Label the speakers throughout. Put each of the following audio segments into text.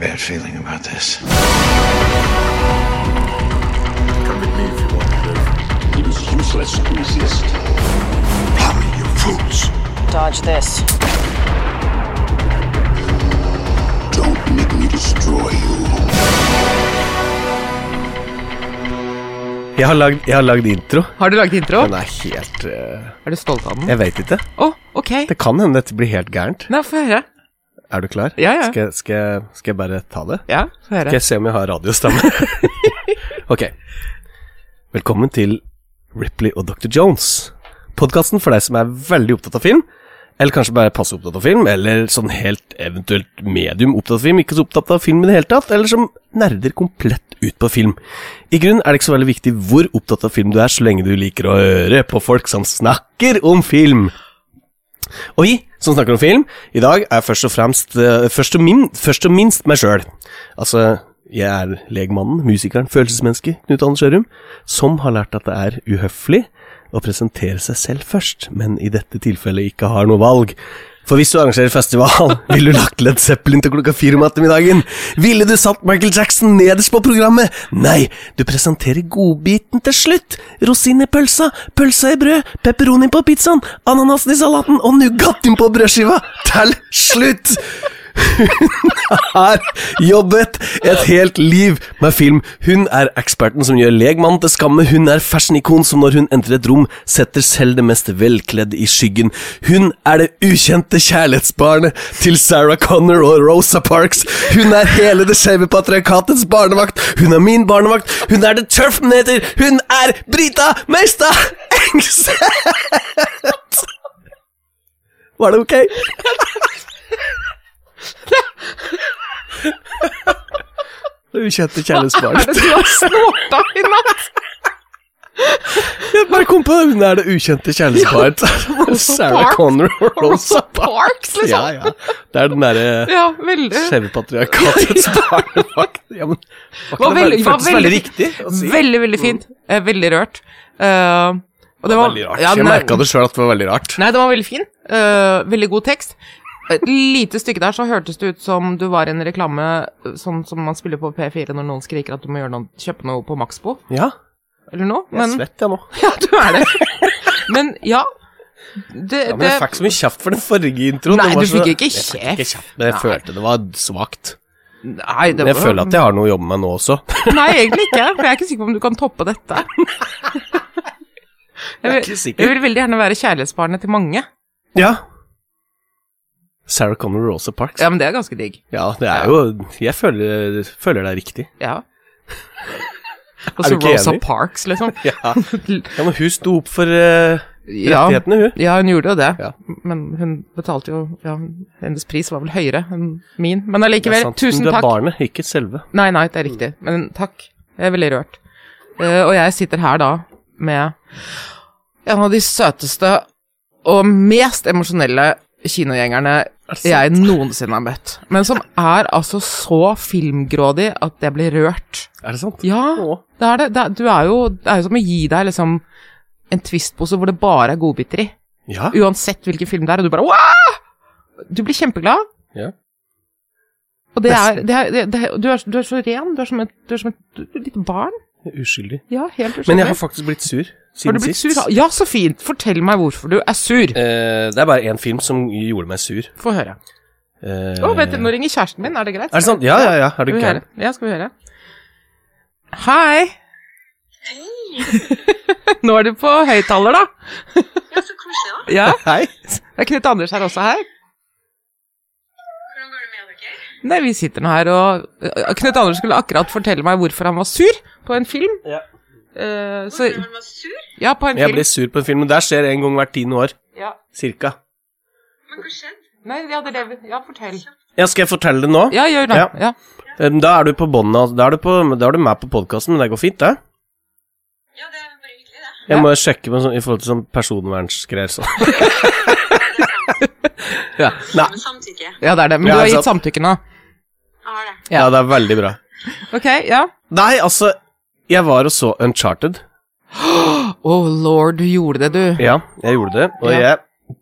Speaker 1: bad feeling about this.
Speaker 2: Come with me if you want to live. It is useless to resist. Hurry, you fools.
Speaker 3: Dodge this.
Speaker 2: Don't make me destroy you.
Speaker 4: Jeg har lagd, jeg har lagd intro.
Speaker 5: Har du laget intro?
Speaker 4: Den er helt eh,
Speaker 5: Er du stolt av den? Å,
Speaker 4: Jeg veit ikke.
Speaker 5: ok.
Speaker 4: Det kan hende dette blir helt gærent.
Speaker 5: Nei, få høre.
Speaker 4: Er du klar?
Speaker 5: Ja, ja.
Speaker 4: Skal, skal, jeg- skal jeg bare ta det?
Speaker 5: Ja, få
Speaker 4: Skal
Speaker 5: høre.
Speaker 4: jeg se om jeg har radiostemme? ok. Velkommen til Ripley og Dr. Jones. Podkasten for deg som er veldig opptatt av film, eller kanskje bare passe opptatt av film, eller sånn helt eventuelt medium opptatt av film, ikke så opptatt av film i det hele tatt, eller som nerder komplett ut på film. I grunnen er det ikke så veldig viktig hvor opptatt av film du er, så lenge du liker å høre på folk som snakker om film. Og vi som snakker om film, i dag er først og fremst eh, først, og min, først og minst meg sjøl. Altså, jeg er legmannen, musikeren, følelsesmennesket Knut Anders Sjørum, som har lært at det er uhøflig å presentere seg selv først, men i dette tilfellet ikke har noe valg. For hvis du arrangerer festival, ville du lagt Led Zeppelin til klokka fire om ettermiddagen? Ville du satt Michael Jackson nederst på programmet? Nei, du presenterer godbiten til slutt. Rosin i pølsa, pølsa i brød, pepperoni på pizzaen, ananasen i salaten og nougatten på brødskiva. Til slutt! har jobbet et helt liv med film. Hun er eksperten som gjør legmannen til skamme. Hun er fashionikon som når hun entrer et rom, setter selv det mest velkledde i skyggen. Hun er det ukjente kjærlighetsbarnet til Sarah Connor og Rosa Parks. Hun er hele det skeive patriarkatets barnevakt. Hun er min barnevakt. Hun er The Turfnator. Hun er Brita Meistad Engseth! Var det ok? Det ukjente kjærlighetsbarnet.
Speaker 5: Er det du har snorta i natt?
Speaker 4: Jeg bare kom på det. Hun er det ukjente kjærlighetsparet. Sarah
Speaker 5: Parks.
Speaker 4: Connor og Rosa Parks.
Speaker 5: Parks,
Speaker 4: Ja,
Speaker 5: liksom?
Speaker 4: ja. Det er den derre
Speaker 5: Ja, veldig.
Speaker 4: skjeve patriarkatets barnevakt. Ja, men var ikke
Speaker 5: Var
Speaker 4: det
Speaker 5: veldig-
Speaker 4: veldig,
Speaker 5: var
Speaker 4: føltes veldig
Speaker 5: veldig-
Speaker 4: riktig å si?
Speaker 5: Veldig, veldig fint. Eh, Veldig rørt. Eh, og det var
Speaker 4: Veldig rart.
Speaker 5: Ja,
Speaker 4: Jeg
Speaker 5: nei-
Speaker 4: merka det sjøl at det var veldig rart.
Speaker 5: Nei, den var veldig fin. Eh, veldig god tekst. Et lite stykke der så hørtes det ut som du var i en reklame eh, sånn som man spiller på P4 når noen skriker at du må gjøre noe, kjøpe noe på Maxbo
Speaker 4: Ja,
Speaker 5: eller noe.
Speaker 4: jeg er
Speaker 5: Men
Speaker 4: svett, jeg nå.
Speaker 5: Ja, du er det. Men ja. Det,
Speaker 4: Ja, men
Speaker 5: det
Speaker 4: jeg fikk så mye kjeft for den forrige introen.
Speaker 5: Nei,
Speaker 4: Det var
Speaker 5: du
Speaker 4: så-
Speaker 5: fikk ikke
Speaker 4: Jeg fikk
Speaker 5: kjeft.
Speaker 4: Men jeg
Speaker 5: Nei.
Speaker 4: følte det var svakt.
Speaker 5: Nei, det
Speaker 4: Men jeg føler at jeg har noe å jobbe med nå også.
Speaker 5: Nei, egentlig ikke. For jeg er ikke sikker på om du kan toppe dette. Jeg
Speaker 4: ikke
Speaker 5: vil,
Speaker 4: sikker.
Speaker 5: jeg vil veldig gjerne være kjærlighetsbarnet til mange.
Speaker 4: Ja. Sarah Connor og Rosa Parks.
Speaker 5: Ja, men det er ganske digg.
Speaker 4: Ja, det er jo Jeg føler, føler det er riktig.
Speaker 5: Ja. Og så
Speaker 4: du ikke
Speaker 5: Rosa
Speaker 4: enig?
Speaker 5: Parks, liksom.
Speaker 4: Ja. Ja, men hun sto opp for eh,
Speaker 5: Ja,
Speaker 4: rettighetene, hun.
Speaker 5: ja, hun gjorde jo det.
Speaker 4: Ja.
Speaker 5: Men hun betalte jo ja, Hennes pris var vel høyere enn min. Men
Speaker 4: Det er
Speaker 5: allikevel,
Speaker 4: sant.
Speaker 5: tusen
Speaker 4: Men Det er
Speaker 5: takk.
Speaker 4: barnet, ikke selve.
Speaker 5: Nei, nei, det er riktig. Men takk. Jeg er veldig rørt. Eh, og jeg sitter her da med en av de søteste og mest emosjonelle kinogjengerne jeg noensinne har møtt. Men som er altså så filmgrådig at jeg blir rørt.
Speaker 4: Er det sant?
Speaker 5: Ja,
Speaker 4: Å.
Speaker 5: det er det. det er, du er jo, det er jo som å gi deg liksom en twistpose hvor det bare er godbiter i.
Speaker 4: Ja.
Speaker 5: Uansett hvilken film det er, og du bare Wah! Du blir kjempeglad.
Speaker 4: Ja.
Speaker 5: Og det er, det er, det det er du, er du er så ren. Du er som et, du er som et du er et lite barn.
Speaker 4: Uskyldig.
Speaker 5: Ja, helt
Speaker 4: Men
Speaker 5: uskyldig.
Speaker 4: jeg har faktisk blitt sur
Speaker 5: Har
Speaker 4: siden
Speaker 5: du blitt
Speaker 4: sist.
Speaker 5: sur? Ja, så fint. Fortell meg hvorfor du er sur.
Speaker 4: Eh, det er bare én film som gjorde meg sur.
Speaker 5: Få høre.
Speaker 4: Eh,
Speaker 5: Å, vent, nå ringer kjæresten min. Er det greit?
Speaker 4: Er det sant? Ja, ja, ja. Er du
Speaker 5: Skal vi
Speaker 4: gæren?
Speaker 5: høre? Ja, skal vi høre. Hei. nå er du på høyttaler, da.
Speaker 6: Ja, så koselig, da.
Speaker 5: Ja.
Speaker 4: Hei.
Speaker 5: Det er Knut Anders her også. Hei.
Speaker 6: Hvordan går det med dere?
Speaker 5: Nei, vi sitter nå her og øh, Knut Anders skulle akkurat fortelle meg hvorfor han var sur på en film.
Speaker 4: Ja.
Speaker 5: Eh, så,
Speaker 6: Hvorfor man var sur?
Speaker 5: ja, på en
Speaker 4: Jeg
Speaker 5: film.
Speaker 4: blir sur på en film, men der skjer en gang hvert tiende år.
Speaker 5: Ja.
Speaker 4: Cirka.
Speaker 6: Men hva skjedde?
Speaker 5: Nei, ja, det er det. vi- Ja, fortell.
Speaker 4: Ja, skal jeg fortelle det nå?
Speaker 5: Ja, gjør det.
Speaker 4: Ja.
Speaker 5: Ja.
Speaker 4: Eh, Da er du på båndet. altså. Da, er du på- da er du med på podkasten, men det går fint, det.
Speaker 6: Ja, det er bare hyggelig, det.
Speaker 4: Jeg må sjekke med, sånn- i forhold til sånn personvernsgreier. Så.
Speaker 6: det er sant.
Speaker 4: Ja. Nei.
Speaker 6: Men samtykke.
Speaker 5: Ja, det er det. Men
Speaker 4: Ja,
Speaker 5: du har
Speaker 4: ikke
Speaker 5: gitt samtykke nå.
Speaker 6: Jeg har det.
Speaker 4: ja, det er veldig bra.
Speaker 5: Ok, ja.
Speaker 4: Nei, altså Jeg var og så Uncharted.
Speaker 5: Å, lord, du gjorde det, du.
Speaker 4: Ja, jeg gjorde det, og
Speaker 5: Ja.
Speaker 4: jeg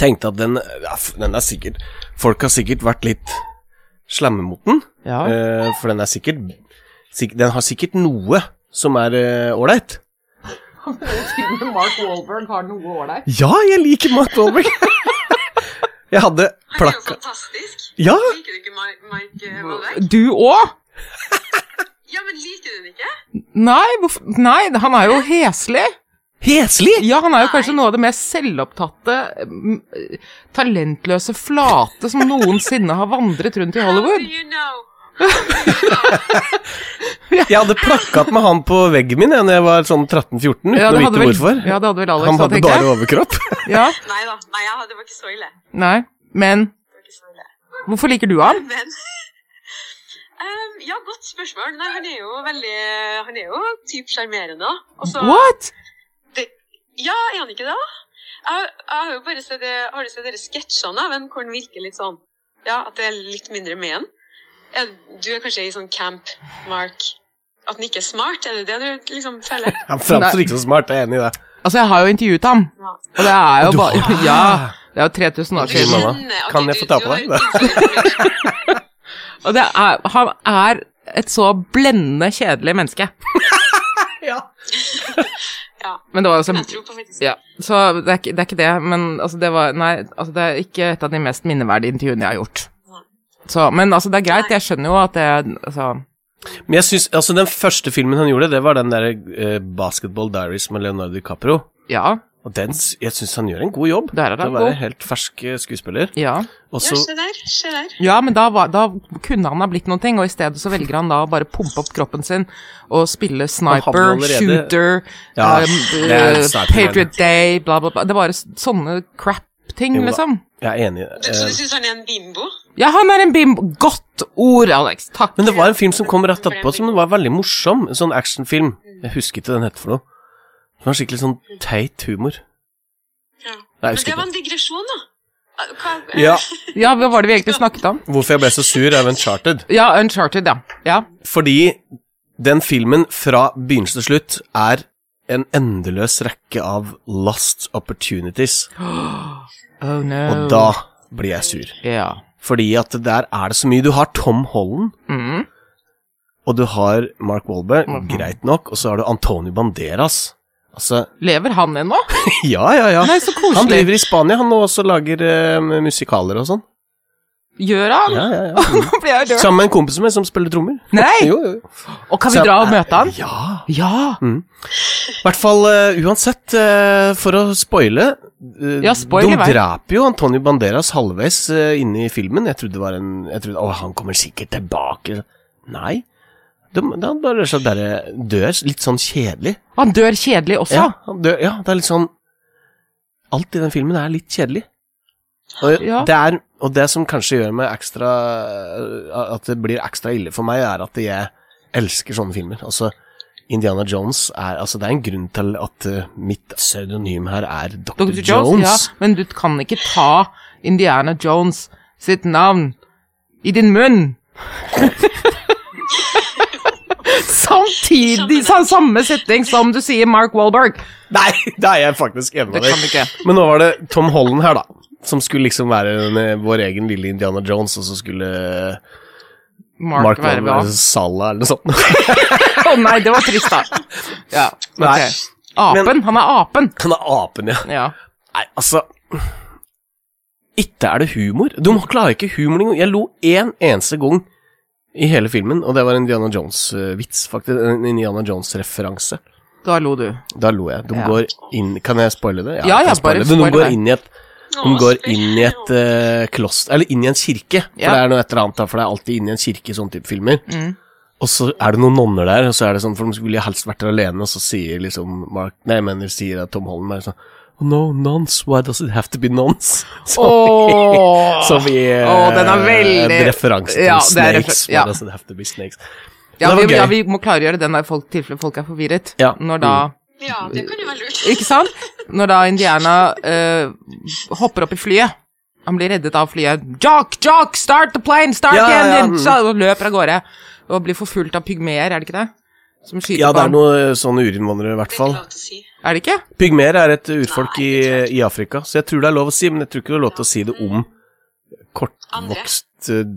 Speaker 4: tenkte at den, ja, f- den er sikkert Folk har sikkert vært litt slamme mot den.
Speaker 5: Ja.
Speaker 4: Eh, for den er sikkert sik Den har sikkert noe som er eh, ålreit.
Speaker 5: Til og med Mark Wahlberg har noe ålreit.
Speaker 4: ja, jeg liker Mark Wahlberg. jeg hadde
Speaker 6: Han er jo
Speaker 4: plakka
Speaker 6: fantastisk.
Speaker 4: Ja!
Speaker 6: Liker du ikke Mike, Mike eh, Wahlberg?
Speaker 5: Du òg?
Speaker 6: Ja, men liker du den ikke?
Speaker 5: Nei, hvorfor Nei, han er jo heslig.
Speaker 4: Heslig!
Speaker 5: Ja, han er jo kanskje noe av det mest selvopptatte, m, talentløse flate som noensinne har vandret rundt i
Speaker 6: How
Speaker 5: Hollywood.
Speaker 6: do you know?
Speaker 4: Jeg hadde plakkat med han på veggen min jeg, når jeg var sånn 13-14, uten
Speaker 5: Ja,
Speaker 4: å
Speaker 5: det hadde
Speaker 4: vite
Speaker 5: vel,
Speaker 4: hvorfor.
Speaker 5: ja, det hadde vel Alex,
Speaker 4: han
Speaker 5: da,
Speaker 4: hadde
Speaker 5: tenker
Speaker 4: bare
Speaker 5: jeg.
Speaker 4: overkropp.
Speaker 5: Ja,
Speaker 6: Nei da. Nei, jeg hadde- det var ikke så ille.
Speaker 5: nei, men
Speaker 6: Det var ikke så ille.
Speaker 5: hvorfor liker du ham?
Speaker 6: Men Ehm, Ja, godt spørsmål. Nei, han er jo veldig Han er jo typ sjarmerende. da. Og så-
Speaker 5: What?
Speaker 6: Ja, er han ikke det? da? Jeg, jeg har jo bare sett det- Har du sett dere sketsjene av ham hvor han virker litt sånn Ja, at det er litt mindre med han? Er- Du er kanskje i sånn camp, Mark. At han ikke er smart? Er det det du liksom føler?
Speaker 4: Han framstår ikke så smart, jeg er enig i det.
Speaker 5: Altså, jeg har jo intervjuet ham,
Speaker 6: Ja.
Speaker 5: og det er jo
Speaker 4: Du
Speaker 5: bare
Speaker 4: har-
Speaker 5: Ja, det er jo 3000 år
Speaker 6: Du
Speaker 4: Skjønner,
Speaker 5: siden.
Speaker 4: mamma.
Speaker 6: skjønner- ok,
Speaker 4: Kan jeg
Speaker 6: du-
Speaker 4: få ta
Speaker 6: du
Speaker 4: på
Speaker 6: har
Speaker 4: deg?
Speaker 6: innsett-
Speaker 5: Og det er, han er et så blendende kjedelig menneske.
Speaker 6: Ja.
Speaker 5: Men det var jo
Speaker 6: Jeg
Speaker 5: så
Speaker 6: tror på faktisk
Speaker 5: Ja, så det er, ikke- det er ikke det, men altså det var Nei, altså det er ikke et av de mest minneverdige intervjuene jeg har gjort. Så, men altså, det er greit, jeg skjønner jo at det altså,
Speaker 4: Men jeg synes, altså Den første filmen han gjorde, det var den der eh, Basketball Diaries med Leonardo DiCaprio.
Speaker 5: Ja,
Speaker 4: Og den, s- jeg syns han gjør en god jobb.
Speaker 5: Der er han
Speaker 4: til å være
Speaker 5: god.
Speaker 4: helt fersk eh, skuespiller.
Speaker 5: ja.
Speaker 4: Og
Speaker 6: Ja,
Speaker 4: så
Speaker 6: se der. Se der.
Speaker 5: Ja, men da, var, da kunne han ha blitt noen ting, og i stedet så velger han da å bare pumpe opp kroppen sin og spille sniper,
Speaker 4: Han havner allerede-
Speaker 5: shooter,
Speaker 4: Ja,
Speaker 5: um,
Speaker 4: det er
Speaker 5: eh,
Speaker 4: sniper,
Speaker 5: Patriot Day, bla, bla, bla. Det var sånne crap-ting,
Speaker 4: Jo da.
Speaker 5: liksom.
Speaker 4: Jeg er enig.
Speaker 6: Du, så
Speaker 4: eh,
Speaker 6: du syns han er en bimbo?
Speaker 5: Ja, han er en bimbo. Godt ord, Alex. Takk.
Speaker 4: Men det var en film som kom rett etterpå som var veldig morsom. En sånn actionfilm. Jeg husker ikke den het for noe. Det var skikkelig sånn teit humor.
Speaker 6: Ja.
Speaker 4: Nei, jeg
Speaker 6: Men det
Speaker 4: husker
Speaker 6: var
Speaker 4: ikke.
Speaker 6: en digresjon, da. Hva,
Speaker 4: Ja,
Speaker 5: Ja, hva var det vi egentlig snakket om?
Speaker 4: hvorfor jeg ble så sur, er Uncharted.
Speaker 5: Ja, Uncharted, ja. ja.
Speaker 4: Fordi den filmen fra begynnelse til slutt er en endeløs rekke av lost opportunities.
Speaker 5: Oh no.
Speaker 4: Og da blir jeg sur.
Speaker 5: Ja.
Speaker 4: Fordi at der er det så mye. Du har Tom Holland,
Speaker 5: Mm.
Speaker 4: og du har Mark Wahlberg,
Speaker 5: Mhm.
Speaker 4: greit nok, og så har du Antonio Banderas. Altså,
Speaker 5: Lever han ennå?
Speaker 4: ja, ja, ja.
Speaker 5: Nei, så
Speaker 4: Han
Speaker 5: koselig.
Speaker 4: driver i Spania, han nå også lager eh, musikaler og sånn.
Speaker 5: Gjør han?
Speaker 4: Ja, ja, ja.
Speaker 5: Nå blir jeg rørt.
Speaker 4: Sammen med en kompis med som spiller trommer.
Speaker 5: Nei!
Speaker 4: Jo, jo, jo.
Speaker 5: Og kan vi dra og møte han?
Speaker 4: Ja.
Speaker 5: Ja.
Speaker 4: I hvert fall eh, uansett, eh, for å spoile eh,
Speaker 5: Ja, spoil i
Speaker 4: De
Speaker 5: vei.
Speaker 4: dreper jo Antonio Banderas halvveis eh, inne i filmen. Jeg trodde det var en Jeg trodde, Å, han kommer sikkert tilbake. Nei. De, de han bare rett og slett bare dør litt sånn kjedelig.
Speaker 5: Han dør kjedelig også.
Speaker 4: Ja, han dør, ja, det er litt sånn Alt i den filmen er litt kjedelig. Og
Speaker 5: Ja.
Speaker 4: det, er, og det som kanskje gjør meg ekstra eh, At det blir ekstra ille for meg, er at jeg elsker sånne filmer. Altså, Indiana Jones er Altså, det er en grunn til at eh, mitt pseudonym her er Dr.
Speaker 5: Dr.
Speaker 4: Jones.
Speaker 5: Jones, ja. Men du kan ikke ta Indiana Jones sitt navn i din munn. Samtidig, sa- samme setning som du sier Mark Wahlberg.
Speaker 4: Nei, det er jeg faktisk
Speaker 5: Det
Speaker 4: enig
Speaker 5: kan du
Speaker 4: med deg
Speaker 5: ikke.
Speaker 4: Men nå var det Tom Holland her, da. Som skulle liksom være en, eh, vår egen lille Indiana Jones, og så skulle eh, Mark,
Speaker 5: Mark,
Speaker 4: Mark
Speaker 5: være bra.
Speaker 4: Sala eller noe sånt.
Speaker 5: Å nei, det var trist, da. Ja, ok.
Speaker 4: Nei.
Speaker 5: Apen. han er apen.
Speaker 4: Han er apen, ja.
Speaker 5: Ja.
Speaker 4: Nei, altså Ikke er det humor. De klarer ikke humor engang. Jeg lo én eneste gang i hele filmen, og det var en Indiana Jones-vits, faktisk. En Indiana Jones-referanse.
Speaker 5: Da lo du.
Speaker 4: Da lo jeg. De
Speaker 5: Ja.
Speaker 4: går inn Kan jeg spoile det?
Speaker 5: Ja,
Speaker 4: jeg
Speaker 5: ja,
Speaker 4: kan spoile det.
Speaker 5: bare
Speaker 4: Men
Speaker 5: spoil
Speaker 4: de går
Speaker 5: det.
Speaker 4: inn i et de går inn i et eh, kloster Eller inn i en kirke, for
Speaker 5: Ja.
Speaker 4: det er noe et eller annet, da, for det er alltid inn i en kirke i sånne type filmer.
Speaker 5: Mm.
Speaker 4: Og så er det noen nonner der, og så er det sånn, for de ville helst vært der alene, og så sier liksom Mark Nei, jeg mener sier at Tom Holland bare sånn Oh no, nons, why does it have to be nons? Som
Speaker 5: Åh.
Speaker 4: i, som i eh,
Speaker 5: Åh, den er veldig-
Speaker 4: en referanse til
Speaker 5: Ja, det er refer-
Speaker 4: snakes. Why
Speaker 5: ja.
Speaker 4: does it have to be snakes?
Speaker 5: Ja,
Speaker 4: det var
Speaker 5: vi,
Speaker 4: gøy.
Speaker 5: ja, vi må klargjøre den der folk, tilfelle folk er forvirret.
Speaker 4: Ja.
Speaker 5: Når da
Speaker 6: Ja, det kan jo være lurt.
Speaker 5: Ikke sant? Når da Indiana eh, hopper opp i flyet. Han blir reddet av flyet. Jock, jock, start the plane, start
Speaker 4: Ja,
Speaker 5: the
Speaker 4: ja,
Speaker 5: engine!
Speaker 4: mm.
Speaker 5: Så han løper av gårde. Og blir forfulgt av pygmeer, er det ikke det? Som skyter
Speaker 4: Ja,
Speaker 5: på
Speaker 4: det er
Speaker 5: ham.
Speaker 4: noe sånn urinnvandrere, i
Speaker 6: Det
Speaker 4: hvert
Speaker 6: er ikke
Speaker 4: fall.
Speaker 6: lov til å si.
Speaker 5: Er det ikke?
Speaker 4: Pygmer er et urfolk i, i Afrika, så jeg tror det er lov å si, men jeg tror ikke det er lov til å si det om kortvokst eh,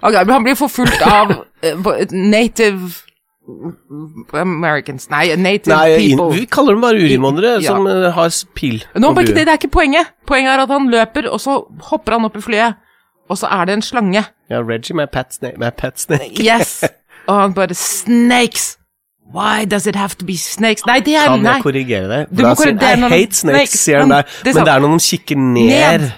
Speaker 5: Ok, men han blir forfulgt av eh, på- native Americans Nei, native
Speaker 4: Nei, in,
Speaker 5: people.
Speaker 4: vi kaller dem bare urinvånere
Speaker 5: Ja.
Speaker 4: som eh, har s- pil.
Speaker 5: Nå,
Speaker 4: og
Speaker 5: men ikke
Speaker 4: bue.
Speaker 5: det, det er ikke poenget. Poenget er at han løper, og så hopper han opp i flyet, og så er det en slange.
Speaker 4: Ja, Reggie med Pat Snake. Med Pat Snake.
Speaker 5: Yes! Og han bare Snakes! Why does it have to be snakes? Nei, det er
Speaker 4: Kan
Speaker 5: nei.
Speaker 4: jeg korrigere deg? For
Speaker 5: Du må
Speaker 4: da sier han,
Speaker 5: korrigere når
Speaker 4: I
Speaker 5: han-
Speaker 4: hate snakes,
Speaker 5: Snakes,
Speaker 4: sier han
Speaker 5: men
Speaker 4: der.
Speaker 5: det er
Speaker 4: Men
Speaker 5: sant.
Speaker 4: det er når de kikker ned.
Speaker 5: Ned.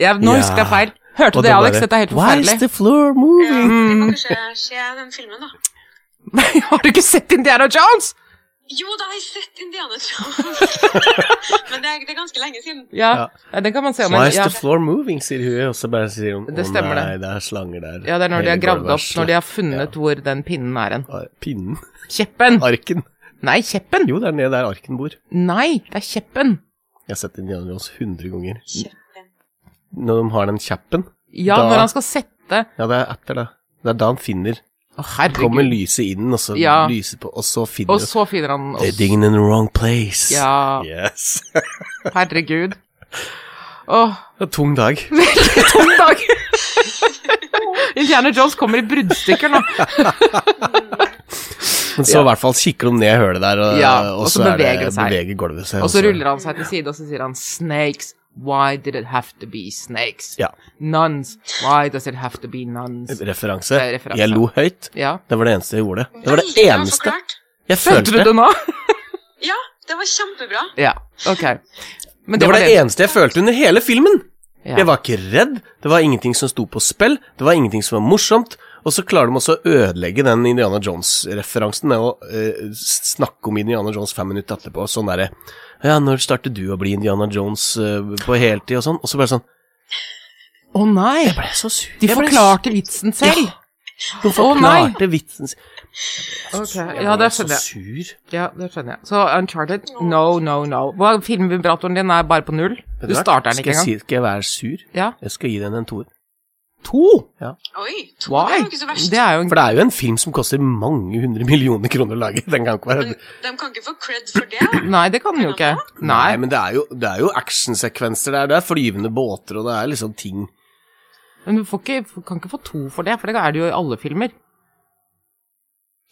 Speaker 5: Ja, nå
Speaker 4: Ja.
Speaker 5: husker jeg feil. Hørte
Speaker 4: og
Speaker 5: du det,
Speaker 4: da
Speaker 5: Alex?
Speaker 4: bare,
Speaker 5: Dette er helt
Speaker 4: Why is
Speaker 5: forferdelig. Mm.
Speaker 4: the floor
Speaker 6: Ja,
Speaker 4: moving?
Speaker 6: vi må kanskje se den filmen, da.
Speaker 5: Har du ikke sett Indiana Jones?
Speaker 6: Jo, da har jeg sett Indiana Jones. Men det er, det er ganske lenge siden.
Speaker 5: Ja,
Speaker 4: Ja.
Speaker 5: ja, den kan man se om.
Speaker 4: Why
Speaker 5: en-
Speaker 4: is
Speaker 5: Ja.
Speaker 4: the floor moving, sier hun, og så bare sier hun
Speaker 5: Det
Speaker 4: Å
Speaker 5: stemmer
Speaker 4: nei, det er slanger der.
Speaker 5: ja, det er når de har
Speaker 4: Hele
Speaker 5: gravd
Speaker 4: gulvet er
Speaker 5: opp, når de har
Speaker 4: slett.
Speaker 5: funnet hvor den pinnen er hen.
Speaker 4: Ja. Pinnen.
Speaker 5: Kjeppen!
Speaker 4: Arken.
Speaker 5: Nei, kjeppen!
Speaker 4: Jo, det er nede der arken bor.
Speaker 5: Nei, det er kjeppen.
Speaker 4: Jeg har sett Indiana Jones 100 ganger.
Speaker 6: Kjempe.
Speaker 4: Når de har den kjappen
Speaker 5: Ja,
Speaker 4: Da-
Speaker 5: når han skal sette
Speaker 4: Ja, det er etter, da. Det er da han finner
Speaker 5: Å,
Speaker 4: Kommer
Speaker 5: herregud.
Speaker 4: lyset inn, og så
Speaker 5: Ja.
Speaker 4: lyser på, og så finner
Speaker 5: Og så finner han
Speaker 4: They're
Speaker 5: oss.
Speaker 4: digging in the wrong place.
Speaker 5: Ja,
Speaker 4: Yes.
Speaker 5: herregud. Åh,
Speaker 4: Det er en tung dag.
Speaker 5: tung dag! Indiana Jones kommer i bruddstykker nå.
Speaker 4: Men så i hvert fall kikker de ned i hølet der, og,
Speaker 5: Ja,
Speaker 4: og
Speaker 5: og så
Speaker 4: så er
Speaker 5: beveger
Speaker 4: det,
Speaker 5: det seg.
Speaker 4: beveger gulvet seg.
Speaker 5: Og så ruller han seg til side, og så sier han Snakes, why did it have to be snakes?
Speaker 4: Ja.
Speaker 5: Nuns, why does it have to be nuns?
Speaker 4: Referanse.
Speaker 5: Det er referanse.
Speaker 4: Jeg lo høyt.
Speaker 5: Ja.
Speaker 4: Det var det eneste jeg gjorde. Det var det
Speaker 6: Veldig bra
Speaker 4: eneste.
Speaker 6: forklart.
Speaker 4: Jeg
Speaker 5: Skjønte
Speaker 4: følte
Speaker 5: du
Speaker 4: det.
Speaker 5: det nå?
Speaker 6: Ja, det var kjempebra.
Speaker 5: Ja, ok. Men
Speaker 4: Det var det eneste jeg følte under hele filmen.
Speaker 5: Ja.
Speaker 4: Jeg var ikke redd. Det var ingenting som sto på spill. Det var ingenting som var morsomt. Og så klarer de også å ødelegge den Indiana Jones-referansen med å eh, snakke om Indiana Jones fem minutter etterpå. Sånn derre Ja, når startet du å bli Indiana Jones eh, på heltid og sånn? Og så bare sånn
Speaker 5: Å nei,
Speaker 4: Jeg ble så sur.
Speaker 5: de
Speaker 4: Jeg ble
Speaker 5: forklarte vitsen selv.
Speaker 4: så- De
Speaker 5: Å, nei.
Speaker 4: forklarte vitsen sin.
Speaker 5: Ok,
Speaker 4: Jeg ble
Speaker 5: ja, det
Speaker 4: så
Speaker 5: skjønner jeg.
Speaker 4: sur.
Speaker 5: Ja, det skjønner jeg. Så Uncharted, no, no, no. Hva, Filmvibratoren din er bare på null. Du starter den
Speaker 4: Skal
Speaker 5: ikke engang.
Speaker 4: jeg, si, skal jeg være sur?
Speaker 5: Ja.
Speaker 4: Jeg skal gi den en toer.
Speaker 5: To?
Speaker 6: Oi, to
Speaker 5: Why?
Speaker 6: er jo ikke så verst.
Speaker 5: Det er jo en
Speaker 4: For det er jo en film som koster mange hundre millioner kroner å lage. Den kan ikke være
Speaker 6: Men de kan ikke få cred for det.
Speaker 5: Nei, det kan den jo ikke.
Speaker 4: Nei,
Speaker 5: Nei.
Speaker 4: men det er jo, det er jo actionsekvenser der. Det er flyvende båter, og det er liksom ting
Speaker 5: Men du får ikke, kan ikke få to for det, for det er det jo i alle filmer.
Speaker 4: Og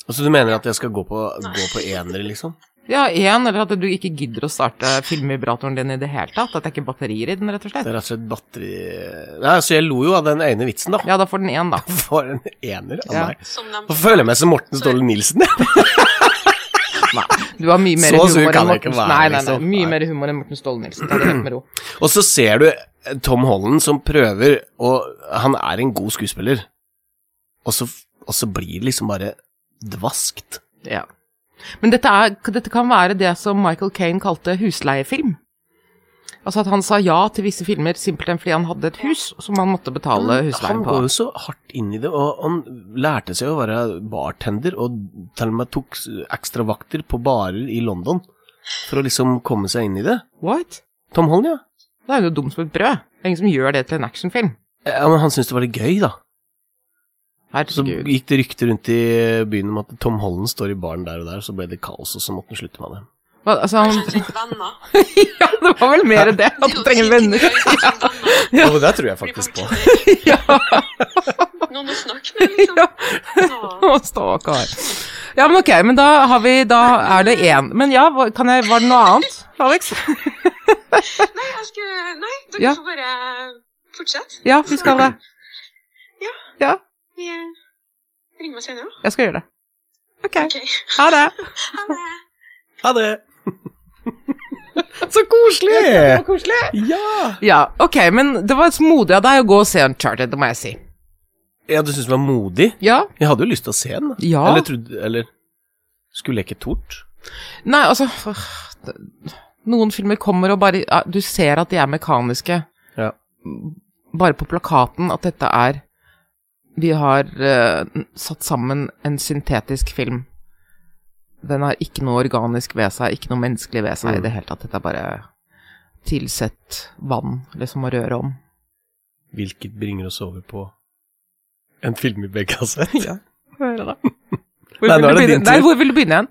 Speaker 4: Så Altså, du mener at jeg skal gå på, gå på enere, liksom?
Speaker 5: Ja, én, eller at du ikke gidder å starte filmvibratoren din i det hele tatt. At det er ikke batterier i den, rett og
Speaker 4: Det
Speaker 5: slett.
Speaker 4: er rett og slett batteri Nei, så jeg lo jo av den ene vitsen, da.
Speaker 5: Ja, da får den én, da.
Speaker 4: For en ener av
Speaker 5: Ja.
Speaker 4: meg.
Speaker 6: Som de
Speaker 4: Og føler jeg meg som Morten Ståle Nilsen, jeg.
Speaker 5: Du har mye mer
Speaker 4: Så sur
Speaker 5: humor
Speaker 4: kan
Speaker 5: enn
Speaker 4: jeg ikke
Speaker 5: Morten
Speaker 4: være,
Speaker 5: Nei, nei, nei.
Speaker 4: liksom.
Speaker 5: Mye
Speaker 4: Nei.
Speaker 5: mer humor enn Morten Ståle Nilsen. Ta det helt med ro.
Speaker 4: Og så ser du eh, Tom Holland som prøver, og han er en god skuespiller, og så, og så blir det liksom bare dvaskt.
Speaker 5: Ja. Men dette, er, dette kan være det som Michael Kane kalte husleiefilm. Altså at han sa ja til visse filmer simpelthen fordi han hadde et hus som han måtte betale husleien
Speaker 4: Mm. Han
Speaker 5: på.
Speaker 4: går jo så hardt inn i det, og han lærte seg å være bartender, og til og med tok s- ekstra vakter på barer i London for å liksom komme seg inn i det.
Speaker 5: What?
Speaker 4: Tom Holland, ja.
Speaker 5: Da er det jo dumt som et brød. Det er ingen som gjør det til en actionfilm.
Speaker 4: Eh, Ja, men han syntes det var litt gøy, da. Så
Speaker 5: Herregud.
Speaker 4: gikk det rykter rundt i byen om at Tom Holland står i baren der og der, og så ble det kaos, og så måtte han slutte med det.
Speaker 5: Hva, altså, han,
Speaker 6: trenger venner.
Speaker 5: ja, det var vel mer det. At du trenger venner.
Speaker 6: Ja.
Speaker 4: Og det tror jeg
Speaker 5: Ja,
Speaker 6: Noen å snakke med, liksom.
Speaker 5: ja.
Speaker 6: Ja.
Speaker 5: Å, Stakkar. Ja, men ok, men da har vi Da er det én. Men ja, hva- kan jeg, var det noe annet, Alex?
Speaker 6: Nei, jeg skulle Nei, dere
Speaker 5: Ja.
Speaker 6: får bare fortsette.
Speaker 5: Ja, vi skal det.
Speaker 6: Ja.
Speaker 5: Ja,
Speaker 6: Vi eh, ringer meg senere, da.
Speaker 5: jeg skal gjøre det. Ok.
Speaker 6: Ok.
Speaker 5: Ha det.
Speaker 6: Ha det.
Speaker 4: Ha det!
Speaker 5: Så
Speaker 4: koselig!
Speaker 5: koselig.
Speaker 4: Ja!
Speaker 5: Ja, ok, men det var så modig av deg å gå og se Uncharted, det må jeg si.
Speaker 4: Ja, du syntes det var modig?
Speaker 5: Ja.
Speaker 4: Jeg hadde jo lyst til å se den. da.
Speaker 5: Ja.
Speaker 4: Eller trodde Eller skulle jeg ikke tort?
Speaker 5: Nei, altså øh, det- Noen filmer kommer og bare ja, Du ser at de er mekaniske.
Speaker 4: Ja.
Speaker 5: Bare på plakaten at dette er Vi har øh, satt sammen en syntetisk film. Den har ikke noe organisk ved seg, ikke noe menneskelig ved seg i
Speaker 4: Mm.
Speaker 5: det hele tatt. Dette er bare tilsett vann, liksom, å røre om.
Speaker 4: Hvilket bringer oss over på en film i begge kassett.
Speaker 5: Hvor
Speaker 4: Nei,
Speaker 5: vil
Speaker 4: nå er det
Speaker 5: du
Speaker 4: din
Speaker 5: begynne? Nei,
Speaker 4: tur.
Speaker 5: hvor vil du begynne igjen?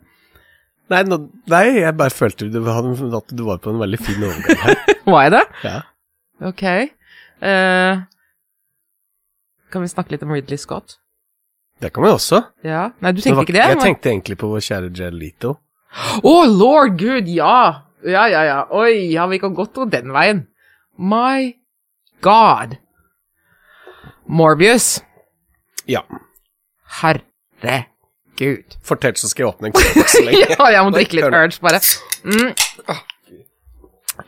Speaker 4: Nei, nå- nei, jeg bare følte du, hadde- liksom at du var på en veldig fin overgang her.
Speaker 5: Var jeg det?
Speaker 4: Ja.
Speaker 5: Ok. Eh, Kan vi snakke litt om Ridley Scott?
Speaker 4: Det kan vi også.
Speaker 5: Ja. Nei, du
Speaker 4: Men
Speaker 5: tenkte
Speaker 4: hva-
Speaker 5: ikke det?
Speaker 4: Jeg
Speaker 5: men-
Speaker 4: tenkte egentlig på vår kjære Jelito.
Speaker 5: Å, lord gud, ja! Ja, ja, ja. Oi, ja, vi kan godt gå den veien. My god. Morbius.
Speaker 4: Ja.
Speaker 5: Herregud.
Speaker 4: Fortell, så skal jeg åpne en kopp så lenge.
Speaker 5: Ja, jeg må drikke litt urge, bare. Mm.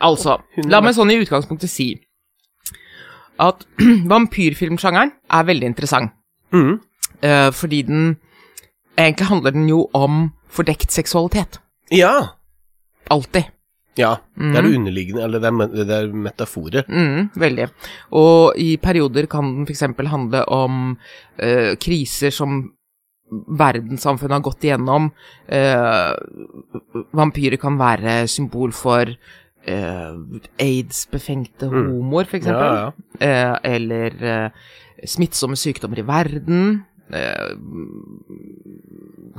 Speaker 5: Altså, la meg sånn i utgangspunktet si at vampyrfilmsjangeren er veldig interessant.
Speaker 4: Mhm.
Speaker 5: eh, fordi den Egentlig handler den jo om fordekt seksualitet.
Speaker 4: Ja.
Speaker 5: Alltid.
Speaker 4: Ja. Det er det underliggende, eller det er, men- det er metaforer.
Speaker 5: Mm, veldig. Og i perioder kan den f.eks. handle om eh, kriser som verdenssamfunnet har gått igjennom. Eh, vampyrer kan være symbol for eh, aids-befengte homoer, f.eks.
Speaker 4: Ja, ja.
Speaker 5: Eh, eller eh, smittsomme sykdommer i verden. Eh,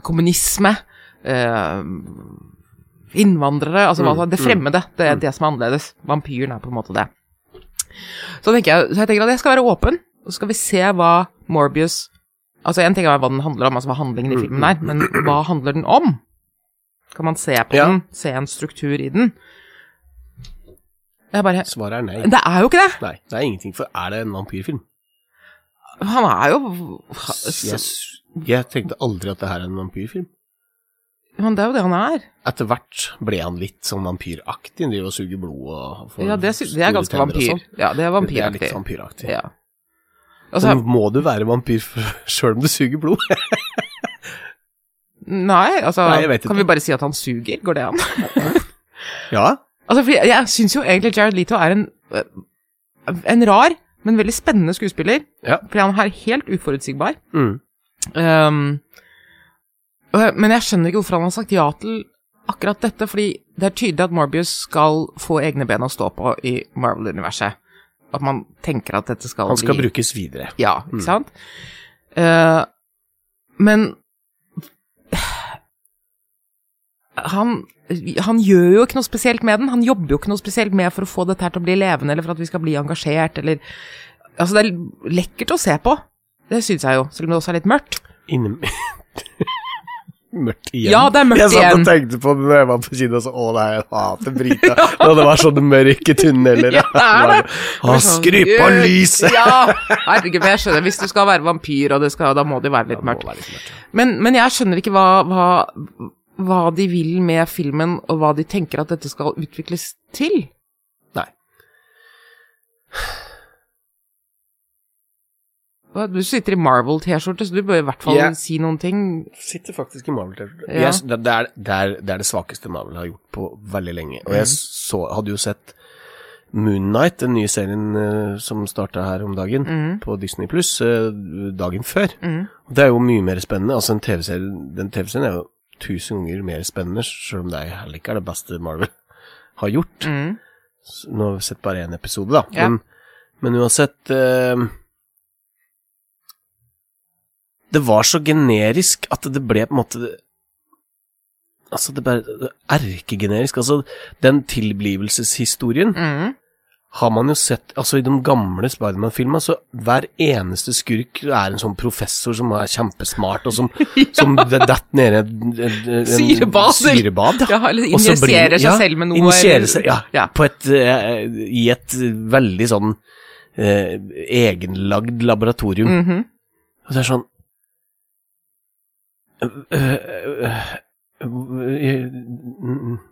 Speaker 5: kommunisme. Eh, innvandrere. Altså, hva- det fremmede. Det er det som er annerledes. Vampyren er på en måte det. Så, tenker jeg, så jeg tenker at jeg skal være åpen, og så skal vi se hva Morbius Altså, en ting er hva den handler om, altså hva handlingen i filmen er, men hva handler den om? Kan man se på
Speaker 4: Ja.
Speaker 5: den, se en struktur i den? Jeg bare
Speaker 4: Svaret er nei.
Speaker 5: Det er jo ikke det!
Speaker 4: Nei, det er ingenting, for er det en vampyrfilm?
Speaker 5: Han er jo
Speaker 4: Jeg, s- jeg tenkte aldri at det her er en vampyrfilm.
Speaker 5: Men det er jo det han er.
Speaker 4: Etter hvert ble han litt sånn vampyraktig, driver og suger blod og får
Speaker 5: Ja, det, sy- det
Speaker 4: store
Speaker 5: er ganske
Speaker 4: tenner og
Speaker 5: vampyr.
Speaker 4: sånn.
Speaker 5: Ja,
Speaker 4: Det er
Speaker 5: det er
Speaker 4: litt sånn,
Speaker 5: vampyraktig.
Speaker 4: vampyraktig.
Speaker 5: Ja.
Speaker 4: Så
Speaker 5: Altså,
Speaker 4: må du være vampyr sjøl om du suger blod.
Speaker 5: nei, altså
Speaker 4: Nei, jeg vet
Speaker 5: Kan
Speaker 4: ikke.
Speaker 5: vi bare si at han suger? Går det an?
Speaker 4: ja.
Speaker 5: Altså, fordi jeg syns jo egentlig Jared Leto er en øh, En rar, men veldig spennende skuespiller.
Speaker 4: Ja.
Speaker 5: Fordi han er helt uforutsigbar.
Speaker 4: Mm.
Speaker 5: Ehm, øh, men jeg skjønner ikke hvorfor han har sagt ja til akkurat dette, fordi det er tydelig at Morbius skal få egne ben å stå på i Marvel-universet. At man tenker at dette skal
Speaker 4: Han skal
Speaker 5: bli
Speaker 4: brukes videre.
Speaker 5: Ja,
Speaker 4: Mm.
Speaker 5: ikke sant? Eh, men han, han gjør jo ikke noe spesielt med den. Han jobber jo ikke noe spesielt med for å få dette her til å bli levende, eller for at vi skal bli engasjert, eller Altså, det er lekkert å se på. Det syns jeg jo, selv om det også er litt mørkt.
Speaker 4: Inne... mørkt igjen.
Speaker 5: Ja, det er mørkt
Speaker 4: jeg Jeg satt
Speaker 5: igjen.
Speaker 4: og tenkte på det når jeg var på kino, og så Å nei, jeg hater Brita. Og det var sånne mørke tunneler.
Speaker 5: Ja, det er det.
Speaker 4: Å, skru på
Speaker 5: Gud,
Speaker 4: lyset!
Speaker 5: Ja! Herregud, men jeg skjønner. Hvis du skal være vampyr, og det skal, da må det være litt mørkt. Men, men jeg skjønner ikke hva, hva, hva de vil med filmen, og hva de tenker at dette skal utvikles til.
Speaker 4: Nei.
Speaker 5: Hva, Du sitter i Marvel-T-skjorte, så du bør i hvert fall
Speaker 4: Jeg-
Speaker 5: si noen ting.
Speaker 4: Sitter faktisk i Marvel-T-skjorte.
Speaker 5: Ja.
Speaker 4: Jeg s- Det, det, er- det, er- det er det svakeste Marvel har gjort på veldig lenge. Og jeg
Speaker 5: Mm.
Speaker 4: så, hadde jo sett Moonnight, den nye serien eh, som starta her om
Speaker 5: Mm.
Speaker 4: dagen, på Disney pluss, dagen før.
Speaker 5: Mhm.
Speaker 4: Og Det er jo mye mer spennende. Altså, en TV-serie, den TV-serien er jo tusen ganger mer spennende, selv om det er heller ikke er det beste Marvel har gjort.
Speaker 5: Mm.
Speaker 4: S- Nå har vi sett bare én episode, da.
Speaker 5: Ja.
Speaker 4: Men, men uansett eh, Det var så generisk at det ble på en måte Altså, det bare det er Erkegenerisk. Altså, den tilblivelseshistorien
Speaker 5: Mm.
Speaker 4: har man jo sett Altså, i de gamle Spiderman-filmene, så hver eneste skurk er en sånn professor som er kjempesmart, og som, som det datt ned i en, en, en
Speaker 5: Syrebad.
Speaker 4: syrebad
Speaker 5: Ja, eller
Speaker 4: og så blir-
Speaker 5: injiserer seg
Speaker 4: ja,
Speaker 5: selv med noe.
Speaker 4: Injiserer
Speaker 5: eller-
Speaker 4: seg, ja,
Speaker 5: Ja.
Speaker 4: På et, eh, I et veldig sånn eh, egenlagd laboratorium.
Speaker 5: Mhm.
Speaker 4: Og det er sånn eh, eh, eh,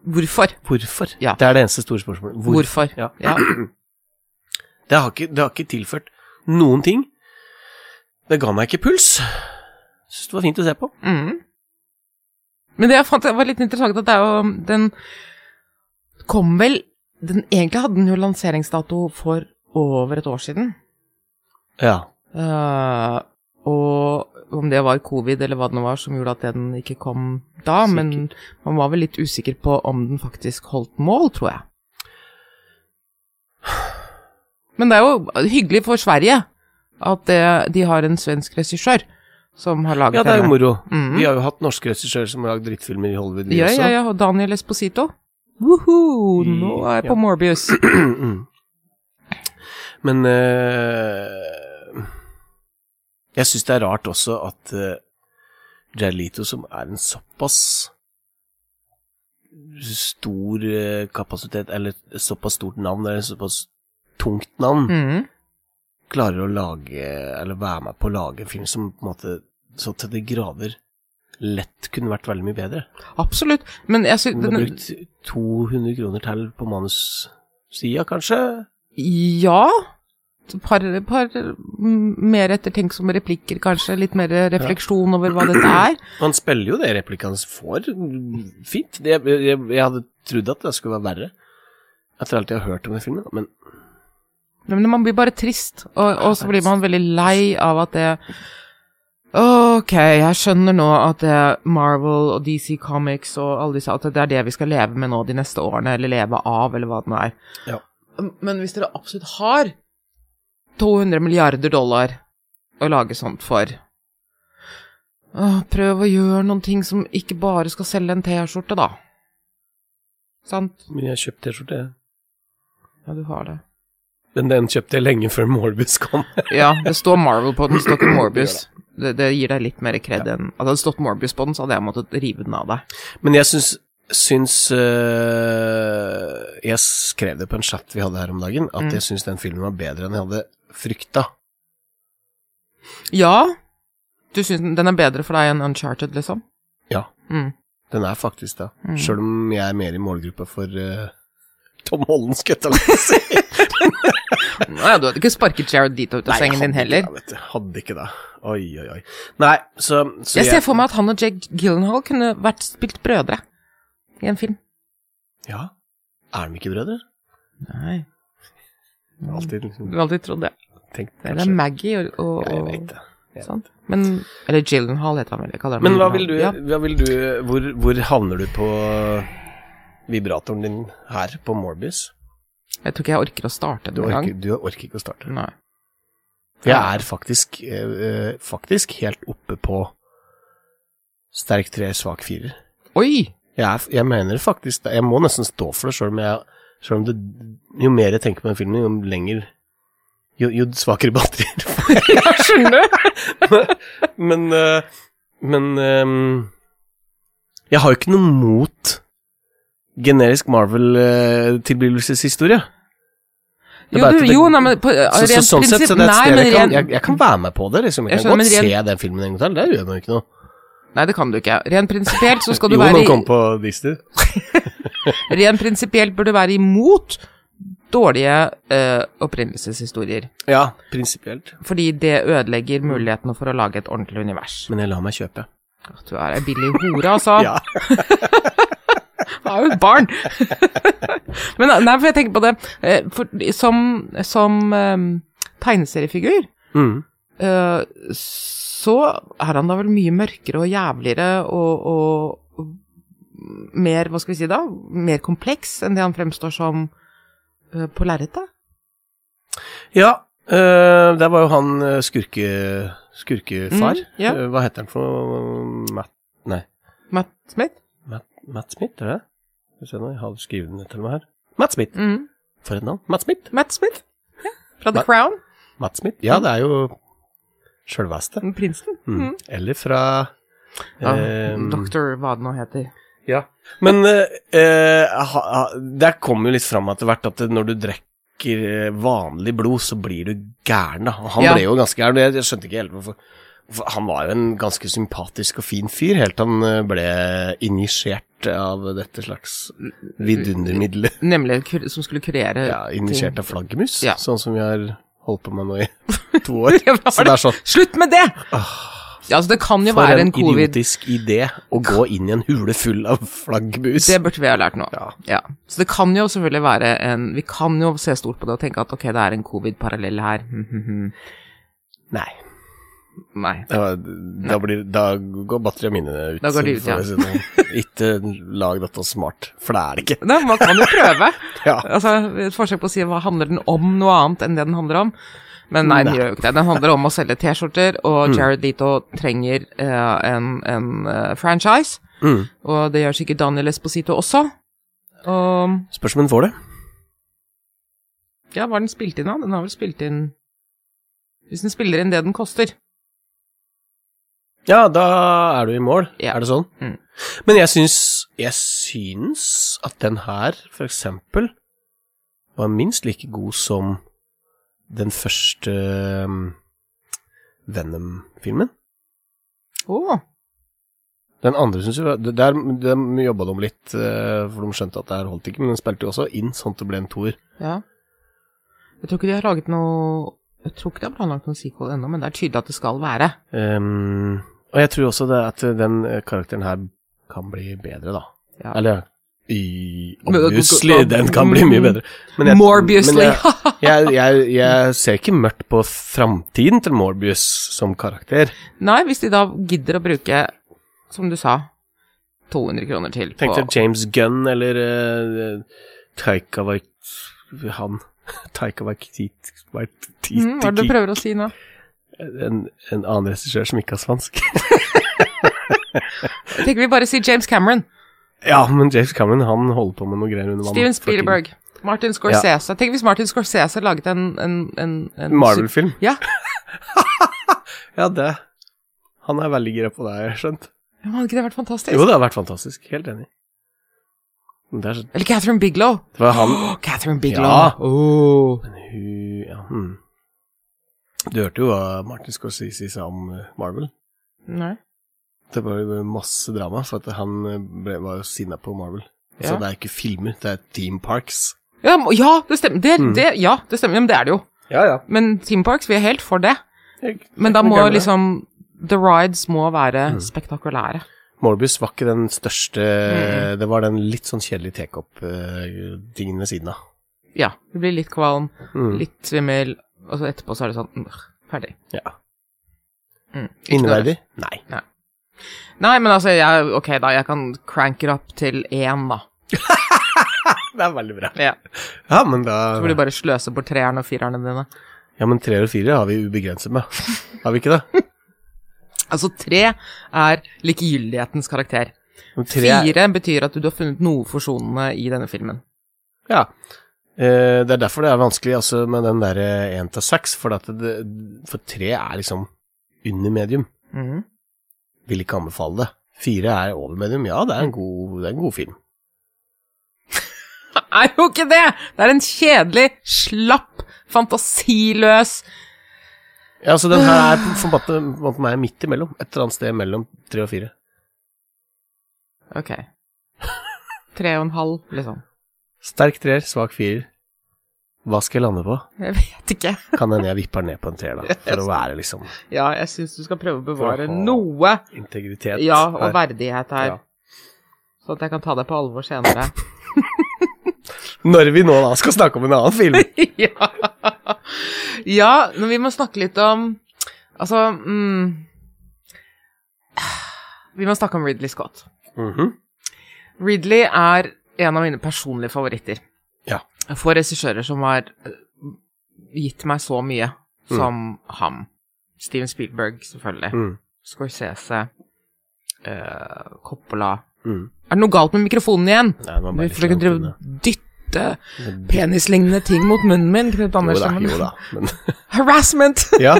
Speaker 5: Hvorfor?
Speaker 4: Hvorfor?
Speaker 5: Ja.
Speaker 4: Det er det eneste store spørsmålet. Hvor-
Speaker 5: Hvorfor?
Speaker 4: Ja. Det,
Speaker 5: Ja.
Speaker 4: har ikke, det har ikke tilført noen ting. Det ga meg ikke puls. Syns det var fint å se på.
Speaker 5: Mm. Men det jeg fant det var litt interessant at det er jo um, Den kom vel den, Egentlig hadde den jo lanseringsdato for over et år siden.
Speaker 4: Ja.
Speaker 5: Eh, og om det var covid eller hva det nå var som gjorde at den ikke kom da, men man var vel litt usikker på om den faktisk holdt mål, tror jeg. Men det er jo hyggelig for Sverige at det, de har en svensk regissør som har laget
Speaker 4: ja, det er jo
Speaker 5: denne.
Speaker 4: moro.
Speaker 5: Mhm.
Speaker 4: Vi har jo hatt norske regissører som har lagd drittfilmer i Hollywood, vi
Speaker 5: Ja,
Speaker 4: også.
Speaker 5: ja, ja, og Daniel Esposito. Mm. Woohoo, nå er jeg på
Speaker 4: Ja.
Speaker 5: Morbius.
Speaker 4: Mm. Men eh, Jeg syns det er rart også at uh, Jared Leto, som er en såpass stor eh, kapasitet, eller et såpass stort navn, eller et såpass tungt navn,
Speaker 5: Mm.
Speaker 4: klarer å lage, eller være med på å lage en film som på en måte så til de grader lett kunne vært veldig mye bedre.
Speaker 5: Absolutt. Men jeg
Speaker 4: Hun har
Speaker 5: syns
Speaker 4: brukt 200 kroner til på manussida, kanskje?
Speaker 5: Ja. Et Par, par mm, mer ettertenksomme replikker, kanskje. Litt mer refleksjon over hva dette er.
Speaker 4: Han spiller jo det replikken hans får mm, fint. Det, jeg, jeg, jeg hadde trodd at det skulle være verre, etter alt jeg har hørt om den filmen, men
Speaker 5: Men man blir bare trist, og, og så blir man veldig lei av at det Ok, jeg skjønner nå at det er Marvel og DC Comics og alle disse At det er det vi skal leve med nå de neste årene, eller leve av, eller hva det nå er.
Speaker 4: Ja.
Speaker 5: Men hvis dere absolutt har 200 milliarder dollar å lage sånt for Åh, Prøv å gjøre noen ting som ikke bare skal selge en T-skjorte, da. Sant?
Speaker 4: men jeg kjøpte T-skjorte.
Speaker 5: Ja, du har det.
Speaker 4: Men den kjøpte jeg lenge før Morbus kom.
Speaker 5: Ja, det står Marvel på den, det står ikke Morbius. Det, det gir deg litt mer kred enn Hadde det stått Morbius på den, så hadde jeg måttet rive den av deg.
Speaker 4: Men jeg syns, syns øh, Jeg skrev det på en chat vi hadde her om dagen, at
Speaker 5: Mm.
Speaker 4: jeg syns den filmen var bedre enn jeg hadde frykta.
Speaker 5: Ja, du syns den- den er bedre for deg enn Uncharted, liksom?
Speaker 4: Ja.
Speaker 5: Mm.
Speaker 4: Den er faktisk det.
Speaker 5: Mm.
Speaker 4: Sjøl om jeg er mer i målgruppa for øh, Tom Holland, skulle jeg til å si.
Speaker 5: Nå, ja, du hadde ikke sparket Jared Dito ut av
Speaker 4: Nei, jeg
Speaker 5: sengen din
Speaker 4: hadde ikke
Speaker 5: heller.
Speaker 4: det, vet du. Hadde ikke det. Oi, oi, oi. Nei, så, så
Speaker 5: Jeg ser for meg at han og Jake Gyllenhaal kunne vært spilt brødre i en film.
Speaker 4: Ja. Er de ikke brødre?
Speaker 5: Nei,
Speaker 4: Jeg har Alltid liksom
Speaker 5: du har alltid trodd Mm. det.
Speaker 4: tenkt
Speaker 5: Eller
Speaker 4: kanskje-
Speaker 5: Maggie og, og,
Speaker 4: Ja, jeg
Speaker 5: og
Speaker 4: vet det. Jeg
Speaker 5: sånn. Men Eller Gyllenhaal heter han vel. jeg kaller han
Speaker 4: Men hva vil
Speaker 5: Gyllenhaal.
Speaker 4: du,
Speaker 5: Ja.
Speaker 4: hva vil du hvor, hvor havner du på vibratoren din her, på Morbius?
Speaker 5: Jeg tror ikke jeg orker å starte
Speaker 4: Du
Speaker 5: den
Speaker 4: orker,
Speaker 5: engang.
Speaker 4: du orker ikke å starte.
Speaker 5: Nei.
Speaker 4: For jeg er faktisk, eh, eh, faktisk helt oppe på sterk tre, svak firer.
Speaker 5: Oi!
Speaker 4: Jeg, er, jeg mener faktisk det. Jeg må nesten stå for det, sjøl om jeg selv om det, Jo mer jeg tenker på den filmen, jo lenger Jo, jo svakere batterier får jeg.
Speaker 5: Jeg skjønner!
Speaker 4: Men eh, Men ehm, Jeg har jo ikke noe mot generisk eh, Marvel-tilblivelseshistorie. Det er
Speaker 5: Jo,
Speaker 4: bare
Speaker 5: du,
Speaker 4: at det-
Speaker 5: jo nei, men på,
Speaker 4: Så, så,
Speaker 5: rent
Speaker 4: sånn sett,
Speaker 5: prinsipp
Speaker 4: så det er et
Speaker 5: nei,
Speaker 4: sted
Speaker 5: men
Speaker 4: jeg kan,
Speaker 5: rent-
Speaker 4: jeg, jeg kan være med på det. liksom. Jeg kan
Speaker 5: Jeg
Speaker 4: godt
Speaker 5: skjønner, men
Speaker 4: se den filmen en gang til. Det gjør man jo ikke noe.
Speaker 5: Nei, det kan du ikke. Rent prinsipielt så skal du
Speaker 4: Jo,
Speaker 5: være
Speaker 4: når
Speaker 5: i-
Speaker 4: den kom på Disney.
Speaker 5: Rent prinsipielt bør du være imot dårlige eh, opprinnelseshistorier.
Speaker 4: Ja, prinsipielt.
Speaker 5: Fordi det ødelegger mulighetene for å lage et ordentlig univers.
Speaker 4: Men jeg lar meg kjøpe.
Speaker 5: At Du er ei billig hore, altså.
Speaker 4: Ja.
Speaker 5: Du er jo et barn. men nei, for jeg tenker på det eh, for, Som, som eh, tegneseriefigur
Speaker 4: Mm.
Speaker 5: Eh, så er han da vel mye mørkere og jævligere og, og, og mer, hva skal vi si da, mer kompleks enn det han fremstår som eh, på lerretet.
Speaker 4: Ja, øh, der var jo han øh, skurke, skurkefar.
Speaker 5: Mm, ja.
Speaker 4: Øh, Hva heter han for noe? Matt,
Speaker 5: Matt Smith.
Speaker 4: Matt, Matt Smith, er det det? Skal vi se nå, jeg har skrevet den ned til meg her. Matt Smith,
Speaker 5: Mm.
Speaker 4: for et navn. Matt Smith.
Speaker 5: Matt Smith. Ja, Fra The
Speaker 4: Matt-
Speaker 5: Crown.
Speaker 4: Matt Smith, ja, det er jo sjølveste.
Speaker 5: Prinsen.
Speaker 4: Mm.
Speaker 5: Mm.
Speaker 4: Eller fra
Speaker 5: Ja,
Speaker 4: ehm,
Speaker 5: Doktor, hva det nå heter.
Speaker 4: Men eh, eh, ha, ha, der kommer jo litt fram etter hvert at når du drikker eh, vanlig blod, så blir du gæren, da. Og han
Speaker 5: Ja.
Speaker 4: ble jo ganske gæren. og Jeg, jeg skjønte ikke helt hvorfor. For han var jo en ganske sympatisk og fin fyr, helt til han eh, ble injisert av dette slags vidundermiddelet.
Speaker 5: Nemlig kur som skulle kurere
Speaker 4: Ja, injisert av flaggermus,
Speaker 5: Ja.
Speaker 4: sånn som vi har holdt på med nå i to år.
Speaker 5: Ja, hva
Speaker 4: Så
Speaker 5: er
Speaker 4: det
Speaker 5: det?
Speaker 4: er sånn
Speaker 5: Slutt med det!
Speaker 4: ah,
Speaker 5: Ja, altså, det kan jo
Speaker 4: For
Speaker 5: være
Speaker 4: en
Speaker 5: en covid.
Speaker 4: idiotisk idé å gå inn i en hule full av flaggermus.
Speaker 5: Det burde vi ha lært nå.
Speaker 4: Ja.
Speaker 5: Så det kan jo selvfølgelig være en Vi kan jo se stort på det og tenke at ok, det er en covid-parallell her. Hm, hm, hm.
Speaker 4: Nei.
Speaker 5: Nei.
Speaker 4: Ja, da, blir, da går batteriene mine ut.
Speaker 5: Da går de ut,
Speaker 4: for
Speaker 5: ja.
Speaker 4: å si det sånn. Ikke lag dette smart, for det er det ikke.
Speaker 5: Nei, man kan jo prøve.
Speaker 4: Ja.
Speaker 5: Altså, et forsøk på å si hva handler den om noe annet enn det den handler om. Men nei, den
Speaker 4: Nei. Mm.
Speaker 5: gjør jo ikke det. Den handler om å selge T-skjorter, og Jared Leto trenger eh, en, en eh, franchise.
Speaker 4: Mm.
Speaker 5: Og det gjør sikkert Daniel Esposito også. Og
Speaker 4: Spørs om hun får det.
Speaker 5: ja, hva har den spilt inn av? Den har vel spilt inn Hvis den spiller inn det den koster.
Speaker 4: Ja, da er du i mål,
Speaker 5: Ja.
Speaker 4: er det sånn?
Speaker 5: Mm.
Speaker 4: Men jeg syns, jeg syns at den her, for eksempel, var minst like god som den første um, Venom-filmen.
Speaker 5: Åh.
Speaker 4: Den andre syns jeg var det- Der, der jobba de litt, eh, for de skjønte at det her holdt ikke, men den spilte jo også inn sånn at det ble en toer.
Speaker 5: Ja. Jeg tror ikke de har laget noe Jeg tror ikke de har planlagt noen sequel ennå, men det er tydelig at det skal være.
Speaker 4: Ehm, og jeg tror også det at den eh, karakteren her kan bli bedre, da.
Speaker 5: Ja.
Speaker 4: Eller i,
Speaker 5: Men-
Speaker 4: Obviously, den kan bli mye bedre. Men
Speaker 5: Morbiously!
Speaker 4: men jeg, jeg, jeg, jeg ser ikke mørkt på framtiden til Morbius som karakter.
Speaker 5: Nei, hvis de da gidder å bruke, som du sa, 200 kroner til
Speaker 4: Tenk
Speaker 5: på
Speaker 4: deg James Gunn eller uh, Taika Waititi Han Taika Waititi
Speaker 5: Mm, Hva er det du prøver å si nå?
Speaker 4: en, en annen regissør som ikke har svansk.
Speaker 5: Tenker vi bare si James Cameron,
Speaker 4: ja, men James Cameron han holder på med noe greier under vann.
Speaker 5: Steven Spielberg, Martin Scorsese Tenk hvis Martin Scorsese laget en, en, en, en
Speaker 4: Marvel-film.
Speaker 5: Ja.
Speaker 4: ja, det Han er veldig gira på det, har jeg skjønt.
Speaker 5: Ja, men Hadde ikke det vært fantastisk?
Speaker 4: Jo, det har vært fantastisk. Helt enig. Men det er så
Speaker 5: Eller Catherine Biglow.
Speaker 4: Det var han
Speaker 5: Åh, Catherine Oh. Biglow.
Speaker 4: Ja.
Speaker 5: Åh.
Speaker 4: Men hun ja, hmm. Du hørte jo hva Martin Scorsese sa om eh, Marvel.
Speaker 5: Nei.
Speaker 4: Det var jo masse drama, for at han eh, ble, var jo sinna på Marvel. Så
Speaker 5: Ja.
Speaker 4: det er ikke filmer, det er theme parks.
Speaker 5: Ja, må- ja, det stemmer. Det,
Speaker 4: Mm.
Speaker 5: det, ja, det stemmer. Ja, men det er det jo.
Speaker 4: Ja, ja.
Speaker 5: Men Team Parks, vi er helt for det. Men da må liksom The rides må være
Speaker 4: Mm.
Speaker 5: spektakulære.
Speaker 4: Morbius var ikke den største Det var den litt sånn kjedelige tekopp-tingen ved siden av.
Speaker 5: Ja. Du blir litt kvalm,
Speaker 4: Mm.
Speaker 5: litt svimmel, og så etterpå så er det sånn mm, Ferdig.
Speaker 4: Ja.
Speaker 5: Mm, ikke
Speaker 4: Inneverdig? Nei.
Speaker 5: noe- Nei, men altså, jeg, ok, da. Jeg kan cranke det opp til én, da.
Speaker 4: Det er veldig bra.
Speaker 5: Ja.
Speaker 4: Ja, men da
Speaker 5: Så får du bare sløse bort treerne og firerne dine.
Speaker 4: Ja, men tre og fire har vi ubegrenset med. Har vi ikke det?
Speaker 5: Altså, tre er likegyldighetens karakter.
Speaker 4: Men tre er-
Speaker 5: Fire betyr at du har funnet noe forsonende i denne filmen.
Speaker 4: Ja. Eh, det er derfor det er vanskelig altså, med den der én til seks, for, at det- for tre er liksom under medium.
Speaker 5: Mhm.
Speaker 4: Vil ikke anbefale det. Fire er over medium. Ja, det er en god, det er en god film.
Speaker 5: Det er jo ikke det! Det er en kjedelig, slapp, fantasiløs
Speaker 4: Ja, så den her er på- for måte- på en måte meg midt imellom. Et eller annet sted mellom tre og fire.
Speaker 5: Ok. Tre og en halv, liksom.
Speaker 4: Sterk treer, svak firer. Hva skal jeg lande på?
Speaker 5: Jeg vet ikke.
Speaker 4: Kan hende jeg vipper ned på en treer, da. For å være liksom
Speaker 5: Ja, jeg syns du skal prøve å
Speaker 4: For
Speaker 5: bevare
Speaker 4: å ha-
Speaker 5: noe
Speaker 4: integritet.
Speaker 5: ja, og
Speaker 4: her.
Speaker 5: verdighet her.
Speaker 4: Ja.
Speaker 5: Sånn at jeg kan ta deg på alvor senere.
Speaker 4: Når vi nå da skal snakke om en annen film.
Speaker 5: ja. ja, men vi må snakke litt om Altså mm, Vi må snakke om Ridley Scott.
Speaker 4: Mhm.
Speaker 5: Ridley er en av mine personlige favoritter.
Speaker 4: Ja.
Speaker 5: For regissører som har eh, gitt meg så mye, som ham. Steven Spielberg, selvfølgelig.
Speaker 4: Mm.
Speaker 5: Scorsese. eh, Coppola.
Speaker 4: Mm.
Speaker 5: Er det noe galt med mikrofonen igjen?
Speaker 4: Nei, man
Speaker 5: Du
Speaker 4: bare litt
Speaker 5: forsøker å
Speaker 4: langt
Speaker 5: drive
Speaker 4: unna.
Speaker 5: dytte penislignende ting mot munnen min, Knut
Speaker 4: Jo da,
Speaker 5: Andersen.
Speaker 4: jo da. Men
Speaker 5: Harassment!
Speaker 4: Ja.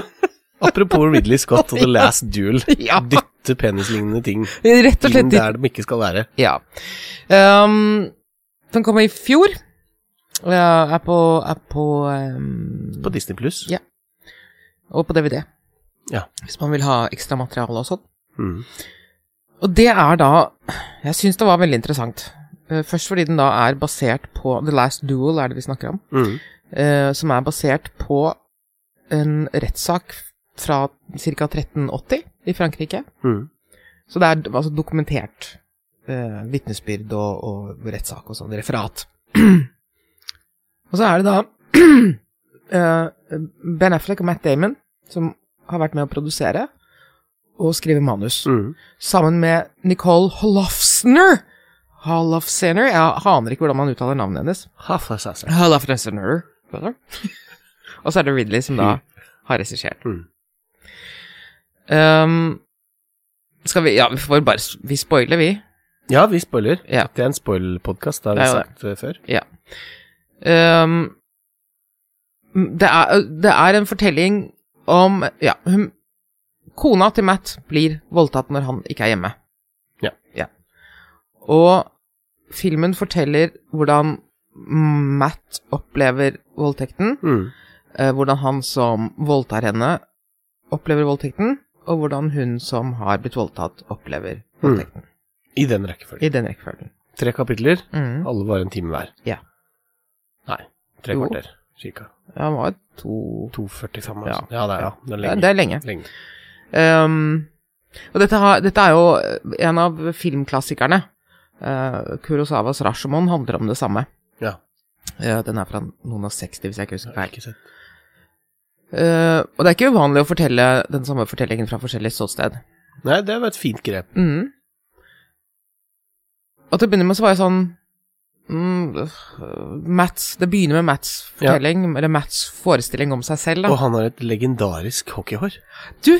Speaker 4: Apropos Ridley Scott og The Last Duel.
Speaker 5: ja,
Speaker 4: Dytte penislignende ting
Speaker 5: rett og
Speaker 4: inn
Speaker 5: slett.
Speaker 4: der de ikke skal være.
Speaker 5: Ja. Um, den kom i fjor. Ja, er på, er på um,
Speaker 4: På Disney Pluss.
Speaker 5: Ja. Og på DVD.
Speaker 4: Ja.
Speaker 5: Hvis man vil ha ekstra materiale og sånn.
Speaker 4: Mm.
Speaker 5: Og det er da Jeg syns det var veldig interessant. Eh, Først fordi den da er basert på The Last Duel, er det vi snakker om.
Speaker 4: Mm.
Speaker 5: eh, Som er basert på en rettssak fra ca. 1380 i Frankrike.
Speaker 4: Mm.
Speaker 5: Så det er d- altså dokumentert eh, vitnesbyrd og, og rettssak og sånn, referat. og så er det da eh, Ben Affleck og Matt Damon som har vært med å produsere og skrive manus.
Speaker 4: Mm.
Speaker 5: Sammen med Nicole Holofcener. Holofcener? Jeg aner ikke hvordan man uttaler navnet hennes.
Speaker 4: Half a sass.
Speaker 5: Holofcener. brother. og så er det Ridley som da har regissert.
Speaker 4: Mm.
Speaker 5: Um, skal vi Ja, vi får bare s- Vi spoiler, vi.
Speaker 4: Ja, vi spoiler.
Speaker 5: Ja.
Speaker 4: Det er en spoil-podkast, det har
Speaker 5: Det
Speaker 4: vi
Speaker 5: er jo
Speaker 4: sagt eh, før.
Speaker 5: Ehm, det, er, det er en fortelling om Ja, hun Kona til Matt blir voldtatt når han ikke er hjemme.
Speaker 4: Ja.
Speaker 5: Og filmen forteller hvordan Matt opplever voldtekten,
Speaker 4: Mm.
Speaker 5: eh, hvordan han som voldtar henne, opplever voldtekten, og hvordan hun som har blitt voldtatt, opplever
Speaker 4: Hmm.
Speaker 5: voldtekten.
Speaker 4: I den rekkefølgen.
Speaker 5: I den rekkefølgen.
Speaker 4: Tre kapitler,
Speaker 5: Mm.
Speaker 4: alle var en time hver.
Speaker 5: Ja.
Speaker 4: Nei, tre
Speaker 5: Jo.
Speaker 4: kvarter, cirka.
Speaker 5: Han var to
Speaker 4: 2,45
Speaker 5: Ja.
Speaker 4: altså. Ja, det er, ja. det er lenge.
Speaker 5: Det er lenge.
Speaker 4: lenge.
Speaker 5: Ehm, og dette, har, dette er jo en av filmklassikerne. Eh, Kurosawas Rashomon handler om det samme.
Speaker 4: Ja.
Speaker 5: Eh, den er fra noen av 60, hvis jeg ikke husker
Speaker 4: Jeg har
Speaker 5: feil.
Speaker 4: ikke sett.
Speaker 5: Eh, og det er ikke uvanlig å fortelle den samme fortellingen fra forskjellig ståsted.
Speaker 4: Nei, det var et fint grep.
Speaker 5: Mhm. Og til å begynne med så var jeg sånn mm, øh, Mats, Det begynner med Mats fortelling, eller Mats forestilling om seg selv, da.
Speaker 4: Og han har et legendarisk hockeyhår.
Speaker 5: Du,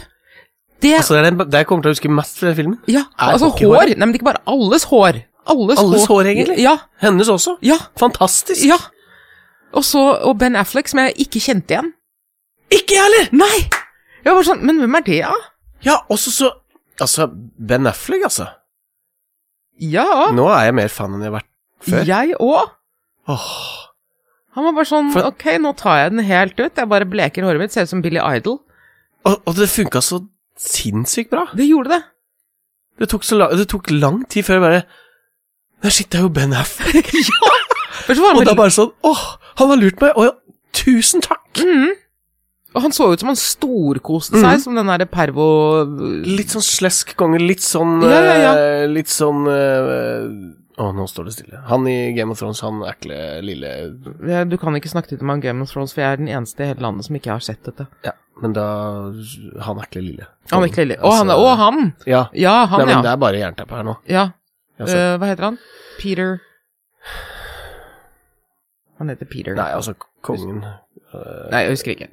Speaker 5: det
Speaker 4: Altså, det er den, det jeg kommer til å huske mest fra den filmen.
Speaker 5: Ja,
Speaker 4: Er
Speaker 5: altså hår
Speaker 4: hockeyhåret-
Speaker 5: Nei, men ikke bare alles hår. Alles,
Speaker 4: Alles hår, egentlig?
Speaker 5: Ja,
Speaker 4: Hennes også.
Speaker 5: ja,
Speaker 4: Fantastisk.
Speaker 5: ja. Og så og Ben Affleck, som jeg ikke kjente igjen.
Speaker 4: Ikke jeg heller!
Speaker 5: Nei! Jeg var sånn, men hvem er det, da?
Speaker 4: Ja, også så Altså, Ben Affleck, altså.
Speaker 5: Ja,
Speaker 4: Nå er jeg mer fan enn jeg har vært Mm, før.
Speaker 5: jeg òg.
Speaker 4: Åh.
Speaker 5: Han var bare sånn,
Speaker 4: For-
Speaker 5: ok, nå tar jeg den helt ut. Jeg bare bleker håret mitt, ser ut som Billy Idol.
Speaker 4: Og, og det funka så sinnssykt bra.
Speaker 5: Det gjorde det.
Speaker 4: Det tok, så lang, det tok lang tid før jeg bare Nei, shit, det er jo Ben Affleck.
Speaker 5: Men så var
Speaker 4: Og da
Speaker 5: han veldig
Speaker 4: bare sånn Åh, han har lurt meg! Og ja, tusen takk!
Speaker 5: Mhm. Og han så ut som han storkoste seg,
Speaker 4: Mhm.
Speaker 5: som den derre pervo...
Speaker 4: Litt sånn slesk konge, litt sånn
Speaker 5: Ja, ja, ja.
Speaker 4: eh, Litt sånn eh, Å, nå står det stille. Han i Game of Thrones, han ekle lille
Speaker 5: Ja, Du kan ikke snakke til meg om Game of Thrones, for jeg er den eneste i hele landet som ikke har sett dette.
Speaker 4: Ja, men da Han ekle lille.
Speaker 5: Han er ikke lille. Å,
Speaker 4: Altså,
Speaker 5: han, å, han!
Speaker 4: Ja.
Speaker 5: Ja, han,
Speaker 4: Nei, men det
Speaker 5: ja.
Speaker 4: er bare jernteppe her nå.
Speaker 5: ja.
Speaker 4: Jeg har sett-
Speaker 5: Eh, hva heter han? Peter Han heter Peter.
Speaker 4: Nei, altså, kongen eh,
Speaker 5: Nei, jeg husker ikke.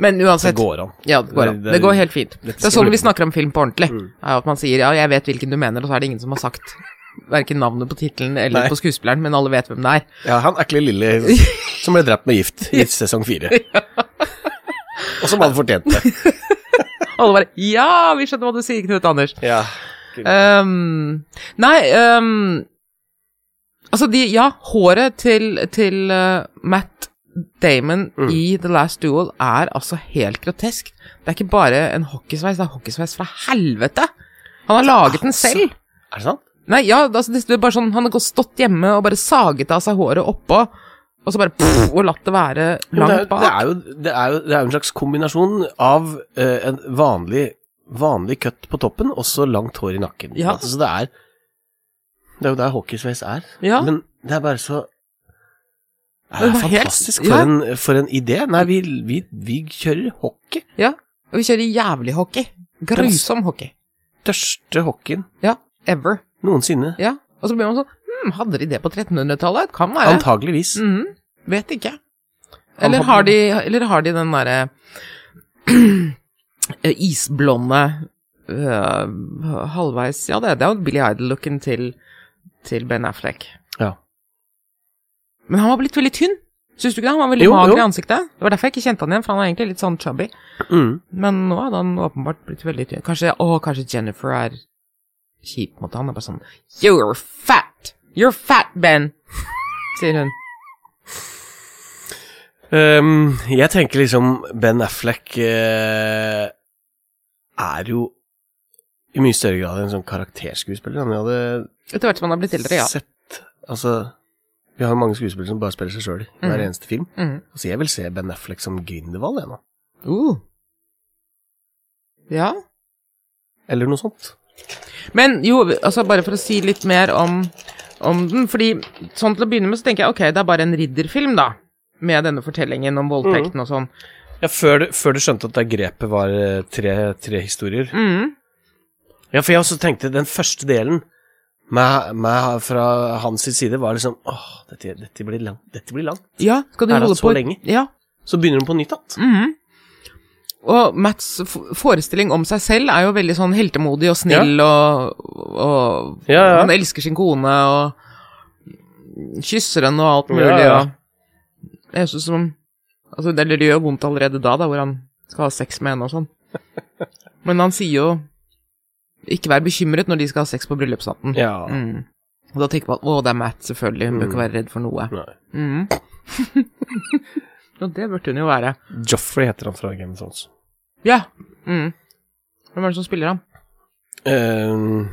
Speaker 5: Men
Speaker 4: Det
Speaker 5: uansett.
Speaker 4: går an.
Speaker 5: Ja, det går an.
Speaker 4: Det- det-
Speaker 5: Det går helt fint.
Speaker 4: Dette
Speaker 5: Det
Speaker 4: skal
Speaker 5: er sånn
Speaker 4: bli-
Speaker 5: vi snakker om film på ordentlig.
Speaker 4: Mm.
Speaker 5: Er at man sier 'ja, jeg vet hvilken du mener', og så er det ingen som har sagt verken navnet på tittelen eller
Speaker 4: Nei.
Speaker 5: på skuespilleren, men alle vet hvem det er.
Speaker 4: Ja, han ekle lille som ble drept med gift i sesong fire. Og som hadde fortjent det.
Speaker 5: Alle bare 'ja, vi skjønner hva du sier, Knut Anders'.
Speaker 4: Ja.
Speaker 5: Ehm, nei ehm, Altså, de Ja, håret til, til eh, Matt Damon
Speaker 4: Mm.
Speaker 5: i The Last Duel er altså helt grotesk. Det er ikke bare en hockeysveis, det er hockeysveis fra helvete! Han har laget den
Speaker 4: Altså.
Speaker 5: selv.
Speaker 4: Er det sant?
Speaker 5: Nei, ja, altså, det det er bare sånn Han har gått stått hjemme og bare saget av seg håret oppå, og så bare pff, og latt det være
Speaker 4: Men Det er,
Speaker 5: langt
Speaker 4: det,
Speaker 5: bak.
Speaker 4: er jo, det, er jo, det er jo en slags kombinasjon av eh, en vanlig, vanlig køtt på toppen og så langt hår i nakken.
Speaker 5: Ja.
Speaker 4: Altså, så det er Det er jo der hockeysveis er.
Speaker 5: Ja.
Speaker 4: Men det er bare så det
Speaker 5: Det
Speaker 4: er
Speaker 5: var helt-
Speaker 4: fantastisk.
Speaker 5: ja.
Speaker 4: For, en, for en idé. Nei, vi, vi, vi kjører hockey.
Speaker 5: Og vi kjører jævlig hockey. Grusom hockey.
Speaker 4: Største hockeyen
Speaker 5: Ja. Ever.
Speaker 4: noensinne.
Speaker 5: Ja, og så blir man sånn hmm, Hadde de det på 1300-tallet? Kan være.
Speaker 4: Antageligvis.
Speaker 5: Mhm, vet ikke.
Speaker 4: Han hadde-
Speaker 5: Eller har de, eller har de den derre eh, isblonde eh, halvveis Ja, det, det er jo Billy Idol-looken til, til Ben Affleck.
Speaker 4: Ja.
Speaker 5: Men han var blitt veldig tynn. Syns du ikke det? Han var veldig
Speaker 4: Jo,
Speaker 5: mager
Speaker 4: jo.
Speaker 5: i ansiktet. Det var derfor jeg ikke kjente han igjen, for han er egentlig litt sånn chubby.
Speaker 4: Mm.
Speaker 5: Men nå hadde han åpenbart blitt veldig tynn. Kanskje, å, kanskje Jennifer er kjip mot han. Det er bare sånn You're fat! You're fat, Ben! Sier hun.
Speaker 4: Ehm, jeg tenker liksom Ben Affleck eh, er jo i mye større grad en sånn karakterskuespiller enn jeg hadde
Speaker 5: Etter hvert som han har blitt eldre, ja.
Speaker 4: sett. Altså, vi har jo mange skuespillere som bare spiller seg sjøl i hver
Speaker 5: Mhm.
Speaker 4: eneste film.
Speaker 5: Mhm.
Speaker 4: Altså, jeg vil se Ben Affleck som Grindelwald, jeg nå.
Speaker 5: Uh. Ja.
Speaker 4: Eller noe sånt.
Speaker 5: Men jo, altså bare for å si litt mer om, om den, fordi sånn til å begynne med så tenker jeg ok, det er bare en ridderfilm, da. Med denne fortellingen om voldtekten og sånn.
Speaker 4: Ja, før du, før du skjønte at det grepet var eh, tre, tre historier.
Speaker 5: Mhm.
Speaker 4: Ja, for jeg også tenkte den første delen med, med, fra hans side var liksom åh, dette, dette blir langt. Dette blir langt.
Speaker 5: Ja, skal de
Speaker 4: Er det
Speaker 5: holde
Speaker 4: så
Speaker 5: på
Speaker 4: lenge?
Speaker 5: Ja.
Speaker 4: Så begynner hun på nytt igjen.
Speaker 5: Mhm. Og Matts f- forestilling om seg selv er jo veldig sånn heltemodig og snill, og, og
Speaker 4: Ja, ja.
Speaker 5: han elsker sin kone og kysser henne og alt
Speaker 4: Ja,
Speaker 5: mulig.
Speaker 4: ja.
Speaker 5: Og jeg synes som, altså, det, det gjør vondt allerede da, da, hvor han skal ha sex med henne og sånn. Men han sier jo ikke vær bekymret når de skal ha sex på bryllupsnatten.
Speaker 4: Ja.
Speaker 5: Mm. Og da tenker man å, det er Matt, selvfølgelig, hun bør ikke være redd for noe.
Speaker 4: Nei.
Speaker 5: Mm. og det burde hun jo være.
Speaker 4: Joffrey heter han fra Game of Thrones.
Speaker 5: Ja. Mm. Hvem er det som spiller ham?
Speaker 4: Eh,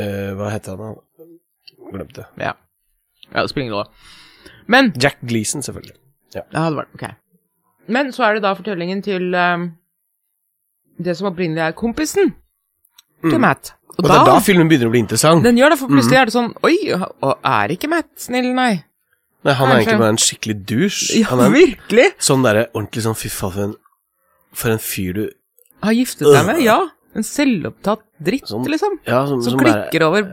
Speaker 4: eh, hva heter han da? Glemte.
Speaker 5: Ja. ja, det spiller ingen rolle. Men
Speaker 4: Jack Gleason, selvfølgelig.
Speaker 5: Ja, det var det. Ok. Men så er det da fortellingen til ehm, det som opprinnelig er kompisen til
Speaker 4: Mm.
Speaker 5: Matt.
Speaker 4: Og det er da filmen begynner å bli interessant.
Speaker 5: Den gjør det, for plutselig er det sånn Oi, og er ikke Matt snill, nei?
Speaker 4: Nei, han er
Speaker 5: Kanskje.
Speaker 4: egentlig bare en skikkelig douche.
Speaker 5: Ja,
Speaker 4: han er en
Speaker 5: virkelig?
Speaker 4: sånn derre ordentlig sånn fy faen, for en, for en fyr du
Speaker 5: Har giftet seg med, ja. En selvopptatt dritt,
Speaker 4: Sånn,
Speaker 5: liksom.
Speaker 4: Ja, som,
Speaker 5: Øh. Som,
Speaker 4: som bare
Speaker 5: klikker over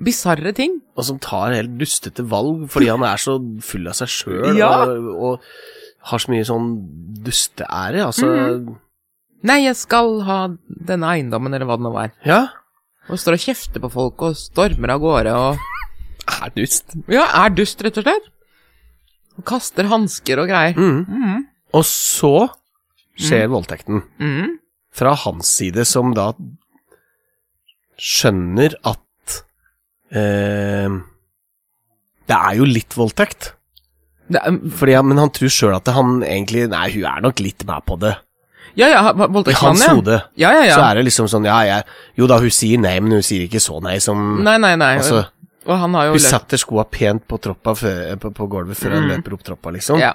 Speaker 5: bisarre ting.
Speaker 4: Og som tar helt dustete valg fordi han er så full av seg sjøl
Speaker 5: Ja.
Speaker 4: og, og har så mye sånn dusteære. Altså
Speaker 5: Nei, jeg skal ha denne eiendommen, eller hva det nå var.
Speaker 4: Ja.
Speaker 5: Og står og kjefter på folk og stormer av gårde og
Speaker 4: Er dust.
Speaker 5: Ja, er dust, rett og slett. Og kaster hansker og greier.
Speaker 4: Mm.
Speaker 5: Mm.
Speaker 4: Og så skjer voldtekten.
Speaker 5: Mm.
Speaker 4: Fra hans side, som da skjønner at eh, Det er jo litt voldtekt.
Speaker 5: Det er,
Speaker 4: Fordi, han- men han tror sjøl at han egentlig Nei, hun er nok litt med på det.
Speaker 5: ja, ja,
Speaker 4: I hans
Speaker 5: voldtektsmannen, ja.
Speaker 4: hode
Speaker 5: Ja, ja, ja.
Speaker 4: så er det liksom sånn Ja, jeg Jo da, hun sier nei, men hun sier ikke så nei som
Speaker 5: Nei, nei, nei.
Speaker 4: Altså,
Speaker 5: og han har jo
Speaker 4: hun
Speaker 5: løpt
Speaker 4: setter skoa pent på, troppa før, på, på gulvet før han
Speaker 5: Mm.
Speaker 4: løper opp troppa, liksom.
Speaker 5: Ja.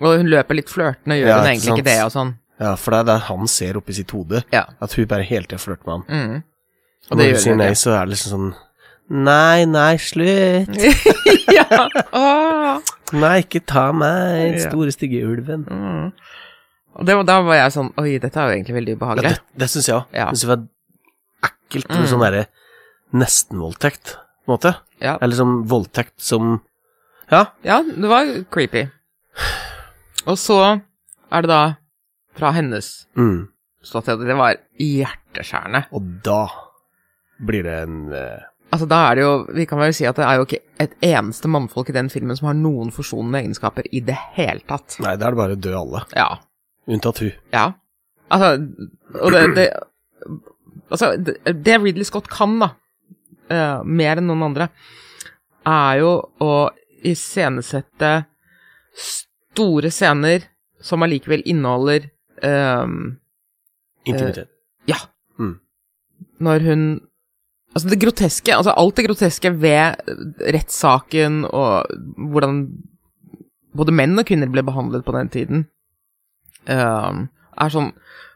Speaker 5: Og hun løper litt flørtende, gjør
Speaker 4: Ja,
Speaker 5: hun
Speaker 4: ikke
Speaker 5: egentlig ikke
Speaker 4: sant.
Speaker 5: det, og sånn.
Speaker 4: Ja, for det er der han ser oppi sitt hode.
Speaker 5: Ja.
Speaker 4: At hun bare hele tida flørter med ham.
Speaker 5: Mm.
Speaker 4: Og
Speaker 5: det
Speaker 4: når hun
Speaker 5: gjør
Speaker 4: sier
Speaker 5: hun
Speaker 4: nei,
Speaker 5: ikke.
Speaker 4: så er det liksom sånn Nei, nei, slutt.
Speaker 5: ja. Åh.
Speaker 4: Nei, ikke ta meg, den
Speaker 5: Ja.
Speaker 4: store, stygge ulven.
Speaker 5: Mm. Og det, var- da var jeg sånn Oi, dette er jo egentlig veldig
Speaker 4: Ja,
Speaker 5: ubehagelig.
Speaker 4: det det syns jeg òg.
Speaker 5: Ja.
Speaker 4: Det var ekkelt med
Speaker 5: Mm.
Speaker 4: sånn derre nestenvoldtekt, på en måte.
Speaker 5: Ja.
Speaker 4: Eller sånn voldtekt som Ja,
Speaker 5: ja, det var creepy. Og så er det da fra hennes
Speaker 4: Mm.
Speaker 5: ståsted Det var hjerteskjærende.
Speaker 4: Og da blir det en eh,
Speaker 5: Altså, da er det jo Vi kan vel si at det er jo ikke et eneste mannfolk i den filmen som har noen forsonende egenskaper i det hele tatt.
Speaker 4: Nei, da er det bare å dø alle.
Speaker 5: Ja.
Speaker 4: Unntatt hun.
Speaker 5: Ja. Altså, og det, det Altså, det, det Ridley Scott kan, da, eh, mer enn noen andre, er jo å iscenesette store scener som allikevel inneholder eh,
Speaker 4: Intimitet.
Speaker 5: Ja.
Speaker 4: Mm.
Speaker 5: Når hun Altså, det groteske Altså, alt det groteske ved rettssaken og hvordan både menn og kvinner ble behandlet på den tiden, ehm, er sånn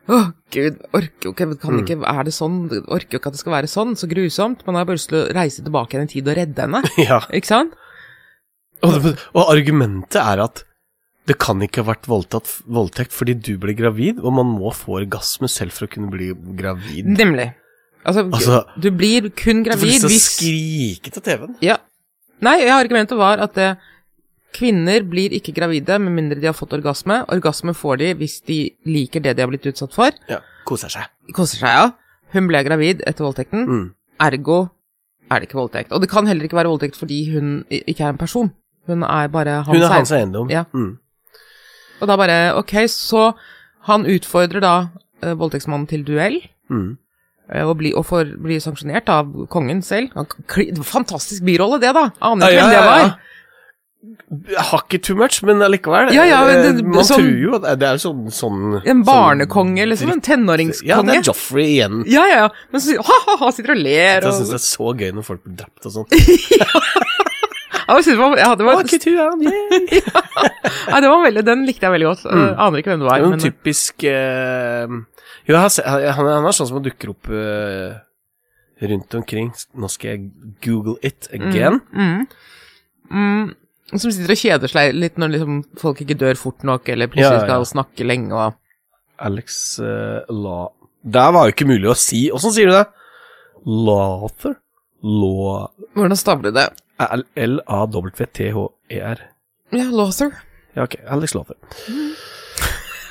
Speaker 5: Å, gud, orker jo ikke Kan ikke
Speaker 4: Mm.
Speaker 5: Er det sånn? Orker jo ikke at det skal være sånn? Så grusomt. Man har bare lyst til å reise tilbake igjen i tid og redde henne.
Speaker 4: ja.
Speaker 5: Ikke sant?
Speaker 4: Eh. Og, det- og argumentet er at det kan ikke ha vært voldtatt, voldtekt fordi du ble gravid, og man må få orgasme selv for å kunne bli gravid.
Speaker 5: Nemlig. Altså,
Speaker 4: Mm. Altså,
Speaker 5: du blir kun
Speaker 4: Du får lyst
Speaker 5: gravid
Speaker 4: til å
Speaker 5: hvis
Speaker 4: skrike til TV-en.
Speaker 5: Ja. Nei, ja, argumentet var at eh, kvinner blir ikke gravide med mindre de har fått orgasme. Orgasme får de hvis de liker det de har blitt utsatt for.
Speaker 4: Ja, koser seg.
Speaker 5: Koser seg, ja. Hun ble gravid etter voldtekten,
Speaker 4: Mm.
Speaker 5: ergo er det ikke voldtekt. Og det kan heller ikke være voldtekt fordi hun i- ikke er en person. Hun er bare hans,
Speaker 4: Hun er
Speaker 5: eiendom.
Speaker 4: hans eiendom.
Speaker 5: Ja.
Speaker 4: Mm.
Speaker 5: Og da bare, ok, så han utfordrer da eh, voldtektsmannen til duell.
Speaker 4: Mm.
Speaker 5: eh, Og, bli, og får bli sanksjonert av kongen selv. Han, kli- det var fantastisk birolle, det, da! Aner ikke hvem det var.
Speaker 4: ja. Hakket too much, men allikevel.
Speaker 5: Ja, ja,
Speaker 4: eh,
Speaker 5: det- det-
Speaker 4: man
Speaker 5: sånn-
Speaker 4: tror jo at det er sånn, sånn
Speaker 5: En
Speaker 4: sånn
Speaker 5: barnekonge, liksom. En
Speaker 4: dritt- Ja, det
Speaker 5: tenåringskonge.
Speaker 4: er Joffrey igjen.
Speaker 5: Ja, ja, ja. Men så ha-ha-ha, sitter og ler
Speaker 4: Jeg
Speaker 5: og
Speaker 4: syns det er så gøy når folk blir drept og sånn.
Speaker 5: ja, jeg synes det var, ja, det, var,
Speaker 4: Fuck it, yeah, yeah.
Speaker 5: nei, det var veldig Den likte jeg veldig godt. Jeg
Speaker 4: Mm.
Speaker 5: Aner ikke hvem det
Speaker 4: Det
Speaker 5: var.
Speaker 4: er
Speaker 5: Men,
Speaker 4: noen typisk eh, Jo, jeg har se- han, han er- han er sånn som dukker opp eh, rundt omkring. Nå skal jeg google it again.
Speaker 5: Mm, mm, mm, som sitter og kjeder seg litt når liksom, folk ikke dør fort nok, eller
Speaker 4: Ja,
Speaker 5: plutselig
Speaker 4: ja, ja.
Speaker 5: skal snakke lenge og
Speaker 4: Alex eh, La... Der var jo ikke mulig å si. Åssen sier du det? Lather? Law...
Speaker 5: Hvordan stavler du det?
Speaker 4: L- L-A-W-T-H-E-R.
Speaker 5: Ja, Lawther.
Speaker 4: E Ja, ok. Alex Lather.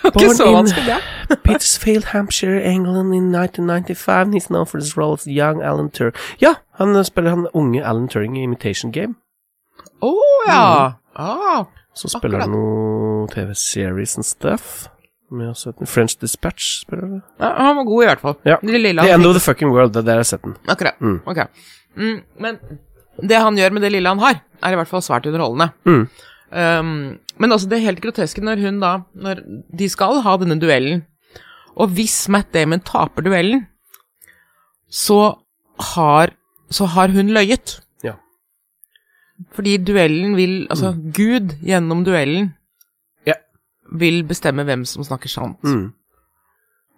Speaker 5: Ikke så
Speaker 4: in-
Speaker 5: vanskelig, det.
Speaker 4: Pittsfield, Hampshire, England in 1995. He's known for his role as young Alan Turing. Ja, han eh, spiller han unge Alan Turing i Imitation Game.
Speaker 5: Å ja. Ah.
Speaker 4: Mm. Så spiller han noe TV-series and stuff. Med å sette den. French Dispatch, spør du?
Speaker 5: Ja, han var god, i hvert fall.
Speaker 4: Ja.
Speaker 5: Det lille
Speaker 4: The
Speaker 5: han
Speaker 4: End of the Fucking World, det er der jeg har sett den.
Speaker 5: Akkurat.
Speaker 4: Mm.
Speaker 5: Ok. Mm, men det han gjør med det lille han har, er i hvert fall svært underholdende.
Speaker 4: Mm.
Speaker 5: Um, men også det helt groteske når hun da Når de skal ha denne duellen, og hvis Matt Damon taper duellen, så har, så har hun løyet.
Speaker 4: Ja. Mm.
Speaker 5: Fordi duellen vil Altså, Gud gjennom duellen
Speaker 4: Ja.
Speaker 5: vil bestemme hvem som snakker sant.
Speaker 4: Mm.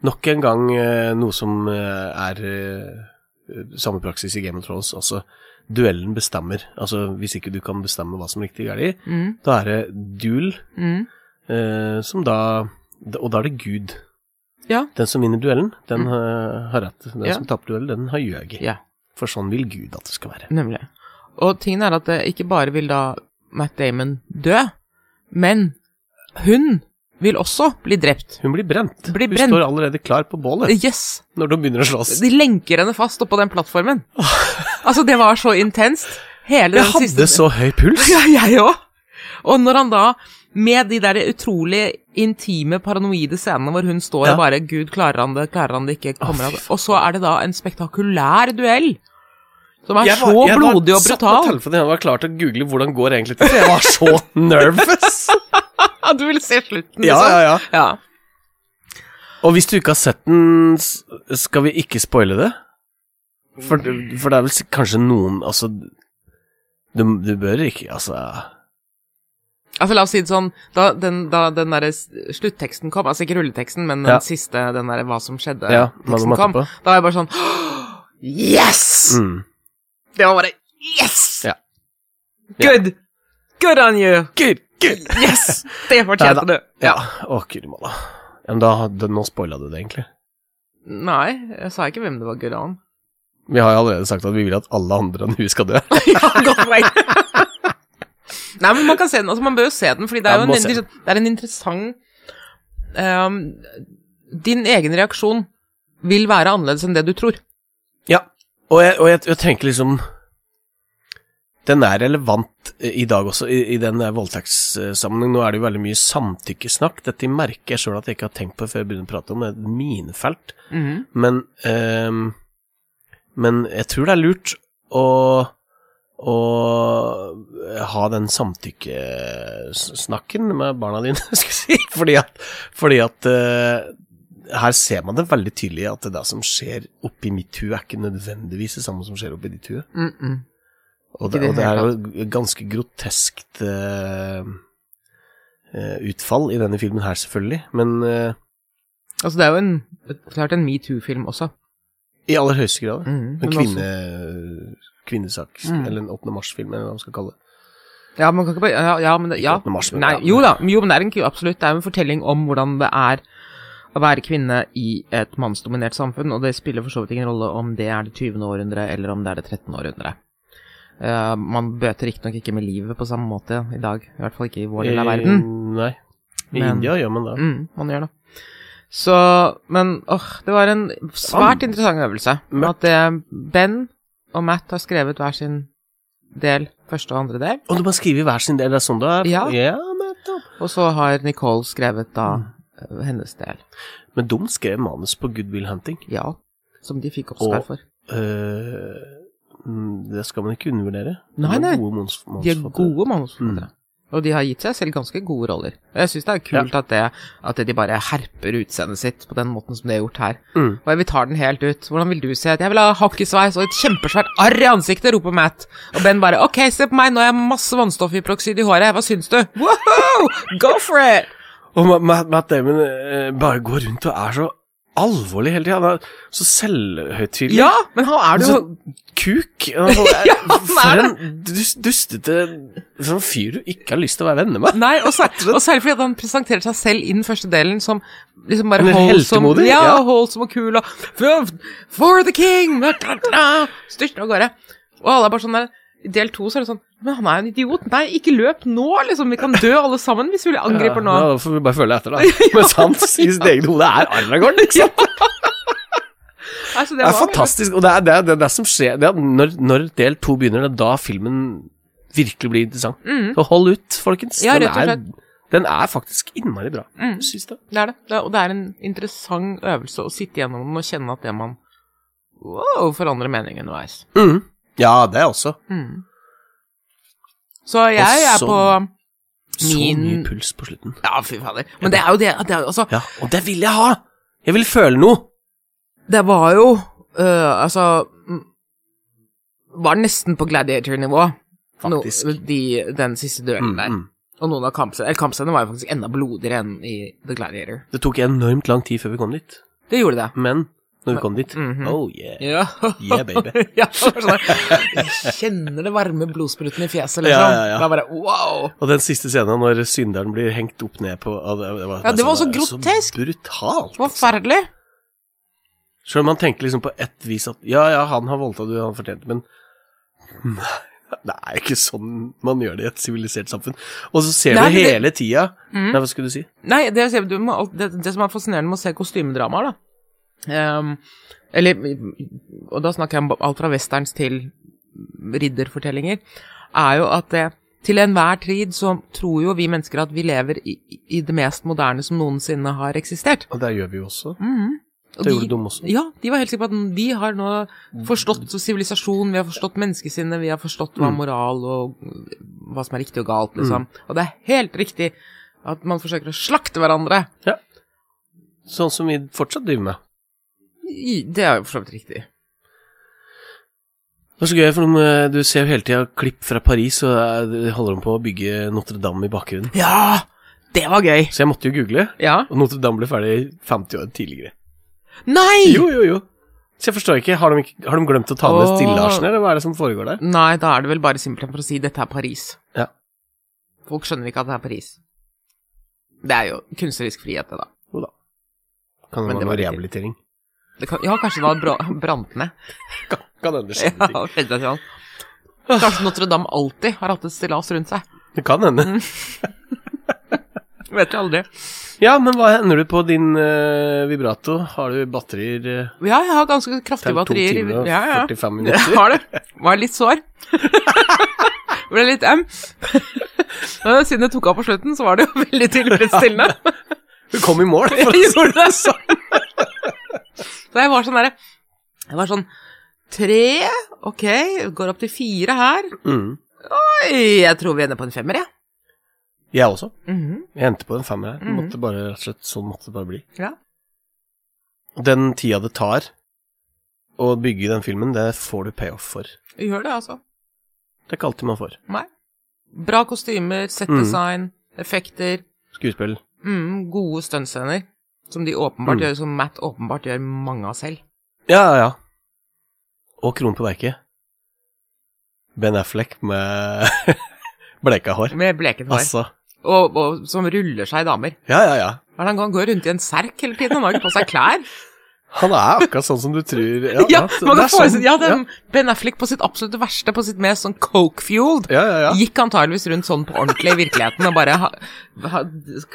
Speaker 4: Nok en gang eh, noe som eh, er eh, samme praksis i Game of Thrones. Altså, duellen bestemmer. Altså, hvis ikke du kan bestemme hva som er riktig galt,
Speaker 5: Mm,
Speaker 4: da er det duel,
Speaker 5: mm.
Speaker 4: eh, som da Og da er det Gud.
Speaker 5: Ja. Mm.
Speaker 4: Den som vinner duellen, den eh, har rett. Den
Speaker 5: Ja.
Speaker 4: som taper duellen, den har ljøget.
Speaker 5: Ja.
Speaker 4: For sånn vil Gud at det skal være.
Speaker 5: Nemlig. Og tingen er at eh, ikke bare vil da Matt Damon dø, men hun vil også bli drept.
Speaker 4: Hun blir brent.
Speaker 5: Blir
Speaker 4: Hun
Speaker 5: brent.
Speaker 4: står allerede klar på bålet
Speaker 5: Yes!
Speaker 4: når de begynner å slåss.
Speaker 5: De lenker henne fast oppå den plattformen. Altså, det var så intenst. Hele
Speaker 4: Jeg
Speaker 5: den siste
Speaker 4: hadde så høy puls.
Speaker 5: Ja, jeg òg! Og når han da, med de der utrolig intime, paranoide scenene hvor hun står
Speaker 4: Ja.
Speaker 5: og bare 'Gud, klarer han det? Klarer han det ikke?'
Speaker 4: Å,
Speaker 5: kommer
Speaker 4: fy
Speaker 5: han Og så er det da en spektakulær duell. Som er
Speaker 4: Jeg
Speaker 5: så
Speaker 4: jeg
Speaker 5: blodig og
Speaker 4: satt på
Speaker 5: brutal.
Speaker 4: telefonen, jeg var klar til å google hvordan går egentlig dette. Jeg var så nervous!
Speaker 5: Ja, du ville se slutten, liksom.
Speaker 4: Ja, ja, ja.
Speaker 5: ja.
Speaker 4: Og hvis du ikke har sett den, s- skal vi ikke spoile det? For, for det er vel s- kanskje noen Altså, du, du bør ikke Altså
Speaker 5: Altså, la oss si det sånn, da den, da den der s- slutteksten kom, altså ikke rulleteksten, men den
Speaker 4: Ja.
Speaker 5: siste, den der hva som skjedde,
Speaker 4: Ja, hva
Speaker 5: teksten
Speaker 4: de
Speaker 5: kom,
Speaker 4: etterpå.
Speaker 5: da var jeg bare sånn Yes!
Speaker 4: mm.
Speaker 5: Det var bare Yes!
Speaker 4: Ja.
Speaker 5: Good! Good on you!
Speaker 4: Gud, gud!
Speaker 5: Yes! Det fortjente du.
Speaker 4: Ja. Å, guri malla. Ja, men da hadde, nå spoila du det, egentlig.
Speaker 5: Nei, jeg sa ikke hvem det var good on.
Speaker 4: Vi har jo allerede sagt at vi vil at alle andre enn hun skal dø.
Speaker 5: ja, godt poeng. Nei, men man kan se den, altså man bør jo se den, fordi det
Speaker 4: Ja,
Speaker 5: er jo
Speaker 4: man må
Speaker 5: en,
Speaker 4: se den.
Speaker 5: det er en interessant um, Din egen reaksjon vil være annerledes enn det du tror.
Speaker 4: Ja, og jeg, og jeg, jeg tenker liksom Den er relevant eh, i dag også, i, i den der voldtektssammenheng. Nå er det jo veldig mye samtykkesnakk. Dette merker jeg sjøl at jeg ikke har tenkt på før jeg begynner å prate om det. Det er et minefelt. Men, ehm, men jeg tror det er lurt å, å ha den samtykkesnakken med barna dine, skulle jeg si. Fordi at, fordi at eh, her ser man det veldig tydelig at det som skjer oppi mitt hue, er ikke nødvendigvis det samme som skjer oppi ditt hue.
Speaker 5: Mm -mm.
Speaker 4: Og
Speaker 5: Ikke
Speaker 4: det,
Speaker 5: i det
Speaker 4: og det er
Speaker 5: hele
Speaker 4: jo ganske groteskt eh, eh, utfall i denne filmen her, selvfølgelig. Men eh,
Speaker 5: Altså, det er jo en, klart en metoo-film også.
Speaker 4: i aller høyeste grad.
Speaker 5: Mm,
Speaker 4: En
Speaker 5: men
Speaker 4: kvinne,
Speaker 5: også-
Speaker 4: kvinnesak,
Speaker 5: Mm.
Speaker 4: eller en 8. mars-film, eller hva man skal kalle det.
Speaker 5: Ja, man kan ikke bare Ja, ja men det,
Speaker 4: Ikke
Speaker 5: ja.
Speaker 4: 8. mars, men
Speaker 5: Nei,
Speaker 4: ja.
Speaker 5: jo da, jo, men det er en, absolutt. Det er jo en fortelling om hvordan det er å være kvinne i et mannsdominert samfunn, og det spiller for så vidt ingen rolle om det er det 20. århundre eller om det er det 13. århundre. Eh, man bøter riktignok ikke med livet på samme måte i dag, i hvert fall ikke i vår del av verden.
Speaker 4: Eh, nei. I
Speaker 5: Men-
Speaker 4: India gjør man det.
Speaker 5: Mm, man gjør det. Så Men åh, det var en svært interessant øvelse.
Speaker 4: Mørkt.
Speaker 5: At eh, Ben og Matt har skrevet hver sin del, første og andre del,
Speaker 4: Og du må skrive hver sin del, det er sånn det er?
Speaker 5: Ja.
Speaker 4: nettopp.
Speaker 5: og så har Nicole skrevet da
Speaker 4: Mm.
Speaker 5: eh, hennes del.
Speaker 4: Men de skrev manus på Good Will Hunting.
Speaker 5: Ja. Som de fikk Oscar
Speaker 4: Og-
Speaker 5: for.
Speaker 4: Eh, mm, det skal man ikke undervurdere.
Speaker 5: Nei,
Speaker 4: de
Speaker 5: nei.
Speaker 4: er gode manus-
Speaker 5: De er
Speaker 4: manusforfattere.
Speaker 5: gode manusforfattere. Mm. Og de har gitt seg selv ganske gode roller. Og jeg syns det er kult at, det, at de bare herper utseendet sitt på den måten som de har gjort her.
Speaker 4: Mm.
Speaker 5: Og jeg vil ta den helt ut. Hvordan vil du se ut? Jeg vil ha hakkesveis og et kjempesvært arr i ansiktet, roper Matt. Og Ben bare ok, se på meg, nå har jeg masse vannstoffhyperoksid i håret, hva syns du? Wow, go for it!
Speaker 4: Og Ma- Ma- Matt Damon eh, bare går rundt og er så alvorlig hele tida. Han er Så selvhøytidelig.
Speaker 5: Ja, men han er det jo
Speaker 4: Så- Kuk. Altså,
Speaker 5: han er
Speaker 4: for en dus- dustete sånn fyr du ikke har lyst til å være venner med.
Speaker 5: Nei, og så og så er det fordi at han presenterer seg selv i den første delen som liksom bare
Speaker 4: Han er
Speaker 5: holdsom
Speaker 4: heltemodig,
Speaker 5: ja,
Speaker 4: ja.
Speaker 5: og holdsom og kul og for, for the king! Styrter av gårde. Og alle er bare sånn der I del to så er det sånn Men han er en idiot. Nei, ikke løp nå, liksom. Vi kan dø alle sammen hvis vi angriper nå.
Speaker 4: Ja, da får vi bare følge etter, da. Mens han i sitt eget hode er Aragorn, ikke sant?
Speaker 5: Nei, så
Speaker 4: liksom. Det er
Speaker 5: var-
Speaker 4: fantastisk. Og det er det, er- det, er det som skjer det er når, når del to begynner, det er da filmen virkelig blir interessant. Så hold ut, folkens.
Speaker 5: Mm. Ja,
Speaker 4: Den
Speaker 5: rett og
Speaker 4: er
Speaker 5: slett.
Speaker 4: Den er faktisk innmari bra.
Speaker 5: Mm.
Speaker 4: Jeg syns det.
Speaker 5: Det er det. det er, og det er en interessant øvelse å sitte gjennom den og kjenne at det man wow, forandrer mening underveis.
Speaker 4: Mm. Ja, det også.
Speaker 5: Mm. Så jeg
Speaker 4: Og
Speaker 5: er
Speaker 4: så-
Speaker 5: på
Speaker 4: Så
Speaker 5: Min-
Speaker 4: mye puls på slutten.
Speaker 5: Ja, fy fader. Men det er jo det, det er jo altså
Speaker 4: Ja, og det vil jeg ha! Jeg vil føle noe.
Speaker 5: Det var jo øh, Altså mm, Var nesten på gladiator-nivå. No-
Speaker 4: Faktisk.
Speaker 5: de, den siste duellen
Speaker 4: Mm,
Speaker 5: der.
Speaker 4: mm.
Speaker 5: Og noen av kampscenene Eller kampscenene var jo faktisk enda blodigere enn i The Gladiator.
Speaker 4: Det tok enormt lang tid før vi kom dit,
Speaker 5: Det gjorde det.
Speaker 4: men når vi kom dit
Speaker 5: Mhm.
Speaker 4: Oh yeah.
Speaker 5: Ja.
Speaker 4: Yeah, baby.
Speaker 5: ja, det var sånn der, jeg kjenner det varme blodsprutene i fjeset, liksom.
Speaker 4: Ja, ja, ja.
Speaker 5: Da bare wow.
Speaker 4: Og den siste scenen når synderen blir hengt opp ned på ah, det, det var,
Speaker 5: Ja, det var
Speaker 4: altså,
Speaker 5: så grotesk.
Speaker 4: Så brutalt.
Speaker 5: Forferdelig.
Speaker 4: Selv om man tenker liksom på ett vis at ja, ja, han har voldtatt du, han fortjente men Nei, det er ikke sånn man gjør det i et sivilisert samfunn. Og så ser
Speaker 5: Nei,
Speaker 4: du
Speaker 5: men det-
Speaker 4: hele tida
Speaker 5: Mhm.
Speaker 4: Nei, hva skulle du si?
Speaker 5: Nei, det, du må, alt- det, det som er fascinerende med å se kostymedramaer, da Ehm, Eller Og da snakker jeg om alt fra westerns til ridderfortellinger, er jo at det til enhver tid så tror jo vi mennesker at vi lever i, i det mest moderne som noensinne har eksistert.
Speaker 4: Og det gjør vi jo også.
Speaker 5: Mhm. Og
Speaker 4: Det gjorde de også.
Speaker 5: Ja, de var helt sikre på at vi har nå forstått sivilisasjon, vi har forstått menneskesinnet, vi har forstått hva
Speaker 4: Mm.
Speaker 5: moral og hva som er riktig og galt, liksom. Og det er helt riktig at man forsøker å slakte hverandre.
Speaker 4: Sånn som vi fortsatt driver med.
Speaker 5: I- Det er jo for så vidt riktig.
Speaker 4: Det er så gøy, for de, eh, du ser jo hele tida klipp fra Paris, og eh, holder de på å bygge Notre-Dame i bakgrunnen.
Speaker 5: Ja! Det var gøy!
Speaker 4: Så jeg måtte jo google,
Speaker 5: Ja.
Speaker 4: og Notre-Dame ble ferdig 50 år tidligere.
Speaker 5: Nei!
Speaker 4: Jo, jo, jo. Så jeg forstår ikke, har de, ikke, har de glemt å ta med
Speaker 5: Åh.
Speaker 4: stillasene, eller hva er det som foregår der?
Speaker 5: Nei, da er det vel bare simpelthen for å si 'dette er Paris'.
Speaker 4: Ja.
Speaker 5: Folk skjønner ikke at det er Paris. Det er jo kunstnerisk frihet, det, da.
Speaker 4: Jo da. Kan
Speaker 5: Men
Speaker 4: det være noe
Speaker 5: det var ikke-
Speaker 4: rehabilitering?
Speaker 5: Det kan, ja, kanskje det hadde bra- brant ned.
Speaker 4: Kan hende det
Speaker 5: Ja,
Speaker 4: skjer ting.
Speaker 5: skjønner jeg sånn. Kanskje Notre-Dame alltid har hatt et stillas rundt seg.
Speaker 4: Det kan hende.
Speaker 5: Mm. Vet du aldri.
Speaker 4: Ja, men hva hender du på din eh, vibrato? Har du batterier eh,
Speaker 5: Ja, jeg har ganske kraftige
Speaker 4: til to
Speaker 5: batterier. i-
Speaker 4: timer og
Speaker 5: ja, ja.
Speaker 4: 45
Speaker 5: Jeg
Speaker 4: minutter?
Speaker 5: har det. Var litt sår. Ble litt em. Men siden det tok av på slutten, så var det jo veldig tilfredsstillende.
Speaker 4: Du kom i mål, for å
Speaker 5: Jeg gjorde det sånn. Så jeg var sånn derre Jeg var sånn Tre, ok, går opp til fire her.
Speaker 4: mm.
Speaker 5: Oi, jeg tror vi ender på en femmer, jeg.
Speaker 4: Jeg også.
Speaker 5: Ja. Mhm.
Speaker 4: Jeg endte på en femmer her.
Speaker 5: Mhm.
Speaker 4: Måtte bare, rett og slett, sånn måtte det bare bli.
Speaker 5: Ja.
Speaker 4: Den tida det tar å bygge den filmen, det får du payoff for.
Speaker 5: Gjør det, altså.
Speaker 4: Det er ikke alltid man får.
Speaker 5: Nei. Bra kostymer,
Speaker 4: Mhm.
Speaker 5: settdesign, effekter.
Speaker 4: Skuespill.
Speaker 5: Mm, gode stuntscener. Som de åpenbart
Speaker 4: Mm.
Speaker 5: gjør, som Matt åpenbart gjør mange av selv.
Speaker 4: Ja, ja, ja. Og kronen på verket. Ben Affleck med bleika hår.
Speaker 5: Med bleket hår.
Speaker 4: Altså.
Speaker 5: Og, og som ruller seg i damer.
Speaker 4: Ja, ja, ja.
Speaker 5: Hva er det Han går- går rundt i en serk hele tiden, han har ikke på seg klær.
Speaker 4: Han er akkurat sånn som du tror Ja,
Speaker 5: Ja,
Speaker 4: det er
Speaker 5: man kan
Speaker 4: sånn.
Speaker 5: forestille ja, det er Ben Affleck på sitt absolutt verste, på sitt mest sånn coke-fueled.
Speaker 4: ja, ja, ja.
Speaker 5: Gikk antageligvis rundt sånn på ordentlig i virkeligheten og bare ha, ha,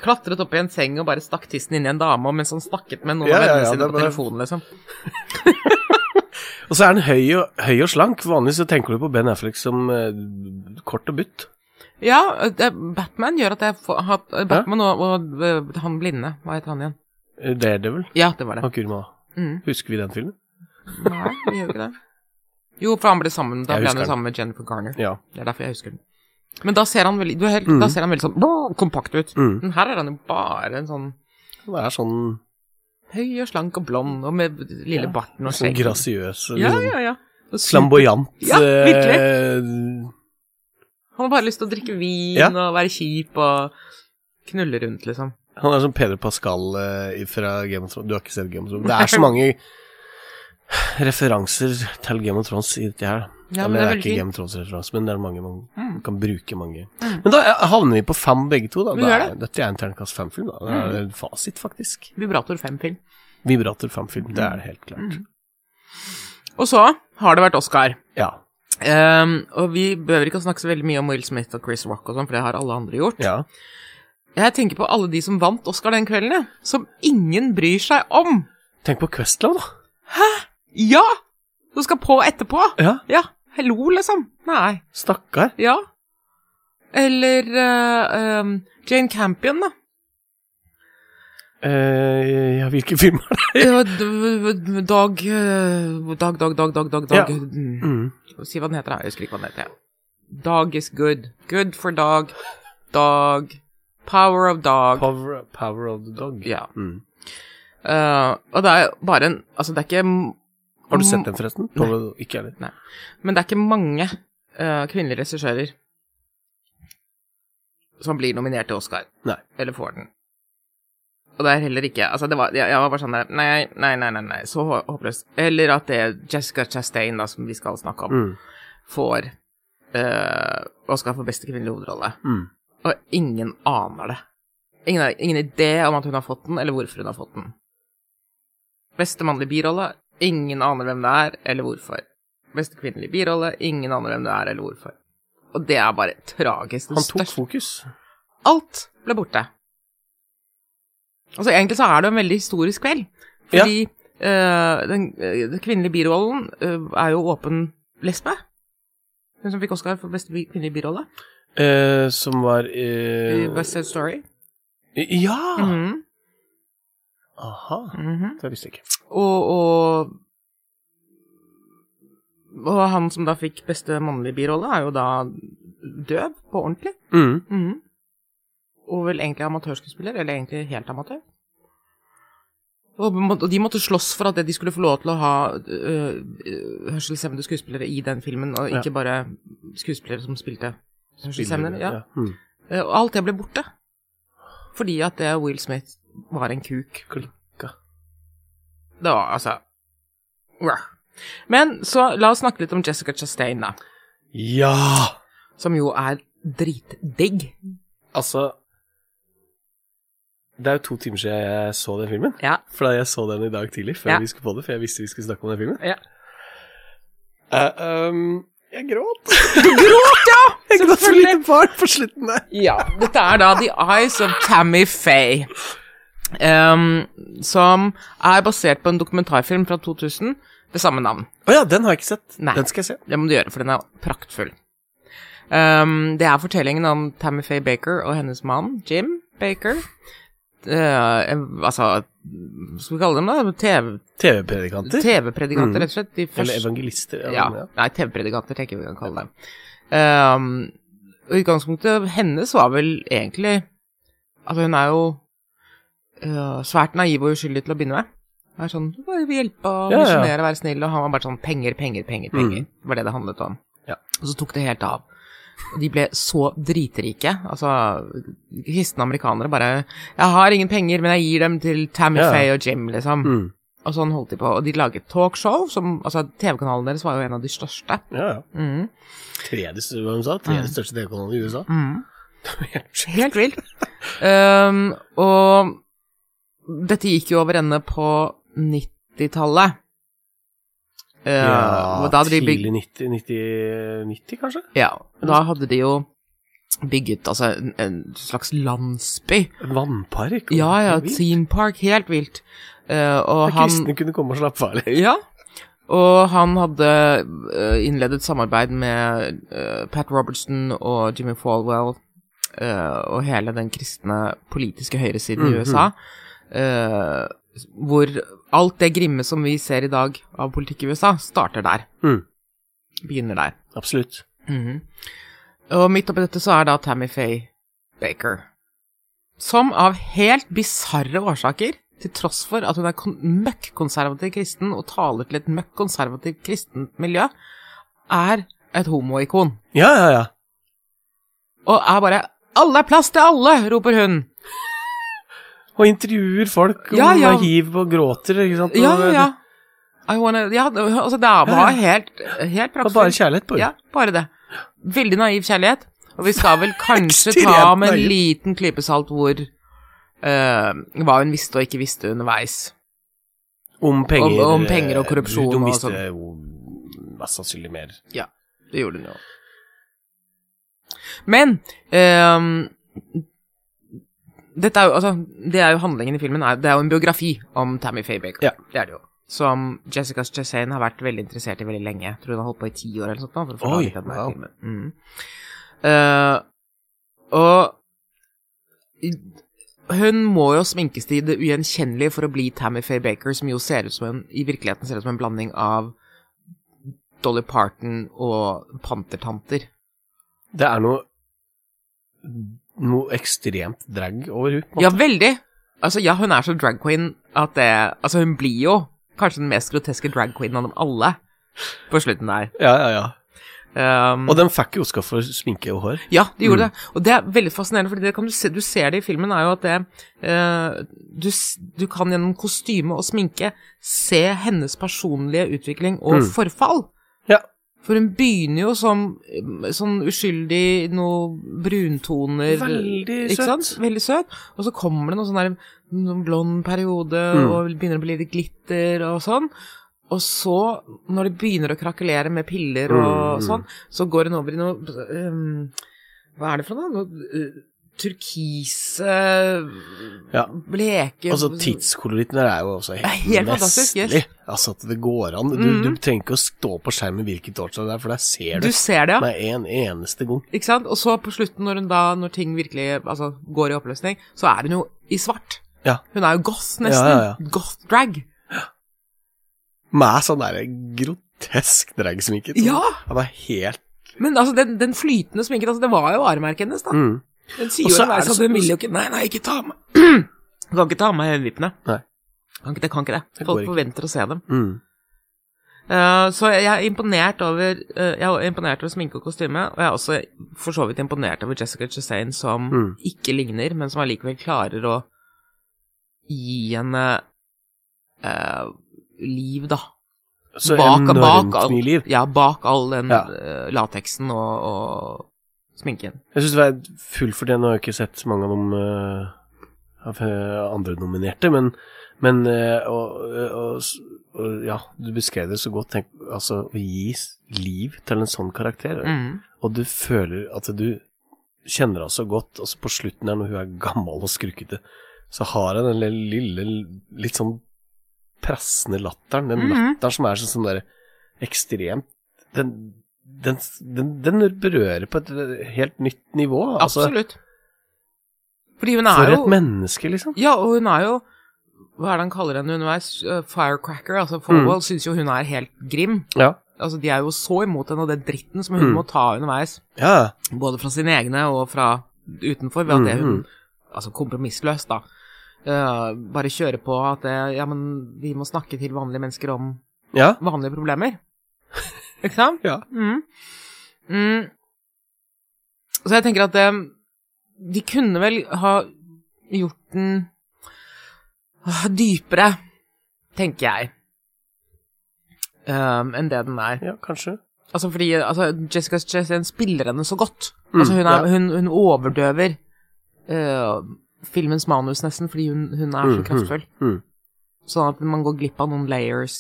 Speaker 5: klatret opp i en seng og bare stakk tissen inn i en dame og mens han snakket med noen
Speaker 4: Ja, ja,
Speaker 5: av
Speaker 4: ja,
Speaker 5: vennene
Speaker 4: det
Speaker 5: sine
Speaker 4: er
Speaker 5: på
Speaker 4: bare-
Speaker 5: telefonen, liksom.
Speaker 4: Og så er han høy og, høy og slank. Vanligvis så tenker du på Ben Affleck som eh, kort og butt.
Speaker 5: Ja, det, Batman gjør at jeg får har- Batman og, og øh, han blinde, hva heter han igjen?
Speaker 4: Eh, Daredevil.
Speaker 5: Ja, det var det.
Speaker 4: Han kurma.
Speaker 5: Mm.
Speaker 4: Husker vi den filmen?
Speaker 5: Nei, vi gjør ikke det. Jo, for han ble sammen, da
Speaker 4: Jeg
Speaker 5: ble han
Speaker 4: husker
Speaker 5: jo sammen med Jennifer Garner.
Speaker 4: Ja.
Speaker 5: Det er derfor jeg husker den. Men da ser han veldig, du er helt, da ser han veldig sånn brr, kompakt ut.
Speaker 4: Mm.
Speaker 5: Men her er han jo bare en sånn
Speaker 4: Han er sånn,
Speaker 5: høy og slank og blond og med lille
Speaker 4: Ja,
Speaker 5: barten og
Speaker 4: sånn
Speaker 5: skjegg.
Speaker 4: grasiøs,
Speaker 5: Ja,
Speaker 4: liksom eh,
Speaker 5: ja, ja. Og
Speaker 4: flamboyant
Speaker 5: Ja,
Speaker 4: virkelig.
Speaker 5: Han har bare lyst til å drikke vin
Speaker 4: Ja.
Speaker 5: og være kjip og knulle rundt, liksom.
Speaker 4: Han er som Peder Pascal eh, fra Game of Thrones. Du har ikke sett Game of Thrones. Det er så mange referanser til Game of Thrones i dette her.
Speaker 5: Ja,
Speaker 4: Eller
Speaker 5: men det
Speaker 4: det
Speaker 5: er
Speaker 4: er
Speaker 5: veldig
Speaker 4: ikke
Speaker 5: fint.
Speaker 4: Game of Thrones-referanser, men det er mange man
Speaker 5: Mm.
Speaker 4: kan bruke mange. Men da eh, havner vi på fem begge to, da.
Speaker 5: Vi
Speaker 4: da
Speaker 5: gjør Mm.
Speaker 4: er, dette er en terningkast fem-film, da. Det er en fasit, faktisk.
Speaker 5: Vibrator 5-film.
Speaker 4: Vibrator fem-film, det er det helt klart.
Speaker 5: Mm. Og så har det vært Oscar.
Speaker 4: Ja.
Speaker 5: Ehm, og vi behøver ikke å snakke så veldig mye om Will Smith og Chris Rock og sånn, for det har alle andre gjort.
Speaker 4: ja.
Speaker 5: Jeg tenker på alle de som vant Oscar den kvelden, jeg, som ingen bryr seg om.
Speaker 4: Tenk på Questland, da.
Speaker 5: Ja! Som skal på etterpå.
Speaker 4: Ja.
Speaker 5: Ja, hello, liksom. Nei.
Speaker 4: Stakkar.
Speaker 5: Ja. Eller eh, ehm, Jane Campion, da.
Speaker 4: Eh, ja, hvilken film er det?
Speaker 5: Det var d- d- Dag eh, Dag, dag, dag, dag, dag, dag.
Speaker 4: Ja.
Speaker 5: Mm.
Speaker 4: Mm.
Speaker 5: Si hva den heter, da. Jeg husker ikke hva den heter. ja. Dog is good. Good for dog. Dog. Power of dog.
Speaker 4: Power, Power of the Dog.
Speaker 5: Ja.
Speaker 4: Mm.
Speaker 5: Eh, og det er bare en Altså, det er ikke m-
Speaker 4: Har du
Speaker 5: Mm.
Speaker 4: sett den, forresten? Power of- Ikke jeg heller.
Speaker 5: Men det er ikke mange eh, kvinnelige regissører som blir nominert til Oscar.
Speaker 4: Nei.
Speaker 5: Eller får den. Og det er heller ikke Altså, det var, jeg, jeg var bare sånn der Nei, nei, nei, nei, nei så hå- håpløst. Eller at det er Jessica Chastain, da, som vi skal snakke om,
Speaker 4: Mm.
Speaker 5: får eh, Oscar for beste kvinnelige hovedrolle.
Speaker 4: Mm.
Speaker 5: Og ingen aner det. Ingen, har- ingen idé om at hun har fått den, eller hvorfor hun har fått den. Beste mannlige birolle, ingen aner hvem det er, eller hvorfor. Beste kvinnelige birolle, ingen aner hvem det er, eller hvorfor. Og det er bare tragisk. Det
Speaker 4: Han tok
Speaker 5: største-
Speaker 4: fokus.
Speaker 5: Alt ble borte. Altså, egentlig så er det en veldig historisk kveld. Fordi eh, den, eh, den kvinnelige birollen eh, er jo åpen lesbe. Hun som fikk Oscar for beste bi- kvinnelige birolle.
Speaker 4: Eh, som var
Speaker 5: i
Speaker 4: eh, ah.
Speaker 5: West Side Story.
Speaker 4: Ja!
Speaker 5: Mhm,
Speaker 4: Aha.
Speaker 5: mhm.
Speaker 4: Mm. Det visste jeg ikke.
Speaker 5: Og, og Og han som da fikk beste mannlige birolle, er jo da døv på ordentlig.
Speaker 4: Mm.
Speaker 5: Mhm. Og vel egentlig amatørskuespiller, eller egentlig helt amatør. Og på en måte- og de måtte slåss for at de skulle få lov til å ha øh, øh, hørselshemmede skuespillere i den filmen, og ikke bare skuespillere som spilte hørselshemmede. Ja.
Speaker 4: Mm.
Speaker 5: Eh, Og alt det ble borte. Fordi at det Will Smith var en kuk.
Speaker 4: Klikka.
Speaker 5: Det var altså Uah. Men så la oss snakke litt om Jessica Chastain, da.
Speaker 4: Ja!
Speaker 5: Som jo er dritdigg.
Speaker 4: Altså Det er jo to timer siden jeg så den filmen.
Speaker 5: Ja.
Speaker 4: For da jeg så den i dag tidlig, før
Speaker 5: Ja.
Speaker 4: vi skulle på det, for jeg visste vi skulle snakke om den filmen.
Speaker 5: Ja.
Speaker 4: Eh, um, jeg gråt.
Speaker 5: Gråt, ja!
Speaker 4: Jeg gråt som et lite barn på slutten der.
Speaker 5: Ja, dette er da The Eyes of Tammy Faye. ehm, som er basert på en dokumentarfilm fra 2000 ved samme navn.
Speaker 4: Å ja, den har jeg ikke sett.
Speaker 5: Nei.
Speaker 4: Den skal jeg se.
Speaker 5: Det må du gjøre, for den er praktfull. Ehm, det er fortellingen om Tammy Faye Baker og hennes mann, Jim Baker. Eh, altså, hva skal vi kalle dem da? TV-
Speaker 4: TV-predikanter.
Speaker 5: TV-predikanter,
Speaker 4: Mm.
Speaker 5: rett og slett. De første,
Speaker 4: Eller evangelister.
Speaker 5: ja.
Speaker 4: men
Speaker 5: Nei, TV-predikanter tenker jeg vi kan kalle dem. Ehm, og utgangspunktet hennes var vel egentlig Altså, hun er jo øh, svært naiv og uskyldig til å begynne med. Hun er sånn «Å, Jeg vil hjelpe og
Speaker 4: Ja, ja.
Speaker 5: misjonere og være snill, og han var bare sånn penger, penger, penger. penger.
Speaker 4: Mm.
Speaker 5: Det var det det handlet om.
Speaker 4: Ja.
Speaker 5: Og så tok det helt av. Og de ble så dritrike. Altså, kristne amerikanere bare 'Jeg har ingen penger, men jeg gir dem til Tammy
Speaker 4: Ja.
Speaker 5: Faye og Jim', liksom.
Speaker 4: Mm.
Speaker 5: Og sånn holdt de på. Og de laget talkshow, som Altså, TV-kanalen deres var jo en av de største.
Speaker 4: Ja, ja.
Speaker 5: Mm.
Speaker 4: Tredje, st- hva de sa? Tredje største TV-kanalen i USA.
Speaker 5: Helt vilt. Ehm, og dette gikk jo over ende på 90-tallet. Eh,
Speaker 4: ja,
Speaker 5: og da hadde de bygd
Speaker 4: tidlig 90, 90, 90, kanskje?
Speaker 5: Ja, da hadde de jo bygget altså en, en slags landsby.
Speaker 4: Vannpark?
Speaker 5: Ja, ja,
Speaker 4: Vilt.
Speaker 5: theme park, helt vilt. Eh, og han
Speaker 4: Kristne kunne komme og slappe av litt.
Speaker 5: Ja. Og han hadde eh, innledet samarbeid med eh, Pat Robertson og Jimmy Falwell eh, og hele den kristne politiske høyresiden
Speaker 4: Mhm.
Speaker 5: i USA, eh, hvor alt det grimme som vi ser i dag av politikk i USA, starter der.
Speaker 4: Mhm.
Speaker 5: Begynner der.
Speaker 4: Absolutt.
Speaker 5: Mhm. Og midt oppi dette så er da Tammy Faye Baker. Som av helt bisarre årsaker, til tross for at hun er kon møkk-konservativ kristen og taler til et møkk-konservativt kristent miljø, er et homoikon.
Speaker 4: Ja, ja, ja.
Speaker 5: Og er bare 'Alle er plass til alle!' roper hun.
Speaker 4: Og intervjuer folk om
Speaker 5: Ja, ja.
Speaker 4: hiv og gråter, ikke sant? Og-
Speaker 5: Ja, ja, ja. I wanna, ja altså, det er bare helt,
Speaker 4: Det
Speaker 5: helt
Speaker 4: var bare
Speaker 5: praktfullt.
Speaker 4: kjærlighet på
Speaker 5: Ja, bare det. Veldig naiv kjærlighet. Og vi skal vel kanskje
Speaker 4: Ekstremt
Speaker 5: ta med en
Speaker 4: naiv.
Speaker 5: liten klype salt hvor eh, hva hun visste og ikke visste underveis.
Speaker 4: Om penger.
Speaker 5: Om- om penger og korrupsjon
Speaker 4: Hun
Speaker 5: og
Speaker 4: visste
Speaker 5: sånn.
Speaker 4: jo mest sannsynlig mer.
Speaker 5: Det gjorde hun jo. Men eh, dette er jo, altså, Det er jo handlingen i filmen. Er, det er jo en biografi om Tammy Faye Baker.
Speaker 4: Ja.
Speaker 5: Det er det jo. Som Jessica Chastain har vært veldig interessert i veldig lenge. Jeg tror hun har holdt på i ti år eller noe sånt. nå, For å få
Speaker 4: Oi,
Speaker 5: laget denne
Speaker 4: wow.
Speaker 5: filmen. Mm. Eh, Og i- hun må jo sminkes til det ugjenkjennelige for å bli Tammy Faye Baker, som jo ser ut som en, i virkeligheten ser ut som en blanding av Dolly Parton og pantertanter.
Speaker 4: Det er noe Noe ekstremt drag over henne.
Speaker 5: Ja, veldig. Altså, ja, hun er så drag queen at det Altså, hun blir jo kanskje den mest groteske drag queen av dem alle på slutten der.
Speaker 4: Ja, ja, ja.
Speaker 5: Um,
Speaker 4: Og den fikk jo Oscar for sminke og hår.
Speaker 5: ja, de gjorde det. Og det er veldig fascinerende, for det kan du, se, du ser det i filmen, er jo at det eh, du, s- du kan gjennom kostyme og sminke se hennes personlige utvikling og
Speaker 4: Mm.
Speaker 5: forfall.
Speaker 4: Ja.
Speaker 5: For hun begynner jo som eh, sånn uskyldig noe bruntoner
Speaker 4: Veldig
Speaker 5: Eh, ikke
Speaker 4: søt.
Speaker 5: sant? Veldig søt. Og så kommer det noen sånn der noen blond periode,
Speaker 4: Mm.
Speaker 5: og begynner å bli litt glitter og sånn. Og så, når det begynner å krakelere med piller og
Speaker 4: Mm.
Speaker 5: sånn, så går hun over i noe ehm, Hva er det for noe? Noe eh, turkise
Speaker 4: Ja.
Speaker 5: Bleke
Speaker 4: Altså, tidskoloritten der er jo også helt,
Speaker 5: Det er helt fantastisk, yes.
Speaker 4: nestelig. Altså, at det går an. Du,
Speaker 5: Mhm.
Speaker 4: du trenger ikke å stå på skjermen hvilket årstid det er, for der ser du,
Speaker 5: Du ser det, ja.
Speaker 4: med en eneste gang.
Speaker 5: Ikke sant? Og så på slutten, når hun da, når ting virkelig altså, går i oppløsning, så er hun jo i svart.
Speaker 4: Ja.
Speaker 5: Hun er jo goth, nesten.
Speaker 4: Ja, ja, ja.
Speaker 5: Goth-drag.
Speaker 4: Med sånn derre grotesk dragsminke. sånn.
Speaker 5: Ja!
Speaker 4: Det var helt
Speaker 5: Men altså, den, den flytende sminken, altså, det var jo varemerket hennes, da.
Speaker 4: mm.
Speaker 5: Den sier
Speaker 4: Og
Speaker 5: jo
Speaker 4: så
Speaker 5: en vei,
Speaker 4: er det
Speaker 5: så
Speaker 4: så-
Speaker 5: hun vil jo ikke Nei, nei, ikke ta av meg Du kan ikke ta av meg øyenvippene.
Speaker 4: Nei.
Speaker 5: Kan ikke det, kan ikke det.
Speaker 4: Det
Speaker 5: Folk
Speaker 4: går ikke.
Speaker 5: forventer å se dem.
Speaker 4: Mm.
Speaker 5: Eh, så jeg er imponert over eh, Jeg er imponert over sminke og kostyme, og jeg er også for så vidt imponert over Jessica Chastain, som
Speaker 4: Mm.
Speaker 5: ikke ligner, men som allikevel klarer å gi henne eh, liv, da.
Speaker 4: Så
Speaker 5: Bak-
Speaker 4: enormt
Speaker 5: bak alt-
Speaker 4: mye liv.
Speaker 5: Ja, bak all den
Speaker 4: Ja.
Speaker 5: eh, lateksen og, og sminken.
Speaker 4: Jeg syns det var fullt fortjent. Nå har jeg ikke sett mange av de eh, av, eh, andre nominerte, men, men eh, og, eh, og, s- og, Ja, du beskrev det så godt. Tenk, altså, å gi s- liv til en sånn karakter,
Speaker 5: Mm.
Speaker 4: og du føler at du kjenner henne så godt, og så på slutten der, når hun er gammel og skrukkete, så har hun den lille, lille, litt sånn pressende latteren. Den
Speaker 5: Mhm.
Speaker 4: latteren som er sånn, sånn der ekstremt den, den, den, den berører på et helt nytt nivå. Altså,
Speaker 5: Absolutt. Fordi hun er
Speaker 4: For
Speaker 5: jo
Speaker 4: et menneske, liksom.
Speaker 5: Ja, og hun er jo Hva er det han kaller henne underveis? Eh, Firecracker. Altså,
Speaker 4: Mm.
Speaker 5: Forwell synes syns jo hun er helt grim.
Speaker 4: Ja.
Speaker 5: Altså, de er jo så imot henne og den dritten som hun
Speaker 4: Mm.
Speaker 5: må ta underveis,
Speaker 4: Ja,
Speaker 5: både fra sine egne og fra utenfor, ved at det hun
Speaker 4: Mhm.
Speaker 5: Altså kompromissløst, da. eh, bare kjøre på at det, ja, men vi må snakke til vanlige mennesker om
Speaker 4: ja.
Speaker 5: vanlige problemer. Ikke sant?
Speaker 4: Ja.
Speaker 5: Mm. Mm. Så jeg tenker at eh, de kunne vel ha gjort den ah, dypere, tenker jeg, um, enn det den er.
Speaker 4: ja kanskje.
Speaker 5: Altså fordi altså, Jessica Chastain spiller henne så godt.
Speaker 4: Mm,
Speaker 5: altså hun, er,
Speaker 4: ja.
Speaker 5: hun, hun overdøver eh, filmens manus nesten, fordi hun, hun er
Speaker 4: Mm,
Speaker 5: så
Speaker 4: mm,
Speaker 5: kraftfull.
Speaker 4: mm.
Speaker 5: Sånn at man går glipp av noen layers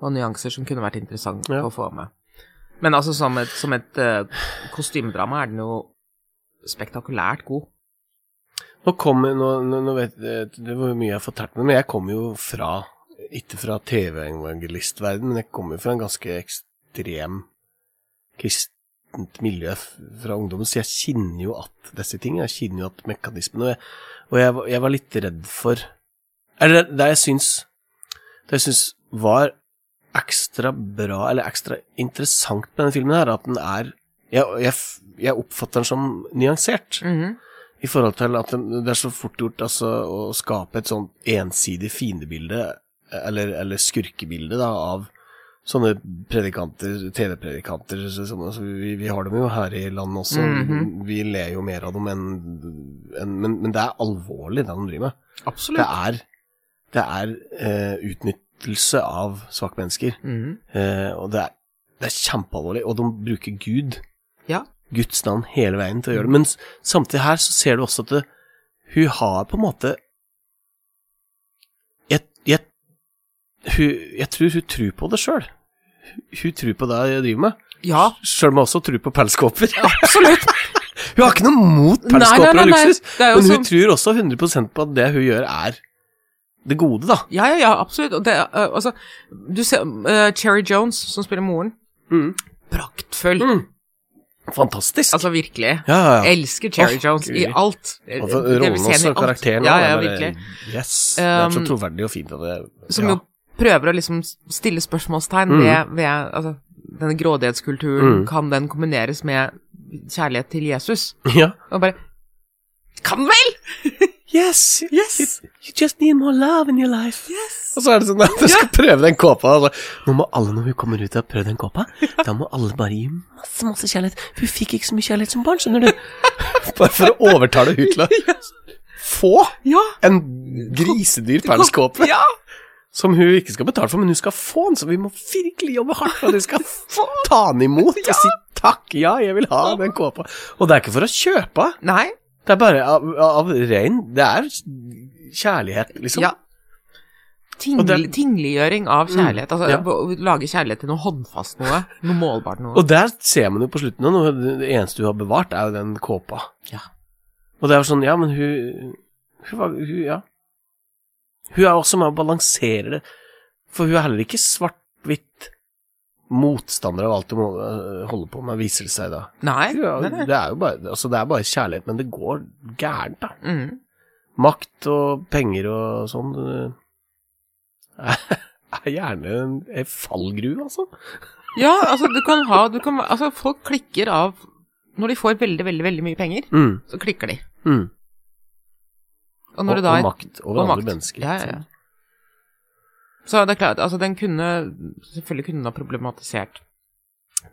Speaker 5: og nyanser som kunne vært interessant
Speaker 4: Ja.
Speaker 5: å få med. Men altså, som et, som et eh, kostymedrama er den jo spektakulært god.
Speaker 4: Nå kommer nå, nå, nå vet jeg det var mye jeg har fortalt meg, men jeg kommer jo fra Ikke fra TV-evangelistverden, men jeg kommer jo fra en ganske ekstrem kristent miljø f- fra ungdommen, så jeg kjenner jo at disse tingene. Jeg kjenner jo at mekanismene Og jeg, og jeg, var- jeg var litt redd for Eller det jeg syns Det jeg syns var ekstra bra, eller ekstra interessant med denne filmen, her, at den er Jeg, jeg, f- jeg oppfatter den som nyansert i forhold til at den- det er så fort gjort altså, å skape et sånn ensidig fiendebilde, eller, eller skurkebilde, da, av sånne predikanter, TV-predikanter. så- sånn, altså, vi, vi har dem jo her i landet også,
Speaker 5: Mhm.
Speaker 4: vi ler jo mer av dem enn enn- men, men det er alvorlig, det de driver med. Det
Speaker 5: Absolutt.
Speaker 4: er, det er eh, utnyttelse av svakmennesker.
Speaker 5: Mhm.
Speaker 4: Eh, og det er, det er kjempealvorlig, og de bruker Gud,
Speaker 5: Ja.
Speaker 4: Guds navn, hele veien til å gjøre det. Men s- samtidig her så ser du også at det, hun har på en måte Jeg, jeg, hun, jeg tror hun tror på det sjøl. Hun tror på det jeg driver med,
Speaker 5: Ja,
Speaker 4: sjøl om hun også tror på pelskåper.
Speaker 5: absolutt.
Speaker 4: Hun har ikke noe mot
Speaker 5: Nei, nei,
Speaker 4: pelskåper
Speaker 5: nei,
Speaker 4: og
Speaker 5: nei.
Speaker 4: luksus,
Speaker 5: Det er jo sånn-
Speaker 4: men
Speaker 5: som
Speaker 4: hun tror også 100 på at det hun gjør, er det gode, da.
Speaker 5: Ja, ja, ja, absolutt. Og det, eh, altså, du ser eh, Cherry Jones, som spiller moren. Praktfull.
Speaker 4: Mm. Fantastisk.
Speaker 5: Altså, virkelig.
Speaker 4: ja, ja, ja.
Speaker 5: Jeg elsker Cherry
Speaker 4: Åh,
Speaker 5: Jones i
Speaker 4: Guri.
Speaker 5: alt.
Speaker 4: Altså,
Speaker 5: Jeg vil
Speaker 4: rollen
Speaker 5: se henne i
Speaker 4: også,
Speaker 5: alt.
Speaker 4: karakteren
Speaker 5: Ja,
Speaker 4: også,
Speaker 5: ja,
Speaker 4: er bare-
Speaker 5: virkelig.
Speaker 4: Yes. det er så
Speaker 5: Um,
Speaker 4: troverdig og fint. at det-
Speaker 5: Som
Speaker 4: ja.
Speaker 5: jo prøver å liksom stille spørsmålstegn
Speaker 4: Mm.
Speaker 5: ved, ved altså, denne grådighetskulturen.
Speaker 4: Mm.
Speaker 5: Kan den kombineres med kjærlighet til Jesus?
Speaker 4: ja.
Speaker 5: Og bare Kan vel!
Speaker 4: Yes,
Speaker 5: Yes.
Speaker 4: You, you just need more love in your life. Og så er det sånn at du skal prøve den kåpa. og så- Nå må alle når vi kommer ut og har prøvd den kåpa, da må alle bare gi masse masse kjærlighet. For Hun fikk ikke så mye kjærlighet som barn, skjønner du. Bare for å overtale hun til å få
Speaker 5: Ja!
Speaker 4: en grisedyr perleskåpe
Speaker 5: Ja!
Speaker 4: som hun ikke skal betale for, men hun skal få den, så vi må virkelig jobbe hardt for at hun skal få ta den imot og si takk, ja, jeg vil ha den kåpa. Og det er ikke for å kjøpe,
Speaker 5: Nei.
Speaker 4: det er bare av, av rein Det er kjærlighet, liksom.
Speaker 5: Ja. Ting,
Speaker 4: Og det- Mm.
Speaker 5: tingliggjøring av kjærlighet. Altså,
Speaker 4: Ja.
Speaker 5: å Lage kjærlighet til noe håndfast noe. Noe målbart noe.
Speaker 4: Og der ser man jo på slutten, og det eneste hun har bevart, er jo den kåpa.
Speaker 5: Ja.
Speaker 4: Og det er jo sånn, ja, men hun Hun var hun, Ja. Hun er også med og balanserer det, for hun er heller ikke svart-hvitt motstander av alt hun må- øh, holder på med, viser det seg da.
Speaker 5: Nei.
Speaker 4: Hun er,
Speaker 5: nei, nei.
Speaker 4: det er jo bare, altså det er bare kjærlighet, men det går gærent, da.
Speaker 5: Mm.
Speaker 4: Makt og penger og sånn øh, er, er gjerne en, en fallgruve, altså.
Speaker 5: Ja, altså, du kan ha du kan, Altså, folk klikker av Når de får veldig, veldig, veldig mye penger,
Speaker 4: Mm,
Speaker 5: så klikker de.
Speaker 4: mm.
Speaker 5: Og når
Speaker 4: og,
Speaker 5: det da
Speaker 4: og
Speaker 5: er
Speaker 4: makt over andre mennesker.
Speaker 5: Ja, ja, ja. Så det er klart, altså den kunne Selvfølgelig kunne den ha problematisert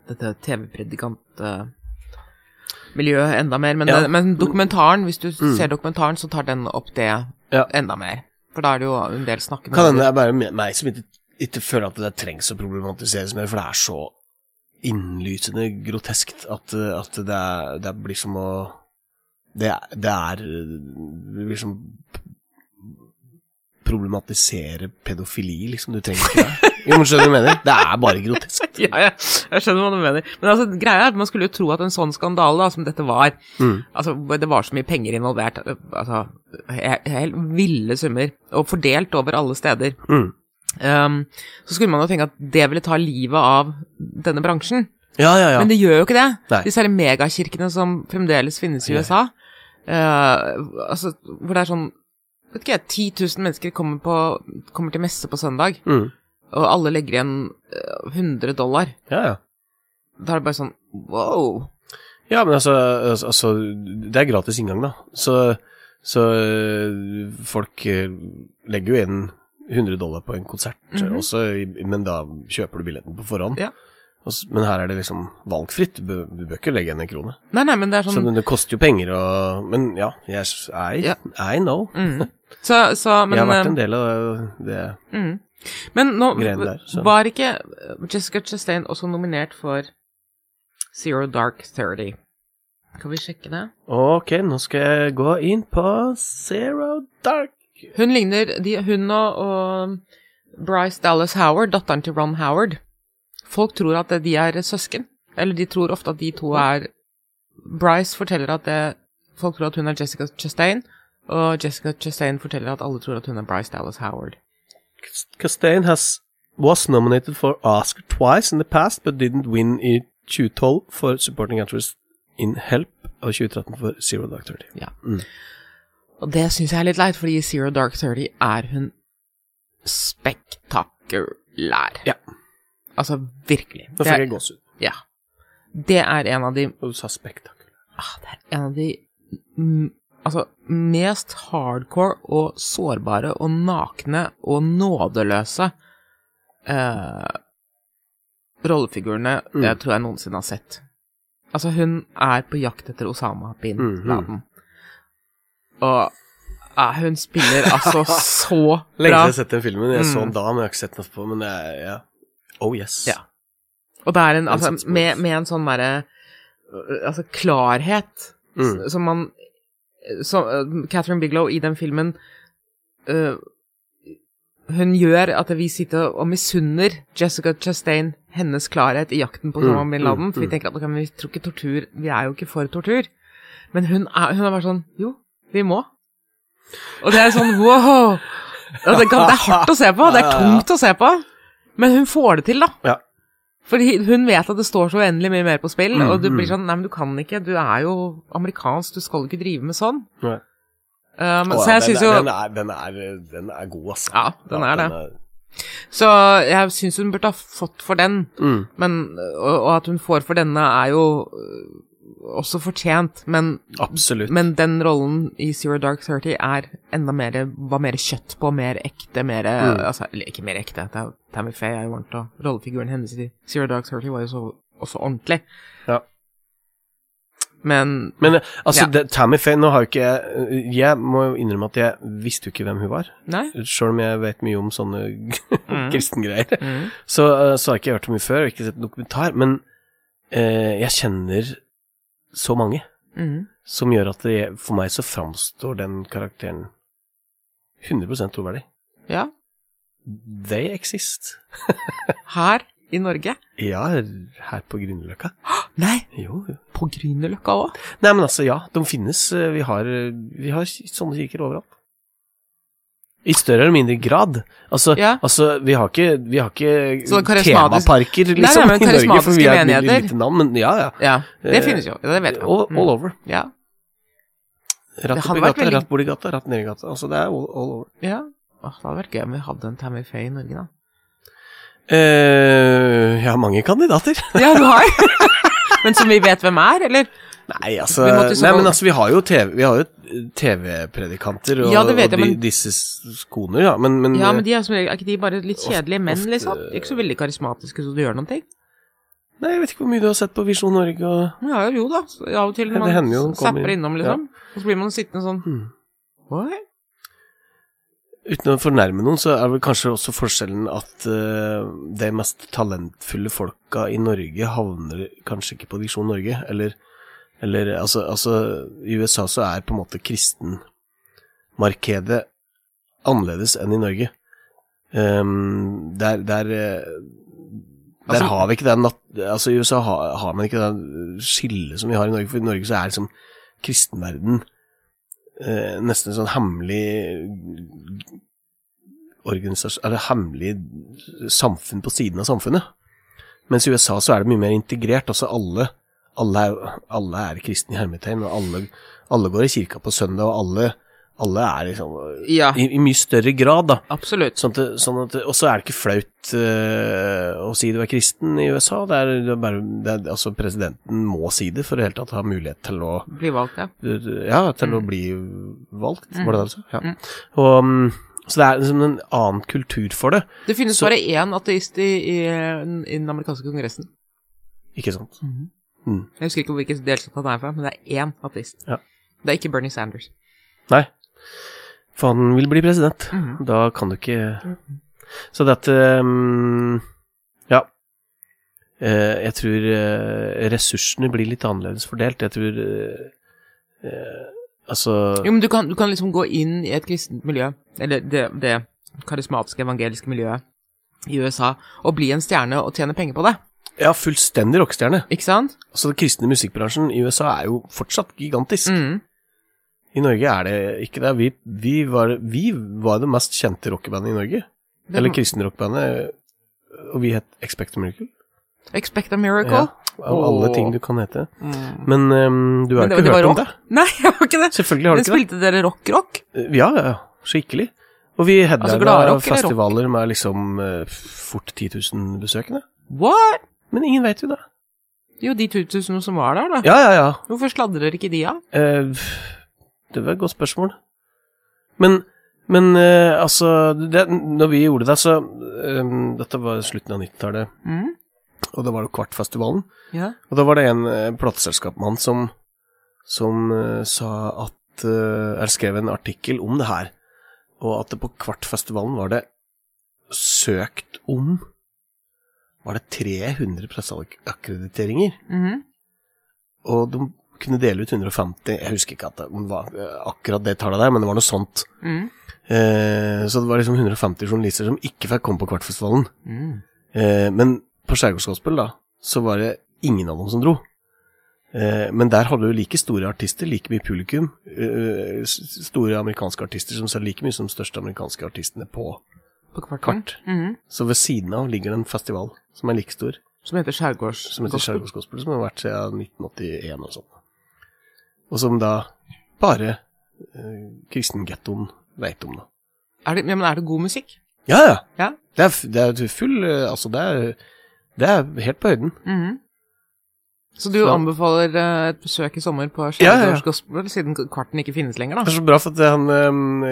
Speaker 5: dette TV-predikantmiljøet enda mer, men,
Speaker 4: Ja.
Speaker 5: det- men dokumentaren, hvis du
Speaker 4: Mm.
Speaker 5: ser dokumentaren, så tar den opp det
Speaker 4: Ja.
Speaker 5: enda mer. For da er det jo en del snakkende
Speaker 4: Kan hende det
Speaker 5: hoder.
Speaker 4: er bare me- meg som ikke, ikke føler at det trengs å problematiseres mer, for det er så innlysende groteskt at, eh, at det, er, det blir som å det, er- det er eh, Det blir som p- problematisere pedofili, liksom. Du trenger ikke det. Jo, men skjønner du hva jeg mener? Det er bare grotesk.
Speaker 5: Ja, ja, jeg skjønner hva du mener. Men altså, greia er at man skulle jo tro at en sånn skandale da, som dette var,
Speaker 4: Mm.
Speaker 5: Altså, hvor det var så mye penger involvert, altså, he- helt ville summer, og fordelt over alle steder.
Speaker 4: Mm.
Speaker 5: Ehm, så skulle man jo tenke at det ville ta livet av denne bransjen.
Speaker 4: Ja, ja, ja.
Speaker 5: Men det gjør jo ikke det.
Speaker 4: Nei.
Speaker 5: Disse her megakirkene som fremdeles finnes i
Speaker 4: Ja.
Speaker 5: USA, eh, altså, hvor det er sånn Vet ikke jeg, 10 000 mennesker kommer, på, kommer til messe på søndag,
Speaker 4: Mm.
Speaker 5: og alle legger igjen eh, 100 dollar.
Speaker 4: ja, ja.
Speaker 5: Da er det bare sånn wow.
Speaker 4: Ja, men altså, altså altså, Det er gratis inngang, da. Så, så øh, folk øh, legger jo igjen 100 dollar på en konsert eh,
Speaker 5: Mhm.
Speaker 4: også, i- men da kjøper du billetten på forhånd.
Speaker 5: Ja.
Speaker 4: Og s- Men her er det liksom valgfritt. Du bø- du bør ikke legge igjen en krone.
Speaker 5: Nei, nei, men det er
Speaker 4: Så
Speaker 5: sånn
Speaker 4: men det koster jo penger og Men ja, jeg, s- I,
Speaker 5: Ja.
Speaker 4: I know.
Speaker 5: mm. så, så, men,
Speaker 4: jeg har vært
Speaker 5: eh,
Speaker 4: en del av det.
Speaker 5: Mm. Men nå
Speaker 4: Greiene der, så-
Speaker 5: var ikke eh, Jessica Chastain også nominert for Zero Dark 30. Kan vi sjekke det?
Speaker 4: Ok, nå skal jeg gå inn på Zero Dark.
Speaker 5: Hun ligner de, Hun og, og Bryce Dallas Howard, datteren til Ron Howard. Folk tror at de er søsken. Eller de tror ofte at de to er Bryce forteller at det, folk tror at hun er Jessica Chastain, og Jessica Chastain forteller at alle tror at hun er Bryce Dallas Howard.
Speaker 4: Castain has was nominated for Oscar twice in the past, but didn't win i 2012 for supporting actress in Help og 2013 for Zero Dark Thirty.
Speaker 5: Og det syns jeg er litt leit, fordi i Zero Dark 30 er hun spektakulær.
Speaker 4: Ja.
Speaker 5: Altså, virkelig.
Speaker 4: Nå
Speaker 5: Det
Speaker 4: fikk
Speaker 5: er,
Speaker 4: jeg gåsehud.
Speaker 5: ja. det er en av de
Speaker 4: Og du sa spektakulær.
Speaker 5: ah, Det er en av de mm, altså, mest hardcore og sårbare og nakne og nådeløse eh, rollefigurene
Speaker 4: Mm.
Speaker 5: jeg tror jeg noensinne har sett. Altså, hun er på jakt etter Osama bin
Speaker 4: Mhm.
Speaker 5: Laden. Og eh, hun spiller altså så
Speaker 4: Lenge siden jeg
Speaker 5: bra.
Speaker 4: har sett den filmen. Jeg så
Speaker 5: Mm.
Speaker 4: den da, men jeg har ikke sett den etterpå. Men jeg, ja. Oh yes.
Speaker 5: Ja. Og det er en,
Speaker 4: Den
Speaker 5: altså,
Speaker 4: som
Speaker 5: med,
Speaker 4: spør.
Speaker 5: med en sånn derre øh, Altså klarhet
Speaker 4: Mm.
Speaker 5: s- som man som, øh, Catherine Biglow i den filmen øh, Hun gjør at vi sitter og misunner Jessica Chastain hennes klarhet i jakten på
Speaker 4: Mm,
Speaker 5: Osama bin Laden.
Speaker 4: mm,
Speaker 5: For vi
Speaker 4: mm.
Speaker 5: tenker at ok, men vi tror ikke tortur Vi er jo ikke for tortur. Men hun er, hun er bare sånn Jo, vi må. Og det er sånn wow! Ja, Det, kan, det er hardt å se på. Det er
Speaker 4: Ja, ja, ja.
Speaker 5: tungt å se på. Men hun får det til, da.
Speaker 4: Ja.
Speaker 5: Fordi hun vet at det står så uendelig mye mer på spill,
Speaker 4: Mm,
Speaker 5: og du blir
Speaker 4: mm.
Speaker 5: sånn Nei, men du kan ikke. Du er jo amerikansk, du skal jo ikke drive med sånn.
Speaker 4: Nei.
Speaker 5: Um,
Speaker 4: Å,
Speaker 5: så jeg
Speaker 4: den,
Speaker 5: synes
Speaker 4: er-
Speaker 5: jo
Speaker 4: den, er, den, er, den er god, altså.
Speaker 5: Ja, den er det. Så jeg syns hun burde ha fått for den,
Speaker 4: Mm.
Speaker 5: men, og, og at hun får for denne, er jo øh, også fortjent, men,
Speaker 4: Absolutt.
Speaker 5: men den rollen i Zero Dark Thirty er enda mer Var mer kjøtt på, mer ekte, mer
Speaker 4: Mm.
Speaker 5: altså, Eller ikke mer ekte, det er jo Tammy Faye er jo ordentlig, og rollefiguren hennes i Zero Dark Thirty var jo så, også ordentlig.
Speaker 4: Ja.
Speaker 5: Men
Speaker 4: Men eh, altså,
Speaker 5: Ja.
Speaker 4: det, Tammy Faye Nå har jo ikke jeg Jeg må jo innrømme at jeg visste jo ikke hvem hun var.
Speaker 5: Nei.
Speaker 4: Sjøl om jeg vet mye om sånne
Speaker 5: Mm.
Speaker 4: kristengreier.
Speaker 5: Mm.
Speaker 4: Så, eh, så har jeg ikke hørt om henne før, og ikke sett dokumentar. Men eh, jeg kjenner så mange
Speaker 5: Mm.
Speaker 4: som gjør at det, for meg så framstår den karakteren 100 troverdig.
Speaker 5: Ja.
Speaker 4: They exist.
Speaker 5: Her i Norge?
Speaker 4: Ja, her på Grünerløkka.
Speaker 5: Nei,
Speaker 4: Jo, jo.
Speaker 5: på Grünerløkka òg?
Speaker 4: Nei, men altså, ja, de finnes. eh, Vi har, eh, vi har sånne kirker overalt. I større eller mindre grad. Altså,
Speaker 5: Ja.
Speaker 4: altså vi har ikke, vi har ikke
Speaker 5: Så karismatisk-
Speaker 4: temaparker liksom,
Speaker 5: nei, men
Speaker 4: i Norge, for vi er
Speaker 5: karismatiske
Speaker 4: et
Speaker 5: menigheter.
Speaker 4: lite- lite navn, men ja, ja.
Speaker 5: Ja, det
Speaker 4: Eh,
Speaker 5: finnes jo. Det vet Mm. jeg.
Speaker 4: All, all over.
Speaker 5: Ja.
Speaker 4: Ratt
Speaker 5: hadde
Speaker 4: opp i
Speaker 5: vært
Speaker 4: gata,
Speaker 5: veldig-
Speaker 4: ratt bort i gata, ratt ned i gata. Altså, det er all, all over.
Speaker 5: Ja. Åh, det hadde vært gøy om vi hadde en Tammy Faye i Norge, da.
Speaker 4: Eh, jeg har mange kandidater.
Speaker 5: Ja, du har! Men som vi vet hvem er, eller?
Speaker 4: Nei, altså,
Speaker 5: Vi måtte i så
Speaker 4: nei,
Speaker 5: fall-
Speaker 4: men altså vi har jo TV, vi har jo TV-predikanter og,
Speaker 5: Ja, det vet jeg,
Speaker 4: og de,
Speaker 5: men-
Speaker 4: disse s- koner, ja, men, men,
Speaker 5: Ja, men de er, som regel, er ikke de bare litt kjedelige menn,
Speaker 4: Mm. ofte-
Speaker 5: liksom? De er ikke så veldig karismatiske så du gjør noen ting.
Speaker 4: Nei, jeg vet ikke hvor mye du har sett på Visjon Norge og
Speaker 5: Ja, jo da. Så Av og til
Speaker 4: Ja,
Speaker 5: når
Speaker 4: det
Speaker 5: man
Speaker 4: hender jo hun
Speaker 5: s-
Speaker 4: kommer
Speaker 5: zapper
Speaker 4: inn.
Speaker 5: innom, liksom. Og så blir man sittende sånn
Speaker 4: Hmm.
Speaker 5: Oi.
Speaker 4: Uten å fornærme noen, så er vel kanskje også forskjellen at eh, de mest talentfulle folka i Norge havner kanskje ikke på Visjon Norge, eller, eller altså, altså, i USA så er på en måte kristenmarkedet annerledes enn i Norge. Ehm, der der, eh, der
Speaker 5: Altså-
Speaker 4: har vi ikke den nat Altså, i USA har, har man ikke det skillet som vi har i Norge, for i Norge så er liksom kristenverden eh, nesten en sånn hemmelig organisasjon Eller hemmelig samfunn på siden av samfunnet. Mens i USA så er det mye mer integrert. Altså alle alle er, alle er kristne i hermetegn, og alle, alle går i kirka på søndag, og alle, alle er liksom
Speaker 5: Ja,
Speaker 4: i, I mye større grad, da.
Speaker 5: absolutt.
Speaker 4: Sånn at, det- sånn at, og så er det ikke flaut eh, å si du er kristen i USA. Det er, det er bare, det er, altså Presidenten må si det for i det hele tatt å ha mulighet til å
Speaker 5: Bli valgt, ja.
Speaker 4: ja, til å
Speaker 5: Mm.
Speaker 4: bli valgt,
Speaker 5: Mm.
Speaker 4: var det det du sa? Ja.
Speaker 5: Mm.
Speaker 4: Og, mm, så det er liksom en annen kultur for det,
Speaker 5: Det finnes
Speaker 4: Så-
Speaker 5: bare én ateist i, i, i den amerikanske kongressen.
Speaker 4: ikke sant? Mm.
Speaker 5: Jeg husker ikke hvilken delstat han er fra, men det er én ateist.
Speaker 4: Ja.
Speaker 5: Det er ikke Bernie Sanders.
Speaker 4: Nei. For han vil bli president.
Speaker 5: Mhm.
Speaker 4: Da kan du ikke
Speaker 5: Mm.
Speaker 4: Så dette mm, Ja. Eh, jeg tror eh, ressursene blir litt annerledes fordelt. Jeg tror eh, eh, Altså
Speaker 5: Jo, men du kan, du kan liksom gå inn i et kristent miljø, eller det, det karismatiske evangeliske miljøet i USA, og bli en stjerne og tjene penger på det.
Speaker 4: Ja, fullstendig rockestjerne.
Speaker 5: Ikke sant?
Speaker 4: Altså, den kristne musikkbransjen i USA er jo fortsatt gigantisk.
Speaker 5: Mm.
Speaker 4: I Norge er det ikke det. Vi, vi, var, vi var det mest kjente rockebandet i Norge.
Speaker 5: Det-
Speaker 4: Eller kristenrockbandet. Og vi het Expect a Miracle.
Speaker 5: Expect a miracle.
Speaker 4: Ja, av alle
Speaker 5: Åh.
Speaker 4: ting du kan hete.
Speaker 5: Mm.
Speaker 4: Men ehm, du har
Speaker 5: Men
Speaker 4: jo ikke
Speaker 5: var
Speaker 4: hørt om
Speaker 5: rock.
Speaker 4: det?
Speaker 5: Nei, jeg har ikke det.
Speaker 4: Selvfølgelig har
Speaker 5: Men
Speaker 4: du ikke det.
Speaker 5: spilte dere rock-rock?
Speaker 4: Ja, ja, ja. Skikkelig. Og vi headlina
Speaker 5: gladrock eller Altså, rock?
Speaker 4: festivaler med liksom eh, fort 10 000 besøkende.
Speaker 5: What?
Speaker 4: Men ingen veit jo det.
Speaker 5: Jo, de 2000 som var der, da.
Speaker 4: Ja, ja, ja.
Speaker 5: Hvorfor sladrer ikke de av?
Speaker 4: Eh, det var et godt spørsmål. Men, men eh, altså det, Når vi gjorde det, så eh, Dette var slutten av 90-tallet,
Speaker 5: Mm.
Speaker 4: og da var det Kvartfestivalen.
Speaker 5: Ja.
Speaker 4: Og da var det en eh, plateselskapmann som, som eh, sa at eh, Eller skrev en artikkel om det her, og at det på Kvartfestivalen var det søkt om Var det 300 presseakkrediteringer?
Speaker 5: Mhm.
Speaker 4: Og de kunne dele ut 150, jeg husker ikke at det var akkurat det tallet der, men det var noe sånt.
Speaker 5: Mm.
Speaker 4: Eh, så det var liksom 150 journalister som ikke fikk komme på Kvartfestivalen.
Speaker 5: Mm.
Speaker 4: Eh, men på Skjærgårdsgospel da, så var det ingen av dem som dro. Eh, men der hadde du like store artister, like mye publikum. Eh, s- store amerikanske artister som sa like mye som de største amerikanske artistene på
Speaker 5: På kvarten.
Speaker 4: kvart.
Speaker 5: Mhm.
Speaker 4: Så ved siden av ligger det en festival som er like stor.
Speaker 5: Som heter Skjærgårds.
Speaker 4: som heter Skjærgårdsgospel, som har vært siden 1981 og sånn. Og som da bare eh, kristengettoen veit om, da.
Speaker 5: Er det, ja, men er det god musikk?
Speaker 4: Ja, ja.
Speaker 5: Ja.
Speaker 4: Det er, f- det er full eh, Altså, det er, det er helt på høyden.
Speaker 5: Mhm. Så du
Speaker 4: Så-
Speaker 5: anbefaler eh, et besøk i sommer på
Speaker 4: Ja, ja, ja.
Speaker 5: Skjærgårdsgospel, siden kvarten ikke finnes lenger,
Speaker 4: Det
Speaker 5: da?
Speaker 4: er så bra, for at han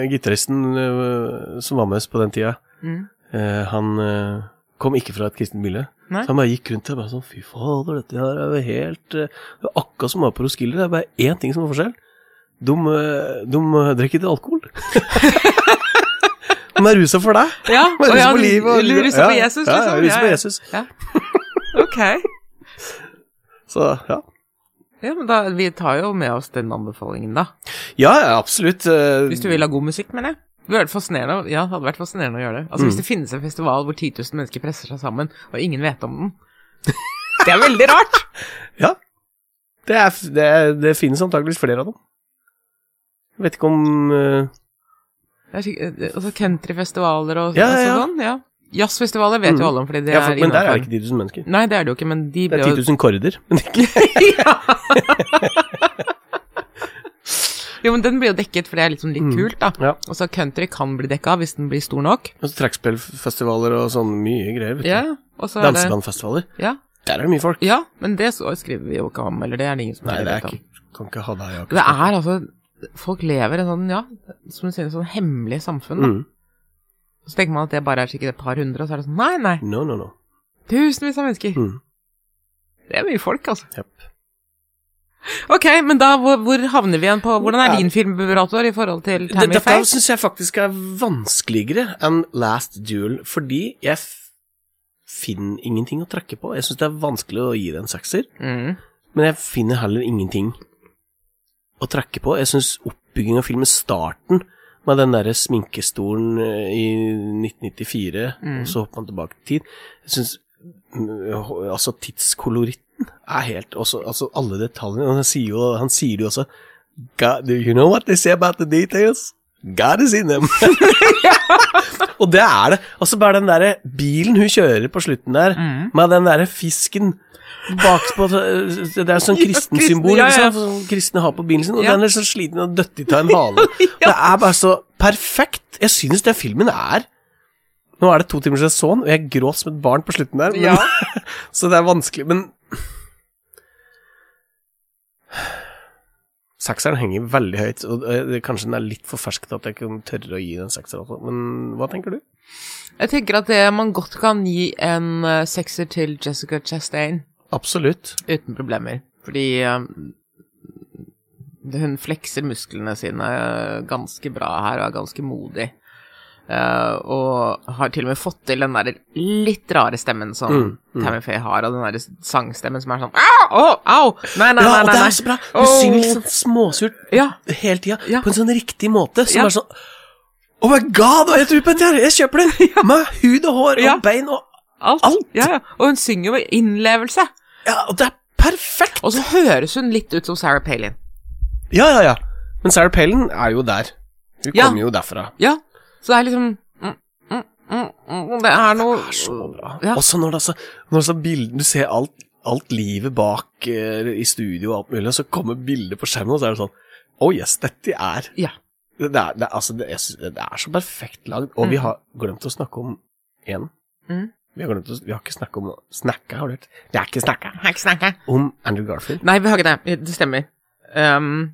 Speaker 4: eh, gitaristen eh, som var med oss på den tida,
Speaker 5: Mhm.
Speaker 4: eh, han eh, kom ikke fra et kristent miljø.
Speaker 5: Nei.
Speaker 4: Så han bare gikk rundt og bare sånn Fy fader, dette her er jo helt eh, Det er akkurat som å være på Roskilde. Det er bare én ting som er forskjell. De, eh, de eh, drikker ikke alkohol. de er rusa for deg.
Speaker 5: Ja,
Speaker 4: De er
Speaker 5: og
Speaker 4: rusa
Speaker 5: ja,
Speaker 4: på livet. og-
Speaker 5: du ruser på
Speaker 4: Ja,
Speaker 5: Jesus,
Speaker 4: ja,
Speaker 5: liksom?
Speaker 4: Ja, rusa på Jesus.
Speaker 5: Ok.
Speaker 4: Så ja.
Speaker 5: Ja, men da, vi tar jo med oss den anbefalingen, da.
Speaker 4: Ja, ja, absolutt. eh,
Speaker 5: Hvis du vil ha god musikk, mener jeg. Det hadde vært fascinerende, å- ja, det hadde vært fascinerende å gjøre det. Altså, Hvis
Speaker 4: Mm.
Speaker 5: det finnes en festival hvor 10 000 mennesker presser seg sammen, og ingen vet om den Det er veldig rart!
Speaker 4: Det, er, f- det, er, det finnes antakeligvis flere av dem. Jeg vet ikke om eh,
Speaker 5: Det er skik- eh, altså Countryfestivaler og
Speaker 4: Ja, ja,
Speaker 5: altså,
Speaker 4: ja.
Speaker 5: sånn. ja. Jazzfestivaler vet
Speaker 4: Mm.
Speaker 5: jo alle om, fordi det
Speaker 4: ja, for,
Speaker 5: er
Speaker 4: Men der er det
Speaker 5: innenfor.
Speaker 4: ikke 10 000 mennesker.
Speaker 5: Nei, det er det jo ikke, men de
Speaker 4: Det
Speaker 5: ble
Speaker 4: er 10
Speaker 5: jo
Speaker 4: 000 korrider. Men det er ikke
Speaker 5: Jo, men den blir jo dekket, for det er liksom litt
Speaker 4: Mm.
Speaker 5: kult, da.
Speaker 4: Ja.
Speaker 5: Altså, country kan bli dekka hvis den blir stor nok.
Speaker 4: Og så trekkspillfestivaler og sånn mye greier. vet du.
Speaker 5: Ja, og så er det
Speaker 4: Dansebandfestivaler.
Speaker 5: Ja.
Speaker 4: Der er det mye folk.
Speaker 5: ja, men det så skriver vi jo ikke om, eller det er det ingen som
Speaker 4: Nei, det
Speaker 5: vet
Speaker 4: er
Speaker 5: om.
Speaker 4: ikke, kan ikke ha deg i
Speaker 5: Det
Speaker 4: Akershus.
Speaker 5: er altså Folk lever i en sånn, ja, som du sier, en sånn hemmelig samfunn. da.
Speaker 4: mm.
Speaker 5: Så tenker man at det bare er sikkert et par hundre, og så er det sånn Nei, nei,
Speaker 4: No, no, no.
Speaker 5: tusenvis av mennesker.
Speaker 4: Mm.
Speaker 5: Det er mye folk, altså.
Speaker 4: Jep.
Speaker 5: Ok, men da, hvor, hvor havner vi igjen på Hvordan er
Speaker 4: Ja.
Speaker 5: din filmburator i forhold til
Speaker 4: Det-
Speaker 5: Tammy
Speaker 4: Dette
Speaker 5: Faye?
Speaker 4: syns jeg faktisk er vanskeligere enn Last Duel, fordi jeg f- finner ingenting å trekke på. Jeg syns det er vanskelig å gi det en sekser.
Speaker 5: Mm.
Speaker 4: Men jeg finner heller ingenting å trekke på. Jeg syns oppbyggingen av filmen, starten med den derre sminkestolen eh, i 1994,
Speaker 5: Mm.
Speaker 4: og så hopper man tilbake i tid Jeg syns Altså, tidskoloritten er helt også, Altså, alle detaljene Og han sier jo, han sier det jo også God, Do you know what they say about the details? God is in them. og det er det. Og så bare den derre bilen hun kjører på slutten der,
Speaker 5: Mm.
Speaker 4: med den derre fisken bakpå Det er sånn
Speaker 5: Ja,
Speaker 4: kristensymbol
Speaker 5: kristen, ja, ja.
Speaker 4: ikke sant, som kristne har på bilen sin, og
Speaker 5: Ja.
Speaker 4: den er så sliten og døttig av en hale. Det er bare så perfekt. Jeg synes den filmen er Nå er det to timer siden jeg så den, og jeg gråt som et barn på slutten der, men,
Speaker 5: Ja.
Speaker 4: så det er vanskelig, men Sekseren henger veldig høyt, og eh, kanskje den er litt for fersk til at jeg kan tørre å gi den sekser, altså. men hva tenker du?
Speaker 5: Jeg tenker at det man godt kan gi en eh, sekser til Jessica Chastain
Speaker 4: Absolutt.
Speaker 5: uten problemer, fordi eh, hun flekser musklene sine eh, ganske bra her og er ganske modig. Eh, og har til og med fått til den der litt rare stemmen som
Speaker 4: Mm, mm.
Speaker 5: Tammy Faye har, og den der sangstemmen som er sånn Au! Au! au! Nei, nei,
Speaker 4: Ja,
Speaker 5: nei.
Speaker 4: og
Speaker 5: nei,
Speaker 4: det
Speaker 5: nei.
Speaker 4: er så bra! Hun
Speaker 5: Åh.
Speaker 4: synger litt sånn småsurt
Speaker 5: Ja,
Speaker 4: hele tida,
Speaker 5: Ja.
Speaker 4: på en sånn riktig måte, som
Speaker 5: Ja.
Speaker 4: er sånn Oh my god, hva er det du på dette her? Jeg kjøper det! Med hud og hår og
Speaker 5: Ja.
Speaker 4: bein og
Speaker 5: alt.
Speaker 4: Alt.
Speaker 5: Ja, ja. Og hun synger jo med innlevelse.
Speaker 4: Ja, og det er perfekt!
Speaker 5: Og så høres hun litt ut som Sarah Palin.
Speaker 4: Ja, ja, ja. Men Sarah Palin er jo der. Hun
Speaker 5: Ja.
Speaker 4: kommer jo derfra.
Speaker 5: Ja, så det er liksom mm, mm, mm, mm, Det er noe
Speaker 4: Det er så bra.
Speaker 5: Ja.
Speaker 4: Også når det er så, når det er så bilden, du ser alt, alt livet bak eh, i studio og alt mulig, og så kommer bildet på skjermen, og så er det sånn Oh yes, dette er
Speaker 5: Ja.
Speaker 4: Det, det er, det, er- altså, det, jeg synes- det er så perfekt lagd. Og vi
Speaker 5: Mm.
Speaker 4: har glemt å snakke om én.
Speaker 5: Mm.
Speaker 4: Vi, har glemt å, vi har ikke snakka om Snakka, har du hørt? Det er ikke snakka.
Speaker 5: Her ikke snakke.
Speaker 4: Om Andrew Garfield.
Speaker 5: Nei, vi har ikke det. Det stemmer. Ehm,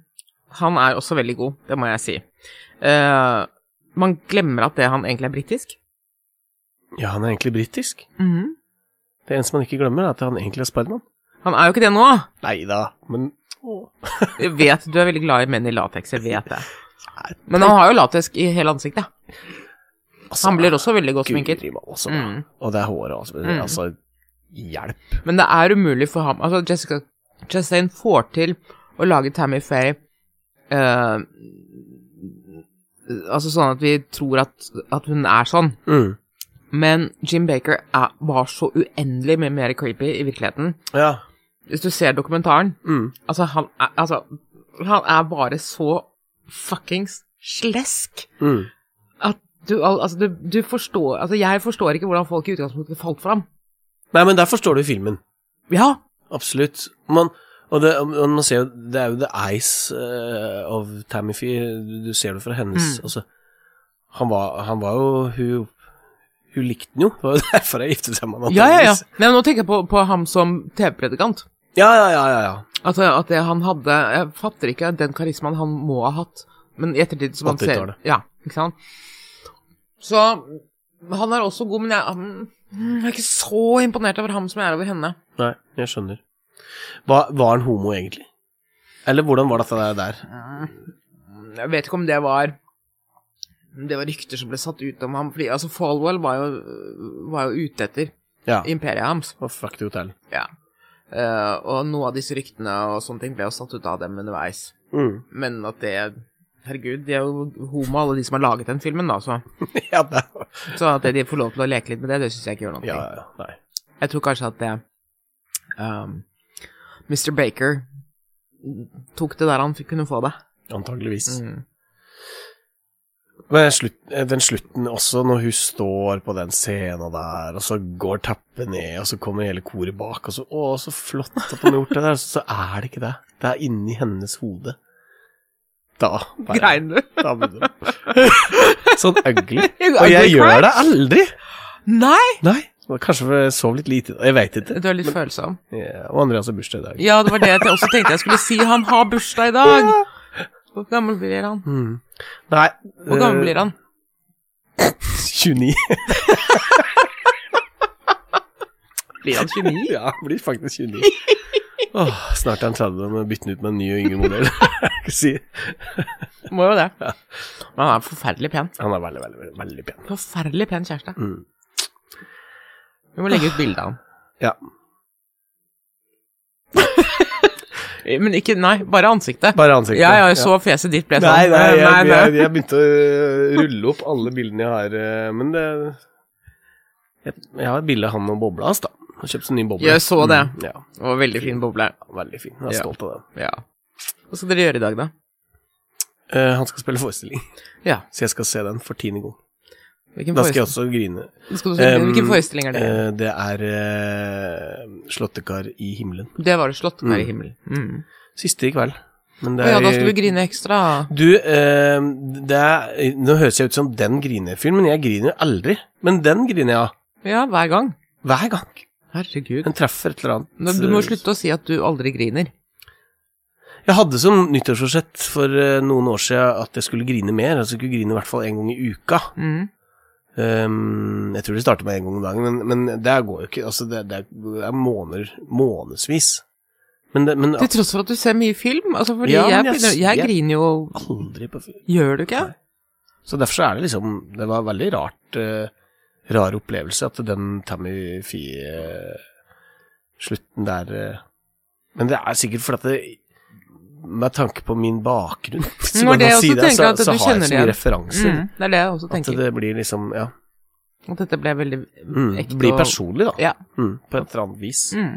Speaker 5: han er også veldig god, det må jeg si. Eh, man glemmer at det han egentlig er britisk.
Speaker 4: Ja, han er egentlig britisk. Det eneste man ikke glemmer, er at han egentlig er Spiderman.
Speaker 5: Han er jo ikke det nå.
Speaker 4: Nei da, men Åh.
Speaker 5: Jeg vet du er veldig glad i menn i lateks, jeg vet det. Men han har jo lateks i hele ansiktet.
Speaker 4: Altså,
Speaker 5: Han blir også veldig godt
Speaker 4: Guri
Speaker 5: sminket.
Speaker 4: malla, altså.
Speaker 5: Mm.
Speaker 4: Og det er håret altså.
Speaker 5: Mm.
Speaker 4: altså. Hjelp.
Speaker 5: Men det er umulig for ham Altså, Jessica Chastain får til å lage Tammy Faye eh, Altså sånn at vi tror at, at hun er sånn.
Speaker 4: Mm.
Speaker 5: Men Jim Baker er, var så uendelig mye mer creepy i virkeligheten.
Speaker 4: Ja.
Speaker 5: Hvis du ser dokumentaren
Speaker 4: Mm.
Speaker 5: Altså, han er, altså, han er bare så fuckings slesk
Speaker 4: Mm.
Speaker 5: at du, al- altså, du, du forstår Altså, jeg forstår ikke hvordan folk i utgangspunktet falt for ham.
Speaker 4: Nei, men der forstår du filmen.
Speaker 5: Ja,
Speaker 4: Absolutt. Man, og det, og man ser jo Det er jo The Eyes eh, of Tammy Fee. Du- Du ser det fra hennes
Speaker 5: Mm.
Speaker 4: altså, han, var, han var jo Hun, hun likte den jo. Det var jo derfor jeg giftet seg med han
Speaker 5: ja, ja. ja.
Speaker 4: antageligvis.
Speaker 5: Nei, nå tenker jeg på, på ham som TV-predikant.
Speaker 4: Ja, ja, ja, ja, ja.
Speaker 5: At, Altså, at det han hadde Jeg fatter ikke den karismaen han må ha hatt, men i ettertid som han ser
Speaker 4: 80-tallet.
Speaker 5: Ja, ikke sant? Så han er også god, men jeg, mm, jeg er ikke så imponert over ham som jeg er over henne.
Speaker 4: Nei, jeg skjønner. Hva, var han homo, egentlig? Eller hvordan var dette der? der?
Speaker 5: Mm, Jeg vet ikke om det var Det var rykter som ble satt ut om ham, fordi altså Falwell var jo, var jo ute etter
Speaker 4: Ja.
Speaker 5: imperiet hans.
Speaker 4: Og fuck the hotel.
Speaker 5: Ja. Eh, og noen av disse ryktene og sånne ting ble jo satt ut av dem underveis.
Speaker 4: Mm.
Speaker 5: Men at det Herregud, de er jo homo, alle de som har laget den filmen, da. Så,
Speaker 4: ja, det
Speaker 5: så at de får lov til å leke litt med det, det syns jeg ikke gjør noe.
Speaker 4: ja, ja, nei.
Speaker 5: Jeg tror kanskje at det um, Mr. Baker tok det der han fikk- kunne få det.
Speaker 4: Antageligvis.
Speaker 5: Mm.
Speaker 4: Men slutt, eh, den slutten også, når hun står på den scenen der, og så går tappet ned, og så kommer hele koret bak, og så Å, så flott at han har gjort det der. Så er det ikke det. Det er inni hennes hode. Da bare-
Speaker 5: Grein du?
Speaker 4: Da begynner det. Sånn ugly.
Speaker 5: You
Speaker 4: Og jeg
Speaker 5: ugly
Speaker 4: gjør
Speaker 5: crap.
Speaker 4: det aldri.
Speaker 5: Nei!
Speaker 4: Nei. det var Kanskje for jeg sov litt lite. Jeg veit ikke.
Speaker 5: Du er litt følsom.
Speaker 4: Ja, og Andreas har bursdag i dag.
Speaker 5: Ja, det var det jeg også tenkte jeg skulle si. Han har bursdag i dag! Hvor gammel blir han?
Speaker 4: Mm. Nei eh,
Speaker 5: Hvor gammel blir han?
Speaker 4: 29.
Speaker 5: Blir han 29?
Speaker 4: Ja, han blir faktisk 29. Åh, snart er han 30 og må bytte den ut med en ny og yngre modell. Ikke si.
Speaker 5: Må jo det. Men han er forferdelig pen.
Speaker 4: Han er veldig, veldig, veldig, veldig pen.
Speaker 5: Forferdelig pen kjæreste.
Speaker 4: Mm. Ah.
Speaker 5: Vi må legge ut bilde av han.
Speaker 4: Ja.
Speaker 5: Men ikke Nei, bare ansiktet.
Speaker 4: Bare ansiktet.
Speaker 5: Ja, ja, jeg så fjeset ditt ble sånn.
Speaker 4: Nei, nei, jeg,
Speaker 5: nei, nei.
Speaker 4: Jeg, jeg begynte å øh, rulle opp alle bildene jeg har, øh, men det Jeg, jeg har et bilde av han og bobla hans, da. Han kjøpte seg ny boble.
Speaker 5: Jeg så det.
Speaker 4: Mm, ja,
Speaker 5: Det var veldig fin boble.
Speaker 4: Veldig fin. Jeg er
Speaker 5: Ja.
Speaker 4: stolt av den.
Speaker 5: Ja. Hva skal dere gjøre i dag, da?
Speaker 4: Eh, han skal spille forestilling,
Speaker 5: Ja.
Speaker 4: så jeg skal se den for tiende gang.
Speaker 5: Hvilken
Speaker 4: Da skal jeg
Speaker 5: forestilling,
Speaker 4: også grine.
Speaker 5: skal du se, hvilken
Speaker 4: Um,
Speaker 5: forestilling er det?
Speaker 4: Eh, det er eh, Slåttekar i himmelen.
Speaker 5: det var det slått her i
Speaker 4: mm.
Speaker 5: himmelen. Mm.
Speaker 4: Siste i kveld. Men
Speaker 5: Å
Speaker 4: det er
Speaker 5: ja, da
Speaker 4: i-
Speaker 5: skal du grine ekstra.
Speaker 4: Du, eh, det er, nå høres jeg ut som den grinefilmen, men jeg griner jo aldri. Men den griner jeg av.
Speaker 5: Ja, hver gang.
Speaker 4: Hver gang.
Speaker 5: Herregud.
Speaker 4: Den treffer et eller annet.
Speaker 5: Men Du må slutte å si at du aldri griner.
Speaker 4: Jeg hadde som nyttårsforsett for eh, noen år siden at jeg skulle grine mer. Altså jeg skulle grine i hvert fall en gang i uka.
Speaker 5: Mm.
Speaker 4: Ehm, jeg tror det starter med en gang om dagen, men, men det går jo ikke. Altså, det, det er måneder, månedsvis. Men, det, men
Speaker 5: Til tross for at du ser mye film. Altså, fordi
Speaker 4: Ja,
Speaker 5: jeg,
Speaker 4: men jeg
Speaker 5: begynner,
Speaker 4: s-
Speaker 5: jeg,
Speaker 4: jeg-
Speaker 5: griner jo
Speaker 4: aldri på film.
Speaker 5: Gjør du ikke?
Speaker 4: Nei. Så derfor så er det liksom Det var veldig rart eh, Rar opplevelse at den Tammy Fie eh, Slutten der eh, Men det er sikkert fordi at det Med tanke på min bakgrunn Hvis
Speaker 5: Men
Speaker 4: man
Speaker 5: det
Speaker 4: kan
Speaker 5: jeg
Speaker 4: si
Speaker 5: også
Speaker 4: det,
Speaker 5: tenker
Speaker 4: så,
Speaker 5: at du
Speaker 4: så har jeg
Speaker 5: kjenner
Speaker 4: så mye
Speaker 5: det
Speaker 4: referanser
Speaker 5: Mm, det er det jeg også
Speaker 4: At
Speaker 5: tenker.
Speaker 4: det blir liksom, ja
Speaker 5: At dette ble veldig
Speaker 4: mm,
Speaker 5: ekte.
Speaker 4: Det blir
Speaker 5: og-
Speaker 4: personlig da
Speaker 5: Ja.
Speaker 4: mm, På et eller annet vis
Speaker 5: Mm.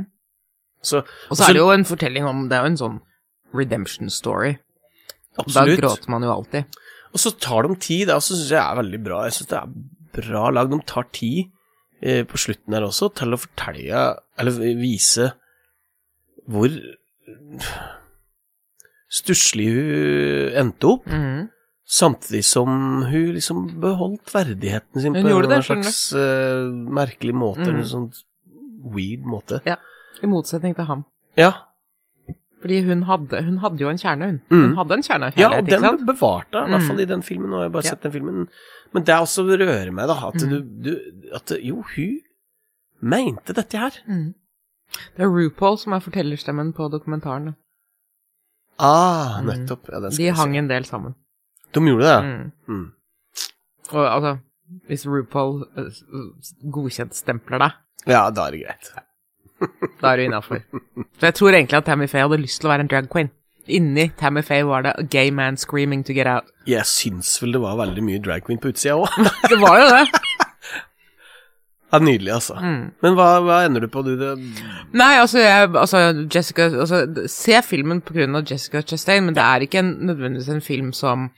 Speaker 4: Så
Speaker 5: Og så er det jo en fortelling om Det er jo en sånn redemption story. Da
Speaker 4: absolutt
Speaker 5: gråter man jo alltid.
Speaker 4: Og så tar de tid, det også synes jeg er veldig bra. Jeg synes det er bra lag. De tar tid eh, på slutten her også til å fortelle, eller vise hvor stusslig hun endte opp,
Speaker 5: Mhm.
Speaker 4: samtidig som hun liksom beholdt verdigheten sin
Speaker 5: Hun
Speaker 4: på
Speaker 5: gjorde
Speaker 4: en
Speaker 5: det,
Speaker 4: slags eh, merkelig måte,
Speaker 5: Mhm.
Speaker 4: en sånn weird måte.
Speaker 5: I motsetning til ham.
Speaker 4: Ja,
Speaker 5: Fordi hun hadde, hun hadde jo en kjerne, hun.
Speaker 4: Mm.
Speaker 5: Hun hadde en kjerne av
Speaker 4: ja og
Speaker 5: kjærlighet,
Speaker 4: den
Speaker 5: ikke
Speaker 4: ble
Speaker 5: sant?
Speaker 4: bevart da, i hvert
Speaker 5: Mm.
Speaker 4: fall i den filmen, og jeg har bare
Speaker 5: Ja.
Speaker 4: sett den filmen. Men det er også det rører meg, da, at
Speaker 5: Mm.
Speaker 4: du, du at, Jo, hun mente dette her.
Speaker 5: Mhm. Det er RuPaul som er fortellerstemmen på dokumentaren. da.
Speaker 4: Ah,
Speaker 5: Mm.
Speaker 4: nettopp. Ja, den skal
Speaker 5: De
Speaker 4: jeg se.
Speaker 5: hang en del sammen.
Speaker 4: De gjorde det, ja.
Speaker 5: Mhm.
Speaker 4: Mm.
Speaker 5: Og altså, hvis RuPaul eh, s- s- godkjentstempler deg,
Speaker 4: Ja, da er det greit.
Speaker 5: da er du innafor. Så jeg tror egentlig at Tammy Faye hadde lyst til å være en drag queen. Inni Tammy Faye var det a gay man screaming to get out.
Speaker 4: Jeg syns vel det var veldig mye drag queen på utsida òg.
Speaker 5: Det var jo det.
Speaker 4: Ja, nydelig, altså.
Speaker 5: Mm.
Speaker 4: Men hva, hva ender du på, du? Det,
Speaker 5: Nei, altså, jeg, altså Jessica altså, d- Se filmen på grunn av Jessica Chastain, men det er ikke en, nødvendigvis en film som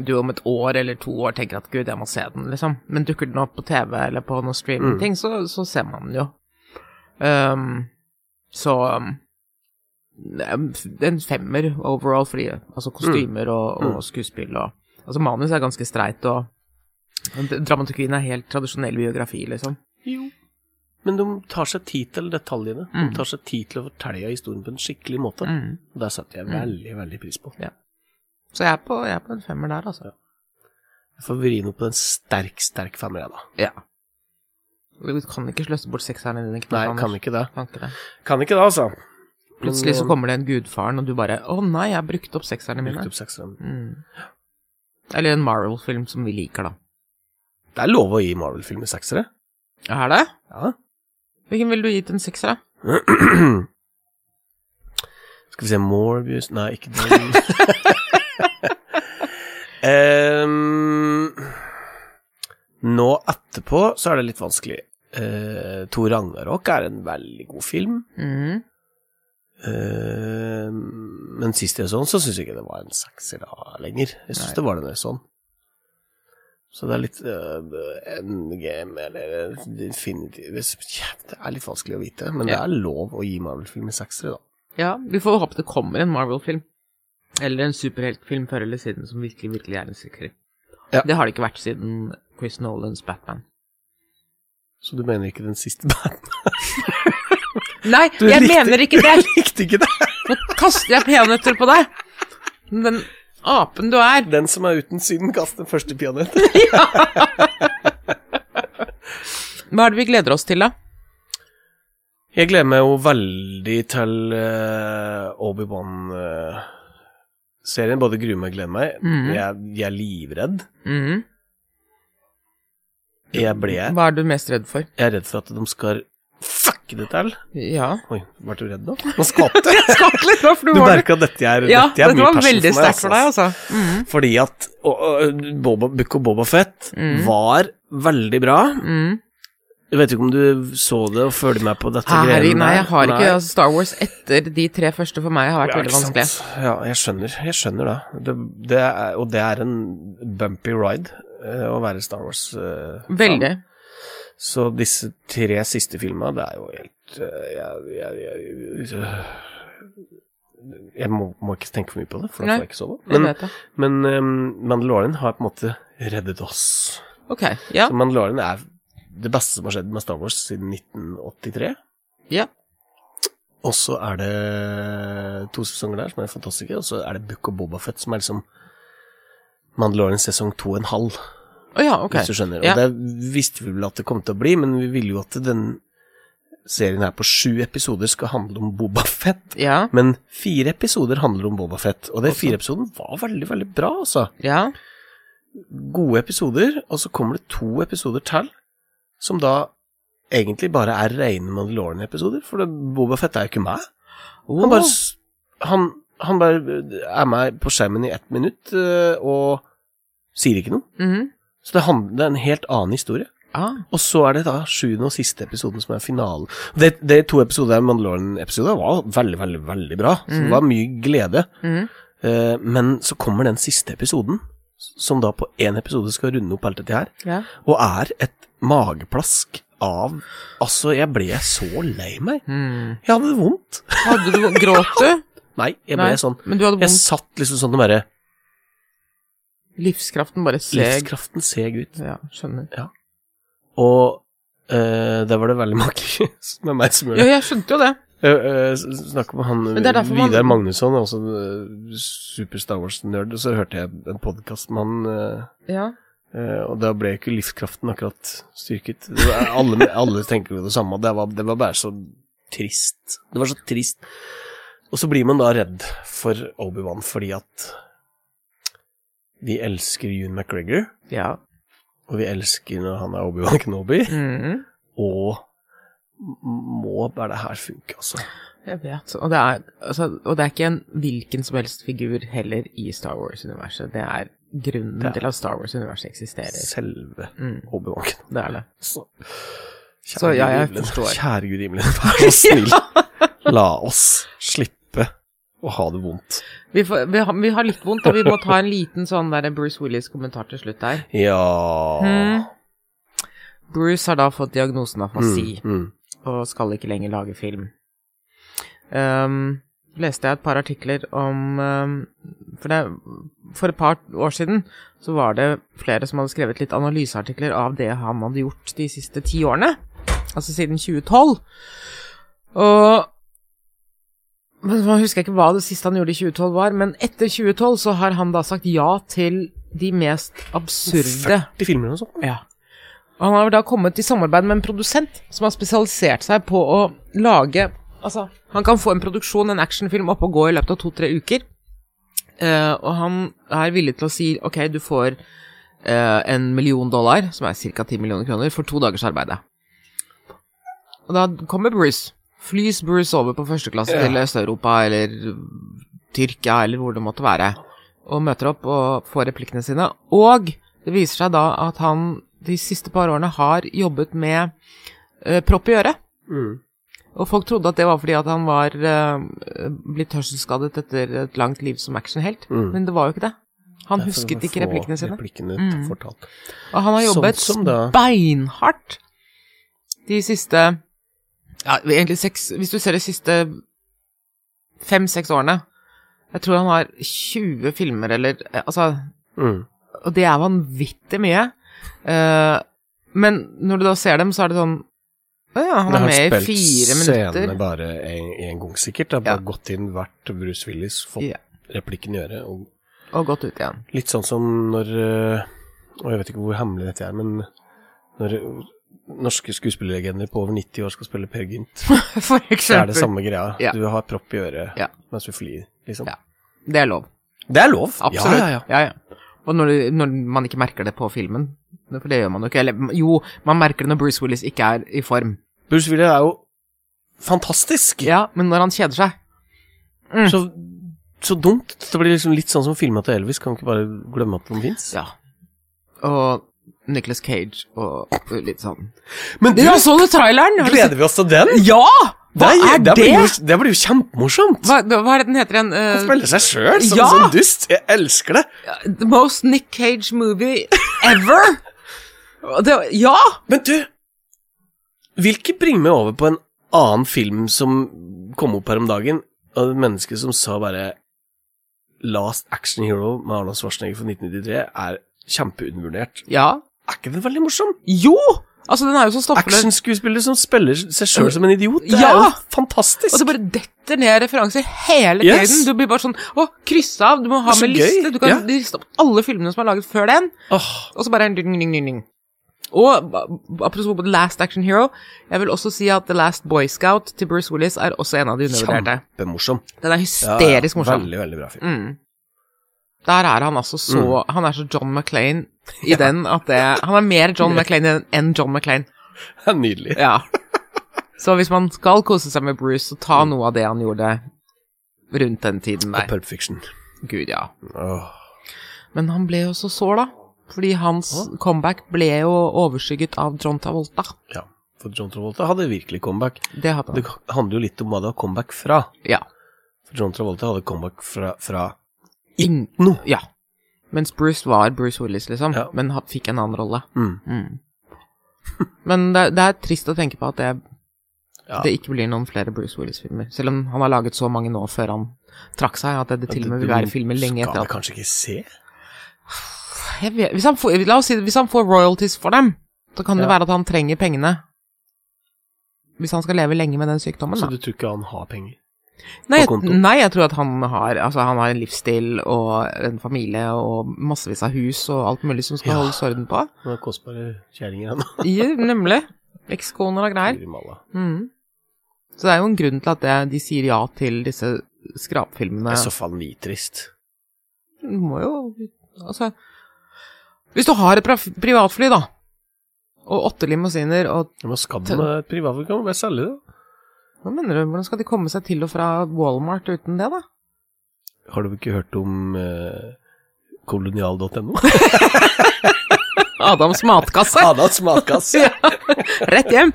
Speaker 5: du om et år eller to år tenker at gud, jeg må se den, liksom. Men dukker den opp på TV eller på noen streamingting, så, så ser man den jo. Ehm, så um, det er en femmer overall, fordi altså kostymer og, og skuespill og Altså, manus er ganske streit, og d- dramaturgien er helt tradisjonell biografi, liksom.
Speaker 4: Jo. Men de tar seg tid til detaljene.
Speaker 5: Mm.
Speaker 4: De tar seg tid til å fortelle historien på en skikkelig måte.
Speaker 5: Mm.
Speaker 4: Og Det setter jeg
Speaker 5: Mm.
Speaker 4: veldig, veldig pris på.
Speaker 5: Så jeg er, på, jeg er på en femmer der, altså.
Speaker 4: Jeg får vri noe på den sterk, sterk femmer, jeg, da.
Speaker 5: Ja. Du kan ikke sløse bort sekserne dine.
Speaker 4: Nei, kan ikke det.
Speaker 5: Kan ikke eh, det.
Speaker 4: Kan ikke det, altså.
Speaker 5: Plutselig så kommer det en gudfaren, og du bare 'Å nei, jeg har brukt opp sekserne
Speaker 4: Brukt
Speaker 5: mine'.
Speaker 4: eh, opp sekseren.
Speaker 5: Mm. Eller en Marvel-film som vi liker, da.
Speaker 4: Det er lov å gi Marvel-filmer seksere.
Speaker 5: Er det?
Speaker 4: Ja.
Speaker 5: Hvilken ville du gitt en sekser, da?
Speaker 4: Skal vi se Morbius Nei, ikke den. Em, nå etterpå så er det litt vanskelig. Uh, Tor Ragnarok er en veldig god film.
Speaker 5: Mm.
Speaker 4: Em, Eh, men sist jeg så den, så syns jeg ikke det var en sekser da lenger. Jeg syns
Speaker 5: Nei.
Speaker 4: det var den der sånn. Så det er litt eh, endgame eller definitiv Det er litt vanskelig å vite, men det
Speaker 5: Ja.
Speaker 4: er lov å gi Marvel-filmer seksere, da.
Speaker 5: Ja, vi får håpe det kommer en Marvel-film. Eller en superheltfilm før eller siden som virkelig, virkelig er en sekser.
Speaker 4: Ja.
Speaker 5: Det har det ikke vært siden Chris Nolans Batman.
Speaker 4: Så du mener ikke den siste banden?
Speaker 5: Nei,
Speaker 4: Du
Speaker 5: jeg
Speaker 4: likte-
Speaker 5: mener ikke det!
Speaker 4: Likte ikke det?
Speaker 5: Nå kaster jeg peanøtter på deg! Den apen du er.
Speaker 4: Den som er uten synd, kast den første peanøtten.
Speaker 5: Hva er det vi gleder oss til, da?
Speaker 4: Jeg gleder meg jo veldig til eh, Obi-Wan-serien. Både gruer meg og gleder meg.
Speaker 5: Mhm.
Speaker 4: Jeg, jeg er livredd.
Speaker 5: Mhm.
Speaker 4: Jeg ble Jeg
Speaker 5: Hva er du mest redd for?
Speaker 4: er redd for at de skal fucke det til.
Speaker 5: Ja.
Speaker 4: Oi, ble du redd nå? Nå skvatt du.
Speaker 5: Skatt litt nå, for
Speaker 4: Du
Speaker 5: du var
Speaker 4: merka at dette er,
Speaker 5: Ja,
Speaker 4: dette er
Speaker 5: dette var
Speaker 4: passion
Speaker 5: veldig
Speaker 4: meg,
Speaker 5: sterkt for deg, altså. Mhm.
Speaker 4: Fordi at og, og, Boba, Book of Boba Fett
Speaker 5: Mhm.
Speaker 4: var veldig bra.
Speaker 5: Mhm.
Speaker 4: Jeg vet ikke om du så det og følger med på dette
Speaker 5: Herre,
Speaker 4: greiene
Speaker 5: nei, jeg har ikke
Speaker 4: Nei.
Speaker 5: altså, Star Wars etter de tre første for meg har vært
Speaker 4: Ja,
Speaker 5: veldig
Speaker 4: ikke
Speaker 5: vanskelig.
Speaker 4: sant. Ja, jeg skjønner. Jeg skjønner det. det, det er, og det er en bumpy ride eh, å være Star Wars. eh, fan.
Speaker 5: Veldig.
Speaker 4: Så disse tre siste filmene, det er jo helt eh, jeg, jeg, jeg, jeg, jeg må, må ikke tenke for mye på det, for da
Speaker 5: Nei,
Speaker 4: får jeg ikke sove.
Speaker 5: Jeg
Speaker 4: Men,
Speaker 5: vet det.
Speaker 4: men eh, Mandalorian har på en måte reddet oss.
Speaker 5: Ok, ja.
Speaker 4: Så Mandalorian er det beste som har skjedd med Star Wars siden 1983.
Speaker 5: ja.
Speaker 4: Og så er det to sesonger der som er fantastiske, og så er det Book of Bobafett som er liksom Mandalorian sesong to og en halv,
Speaker 5: Å ja, ok.
Speaker 4: hvis du skjønner. Og
Speaker 5: Ja.
Speaker 4: det visste vi vel at det kom til å bli, men vi ville jo at den serien her på sju episoder skal handle om Bobafett.
Speaker 5: Ja,
Speaker 4: Men fire episoder handler om Bobafett, og det
Speaker 5: Også.
Speaker 4: fire episoden var veldig, veldig bra, altså.
Speaker 5: ja.
Speaker 4: Gode episoder, og så kommer det to episoder til, som da egentlig bare er rene Mandalorian-episoder, for Bobafett er jo ikke meg.
Speaker 5: Åh,
Speaker 4: Han bare, s- han, han bare eh, er med på skjermen i ett minutt eh, og sier ikke noe.
Speaker 5: mhm.
Speaker 4: Så det, handler, det er en helt annen historie.
Speaker 5: ah,
Speaker 4: Og så er det da sjuende og siste episoden som er finalen. De, de to episodene av Mandalorian-episoden var veldig, veldig, veldig bra. Så
Speaker 5: Mhm.
Speaker 4: det var mye glede.
Speaker 5: mhm.
Speaker 4: Eh, men så kommer den siste episoden, som da på én episode skal runde opp alt dette her,
Speaker 5: ja.
Speaker 4: og er et mageplask av Altså, jeg ble så lei meg.
Speaker 5: Mhm.
Speaker 4: Jeg hadde det vondt.
Speaker 5: Hadde du Gråt du?
Speaker 4: Nei, jeg ble
Speaker 5: Nei,
Speaker 4: sånn
Speaker 5: Men du hadde
Speaker 4: Jeg
Speaker 5: vondt.
Speaker 4: satt liksom sånn og bare
Speaker 5: Livskraften bare seg.
Speaker 4: Livskraften seg ut.
Speaker 5: Ja, skjønner.
Speaker 4: Og eh, det var det veldig mange med meg som
Speaker 5: Ja,
Speaker 4: gjorde.
Speaker 5: jeg skjønte jo det.
Speaker 4: Uh, Snakka med han
Speaker 5: Men det er derfor man-
Speaker 4: Vidar Magnusson, også eh, super Star Wars-nerd, og så hørte jeg en podkast med han,
Speaker 5: Ja.
Speaker 4: eh, eh, og da ble ikke livskraften akkurat styrket. Det var, alle, alle tenker jo det samme, det var, det var bare så trist. Det var så trist. Og så blir man da redd for Obi-Wan fordi at vi elsker Ewan McGregor.
Speaker 5: Ja.
Speaker 4: Og vi elsker når han er Obi-Wan Kenobi.
Speaker 5: Mhm.
Speaker 4: Og m- må bare det her funke, altså.
Speaker 5: Jeg vet. Og det, er, altså, og det er ikke en hvilken som helst figur heller i Star Wars-universet. Det er grunnen
Speaker 4: Det er-
Speaker 5: til at Star Wars-universet eksisterer.
Speaker 4: Selve
Speaker 5: Mm,
Speaker 4: Obi-Wan Kenobi.
Speaker 5: det er det.
Speaker 4: Så, kjære
Speaker 5: Så ja,
Speaker 4: Gud
Speaker 5: jeg
Speaker 4: himlen,
Speaker 5: forstår.
Speaker 4: Kjære Gud i himmelen, vær så snill, la oss slippe å ha det vondt.
Speaker 5: Vi, får, vi, har, vi har litt vondt, og vi må ta en liten sånn der Bruce Willis-kommentar til slutt der.
Speaker 4: Ja
Speaker 5: Mm. Bruce har da fått diagnosen
Speaker 4: Mm,
Speaker 5: afasi,
Speaker 4: mm.
Speaker 5: og skal ikke lenger lage film. Ehm, leste jeg et par artikler om ehm, for, det, for et par år siden så var det flere som hadde skrevet litt analyseartikler av det han hadde gjort de siste ti årene. Altså siden 2012. Og men Jeg husker ikke hva det siste han gjorde i 2012 var, men etter 2012 så har han da sagt ja til de mest absurde
Speaker 4: 40 filmer og sånn.
Speaker 5: ja. Og han har vel da kommet i samarbeid med en produsent som har spesialisert seg på å lage Altså, han kan få en produksjon, en actionfilm, opp og gå i løpet av to-tre uker. Eh, og han er villig til å si ok, du får eh, en million dollar, som er ca. ti millioner kroner, for to dagers arbeid. Og da kommer Bruce. Flys Bruce over på førsteklasse til Øst-Europa eller Tyrkia eller hvor det måtte være, og møter opp og får replikkene sine. Og det viser seg da at han de siste par årene har jobbet med eh, propp i øret. Og folk trodde at det var fordi at han var eh, blitt hørselsskadet etter et langt liv som actionhelt,
Speaker 4: Mm.
Speaker 5: men det var jo ikke det.
Speaker 4: Derfor
Speaker 5: Han
Speaker 4: må
Speaker 5: husket
Speaker 4: vi
Speaker 5: ikke
Speaker 4: Mm. få
Speaker 5: replikkene sine.
Speaker 4: Replikkene
Speaker 5: Mm.
Speaker 4: fortalt.
Speaker 5: Og han har jobbet
Speaker 4: Sånn som da-
Speaker 5: beinhardt de siste Ja, egentlig seks Hvis du ser de siste fem-seks årene Jeg tror han har 20 filmer, eller eh, Altså
Speaker 4: Mm.
Speaker 5: og det er vanvittig mye. Eh, men når du da ser dem, så er det sånn Å ja, han
Speaker 4: Da har
Speaker 5: er med i
Speaker 4: spilt
Speaker 5: fire
Speaker 4: scenene
Speaker 5: minutter.
Speaker 4: bare en, en gang, sikkert. Det har bare
Speaker 5: Ja.
Speaker 4: gått inn, vært Bruce Willis, fått
Speaker 5: Ja.
Speaker 4: replikken i øret. Og
Speaker 5: Og gått ut igjen.
Speaker 4: litt sånn som når eh, Og jeg vet ikke hvor hemmelig dette er, men når eh, norske skuespillerlegender på over 90 år skal spille Per Gynt,
Speaker 5: For
Speaker 4: så er det
Speaker 5: eksempel.
Speaker 4: samme greia.
Speaker 5: Ja.
Speaker 4: Du har propp i øret
Speaker 5: Ja.
Speaker 4: mens du flyr, liksom.
Speaker 5: Ja. Det er lov.
Speaker 4: Det er lov!
Speaker 5: Absolutt.
Speaker 4: Ja, ja, ja.
Speaker 5: Og når, du- når man ikke merker det på filmen. For det gjør man jo ikke. Eller jo, man merker det når Bruce Willis ikke er i form.
Speaker 4: Bruce Willis er jo fantastisk!
Speaker 5: Ja, men når han kjeder seg
Speaker 4: Så, så dumt. Det blir liksom litt sånn som filma til Elvis, kan vi ikke bare glemme at den fins?
Speaker 5: Ja. Og Nicholas Cage og litt sånn
Speaker 4: Men du,
Speaker 5: Ja, så du traileren? Har du sett-
Speaker 4: gleder vi oss til den?
Speaker 5: liksom- Ja! Hva
Speaker 4: Nei,
Speaker 5: er
Speaker 4: det? Blir jo,
Speaker 5: det?
Speaker 4: det blir jo kjempemorsomt.
Speaker 5: Hva, hva er det den heter igjen? Eh,
Speaker 4: Han spiller seg sjøl som
Speaker 5: Ja!
Speaker 4: en sånn dust. Jeg elsker det.
Speaker 5: The most Nick Cage movie ever! Og det, ja!
Speaker 4: Men du, vil ikke bringe meg over på en annen film som kom opp her om dagen, av et menneske som sa bare Last Action Hero med Arnold Schwarzenegger fra 1993 er kjempeunvurdert.
Speaker 5: Ja.
Speaker 4: Er ikke den veldig morsom?
Speaker 5: Jo! Altså, den er jo så stoppeløs.
Speaker 4: Actionskuespiller som spiller seg sjøl som en idiot. Det er
Speaker 5: Ja!
Speaker 4: jo fantastisk.
Speaker 5: Og det bare detter ned referanser hele
Speaker 4: Yes.
Speaker 5: tiden. Du blir bare sånn Å, kryss av! Du må ha
Speaker 4: Det er så
Speaker 5: med
Speaker 4: gøy.
Speaker 5: liste. Du kan
Speaker 4: Ja.
Speaker 5: liste opp alle filmene som er laget før den,
Speaker 4: Åh,
Speaker 5: og så bare ding, ding, ding, ding. Og ba- apropos på The Last Action Hero, jeg vil også si at The Last Boy Scout til Bruce Willis er også en av de undervurderte.
Speaker 4: kjempemorsom.
Speaker 5: Den
Speaker 4: Ja, ja.
Speaker 5: er hysterisk morsom.
Speaker 4: Veldig, veldig bra film.
Speaker 5: Mm. Der er han altså så
Speaker 4: Mm.
Speaker 5: Han er så John McClain i den at det Han er mer John McClain enn- enn John McClain.
Speaker 4: Det er nydelig.
Speaker 5: Ja. Så hvis man skal kose seg med Bruce, så ta noe av det han gjorde rundt den tiden
Speaker 4: Og
Speaker 5: der.
Speaker 4: Pulp Fiction.
Speaker 5: Gud, ja.
Speaker 4: Åh.
Speaker 5: Men han ble jo så sår, da. Fordi hans comeback ble jo overskygget av John Travolta.
Speaker 4: Ja, for John Travolta hadde virkelig comeback.
Speaker 5: Det hadde
Speaker 4: Det
Speaker 5: han.
Speaker 4: handler jo litt om hva det har comeback fra.
Speaker 5: Ja.
Speaker 4: For John Travolta hadde comeback fra, fra
Speaker 5: Ing-
Speaker 4: noe.
Speaker 5: ja. Mens Bruce var Bruce Willis, liksom.
Speaker 4: Ja.
Speaker 5: Men han fikk en annen rolle.
Speaker 4: Mm.
Speaker 5: Mm. Men det, det er trist å tenke på at det
Speaker 4: Ja.
Speaker 5: det ikke blir noen flere Bruce Willis-filmer. Selv om han har laget så mange nå før han trakk seg, at det, det til og med vil være filmer lenge
Speaker 4: Skal vi
Speaker 5: etter at
Speaker 4: kanskje ikke se?
Speaker 5: jeg vet, hvis han får, La oss si det, hvis han får royalties for dem, så kan det
Speaker 4: Ja.
Speaker 5: være at han trenger pengene. Hvis han skal leve lenge med den sykdommen,
Speaker 4: Så
Speaker 5: da.
Speaker 4: du tror ikke han har penger?
Speaker 5: Nei,
Speaker 4: på konto?
Speaker 5: jeg, nei, jeg tror at han har Altså, han har en livsstil og en familie og massevis av hus og alt mulig som skal
Speaker 4: Ja.
Speaker 5: holdes orden på.
Speaker 4: Han har kostbare kjerringer, han.
Speaker 5: I, nemlig. Ekskoner og greier.
Speaker 4: Guri malla.
Speaker 5: Mhm. Så det er jo en grunn til at det, de sier ja til disse skrapfilmene.
Speaker 4: Det er så faen nitrist.
Speaker 5: Du må jo Altså Hvis du har et pra- privatfly, da, og åtte limousiner og
Speaker 4: De har skadd med privatfly, kan man bare selge det.
Speaker 5: Hva mener du, hvordan skal de komme seg til og fra Walmart uten det, da?
Speaker 4: Har du ikke hørt om eh, kolonial.no?
Speaker 5: Adams matkasse!
Speaker 4: Adas matkasse.
Speaker 5: Rett hjem!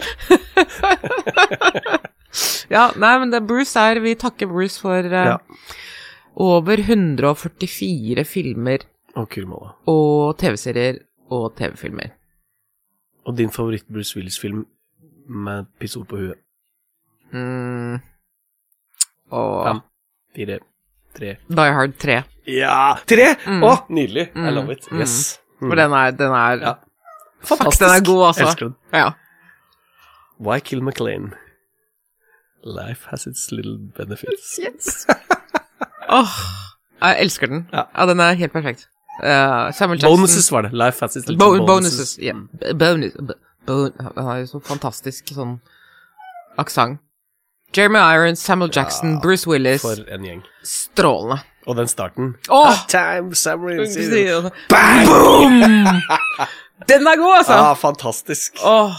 Speaker 5: ja, nei, men det er Bruce er Vi takker Bruce for eh,
Speaker 4: Ja.
Speaker 5: over 144 filmer
Speaker 4: Å, Guri malla.
Speaker 5: og TV-serier og TV-filmer.
Speaker 4: Og din favoritt Bruce Willis-film med pissord på huet.
Speaker 5: Mm. Og
Speaker 4: Fem, fire, tre
Speaker 5: Die Hard 3.
Speaker 4: Ja! Tre!
Speaker 5: Mm.
Speaker 4: Å, nydelig! I
Speaker 5: Mm.
Speaker 4: love it.
Speaker 5: Mm.
Speaker 4: Yes.
Speaker 5: For den er, den er
Speaker 4: Ja.
Speaker 5: Fuck, den er god, altså.
Speaker 4: Elsker den.
Speaker 5: Ja.
Speaker 4: Why kill McLean? Life has its little benefits.
Speaker 5: Yes. Åh, jeg elsker den.
Speaker 4: Ja.
Speaker 5: Ja, den er helt perfekt. Eh, Samuel Jackson.
Speaker 4: Bonuses var det. Life has its little
Speaker 5: Bo bonuses.
Speaker 4: bonuses.
Speaker 5: ja.
Speaker 4: Mm.
Speaker 5: B- Bonus. b- Bon han har jo så fantastisk sånn aksent. Jeremy Irons, Samuel Jackson, Bruce Willis.
Speaker 4: For en gjeng.
Speaker 5: Strålende. Ah,
Speaker 4: Og den starten Ah,
Speaker 5: Åh!
Speaker 4: Time, Samurai Zero.
Speaker 5: Bang! Boom! Den er god, altså!
Speaker 4: Ah, fantastisk.
Speaker 5: Åh,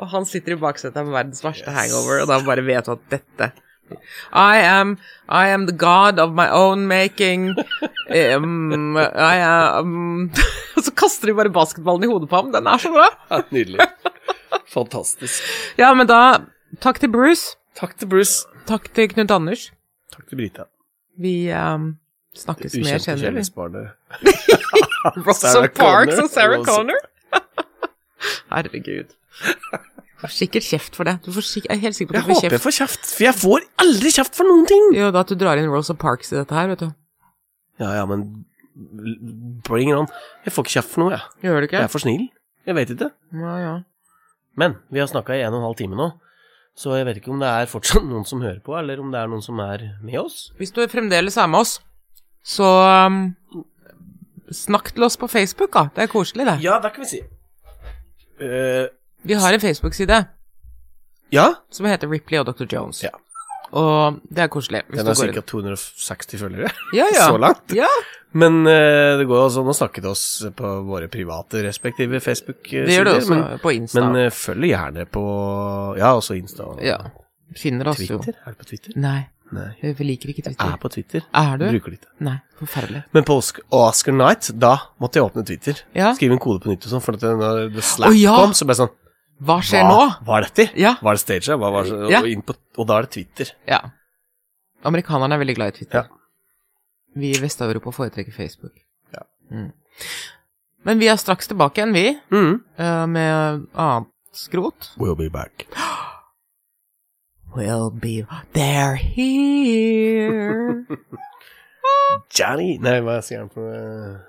Speaker 5: og han sitter i baksetet med verdens verste
Speaker 4: Yes.
Speaker 5: hangover, og da bare vet du at dette I am, I am the god of my own making. Um, I am Og så kaster de bare basketballen i hodet på ham. Den er så bra.
Speaker 4: Ja, nydelig. Fantastisk.
Speaker 5: Ja, men da Takk til Bruce.
Speaker 4: Takk til Bruce.
Speaker 5: Takk til Knut Anders.
Speaker 4: Takk til Brita.
Speaker 5: Vi um, snakkes mer
Speaker 4: Ukjente
Speaker 5: senere. vi.
Speaker 4: kjendisbarnet. Sarah
Speaker 5: Russell Parks
Speaker 4: Connor.
Speaker 5: og Sarah
Speaker 4: Rosa-
Speaker 5: Connor. Herregud. Du får sikkert kjeft for det. Du får sikk- jeg er helt sikker på
Speaker 4: Jeg
Speaker 5: at du får
Speaker 4: håper
Speaker 5: kjeft.
Speaker 4: jeg får kjeft, for jeg får aldri kjeft for noen ting.
Speaker 5: Jo, da at du drar inn Rosa Parks i dette her, vet du.
Speaker 4: Ja, ja, men bring it on. Jeg får ikke kjeft for noe, jeg.
Speaker 5: Gjør du ikke?
Speaker 4: Jeg er for snill. Jeg vet ikke.
Speaker 5: Ja, ja.
Speaker 4: Men vi har snakka i en og en halv time nå, så jeg vet ikke om det er fortsatt noen som hører på, eller om det er noen som er med oss.
Speaker 5: Hvis du fremdeles er med oss, så um, snakk til oss på Facebook, da. Det er koselig, det.
Speaker 4: Ja, der kan vi si. Eh,
Speaker 5: Vi har en Facebook-side
Speaker 4: ja.
Speaker 5: som heter Ripley og Dr. Jones.
Speaker 4: Ja.
Speaker 5: Og det er koselig. Hvis
Speaker 4: Den har
Speaker 5: du går
Speaker 4: ca. 260 følgere
Speaker 5: inn. ja, ja.
Speaker 4: så langt.
Speaker 5: Ja,
Speaker 4: Men eh, det går jo også an å snakke til oss på våre private respektive Facebook-sider.
Speaker 5: det gjør du også
Speaker 4: men-
Speaker 5: på Insta.
Speaker 4: Men eh, følg gjerne på Ja, også Insta og
Speaker 5: ja. Finner oss
Speaker 4: Twitter.
Speaker 5: jo.
Speaker 4: Er du på Twitter?
Speaker 5: Nei,
Speaker 4: Nei.
Speaker 5: vi liker ikke
Speaker 4: Jeg er
Speaker 5: Twitter.
Speaker 4: på Twitter.
Speaker 5: Er du?
Speaker 4: Bruker det ikke.
Speaker 5: Nei, forferdelig.
Speaker 4: Men på Oscar, Oscar Night, da måtte jeg åpne Twitter.
Speaker 5: Ja.
Speaker 4: Skrive en kode på nytt og sånn, for at når The Slack
Speaker 5: Å, ja!
Speaker 4: kom, så ble jeg sånn
Speaker 5: Hva skjer
Speaker 4: Hva
Speaker 5: nå?
Speaker 4: var dette?
Speaker 5: Ja.
Speaker 4: Var det staged? Hva var det?
Speaker 5: Ja.
Speaker 4: Og, inn på, og da er det Twitter.
Speaker 5: Ja. Amerikanerne er veldig glad i Twitter.
Speaker 4: Ja.
Speaker 5: Vi i Vest-Europa foretrekker Facebook.
Speaker 4: Ja.
Speaker 5: Mm. Men vi er straks tilbake igjen, vi,
Speaker 4: Mm.
Speaker 5: eh, med annet skrot.
Speaker 4: We'll be back.
Speaker 5: We'll be They're here.
Speaker 4: Johnny Nei, hva sier han på eh,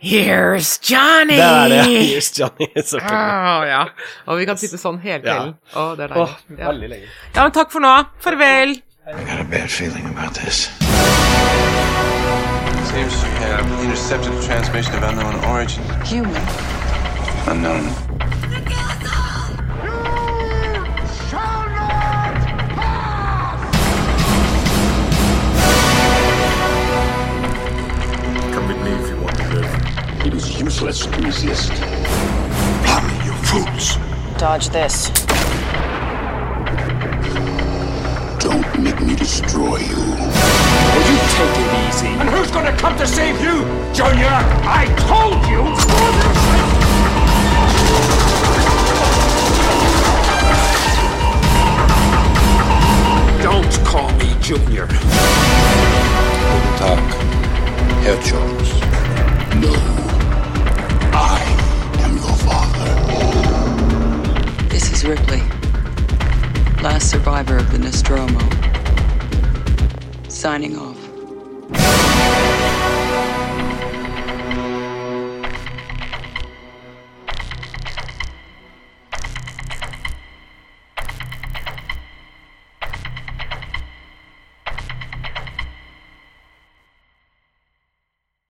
Speaker 5: Here's Johnny!
Speaker 4: Der er det! Here's Johnny. Så
Speaker 5: Ah.
Speaker 4: kommer
Speaker 5: Åh, ja. Og vi kan sitte sånn
Speaker 4: Ja.
Speaker 5: hele kvelden. Åh, det er
Speaker 4: Åh,
Speaker 5: deilig. Ja.
Speaker 4: veldig lenge.
Speaker 5: ja, men takk for nå. Farvel.
Speaker 2: got a bad feeling about this.
Speaker 1: Seems to have intercepted a transmission of unknown origin.
Speaker 3: human.
Speaker 1: Unknown.
Speaker 2: Come with me if you want to live. It is useless to resist. Bloody you fools.
Speaker 3: Dodge this.
Speaker 2: Don't make me destroy you.
Speaker 7: And who's gonna come to save you, Junior? I told you! Don't call me Junior.
Speaker 2: Tag, Herr Jones. No. I am your father.
Speaker 8: This is Ripley, last survivor of the Nostromo. Signing off.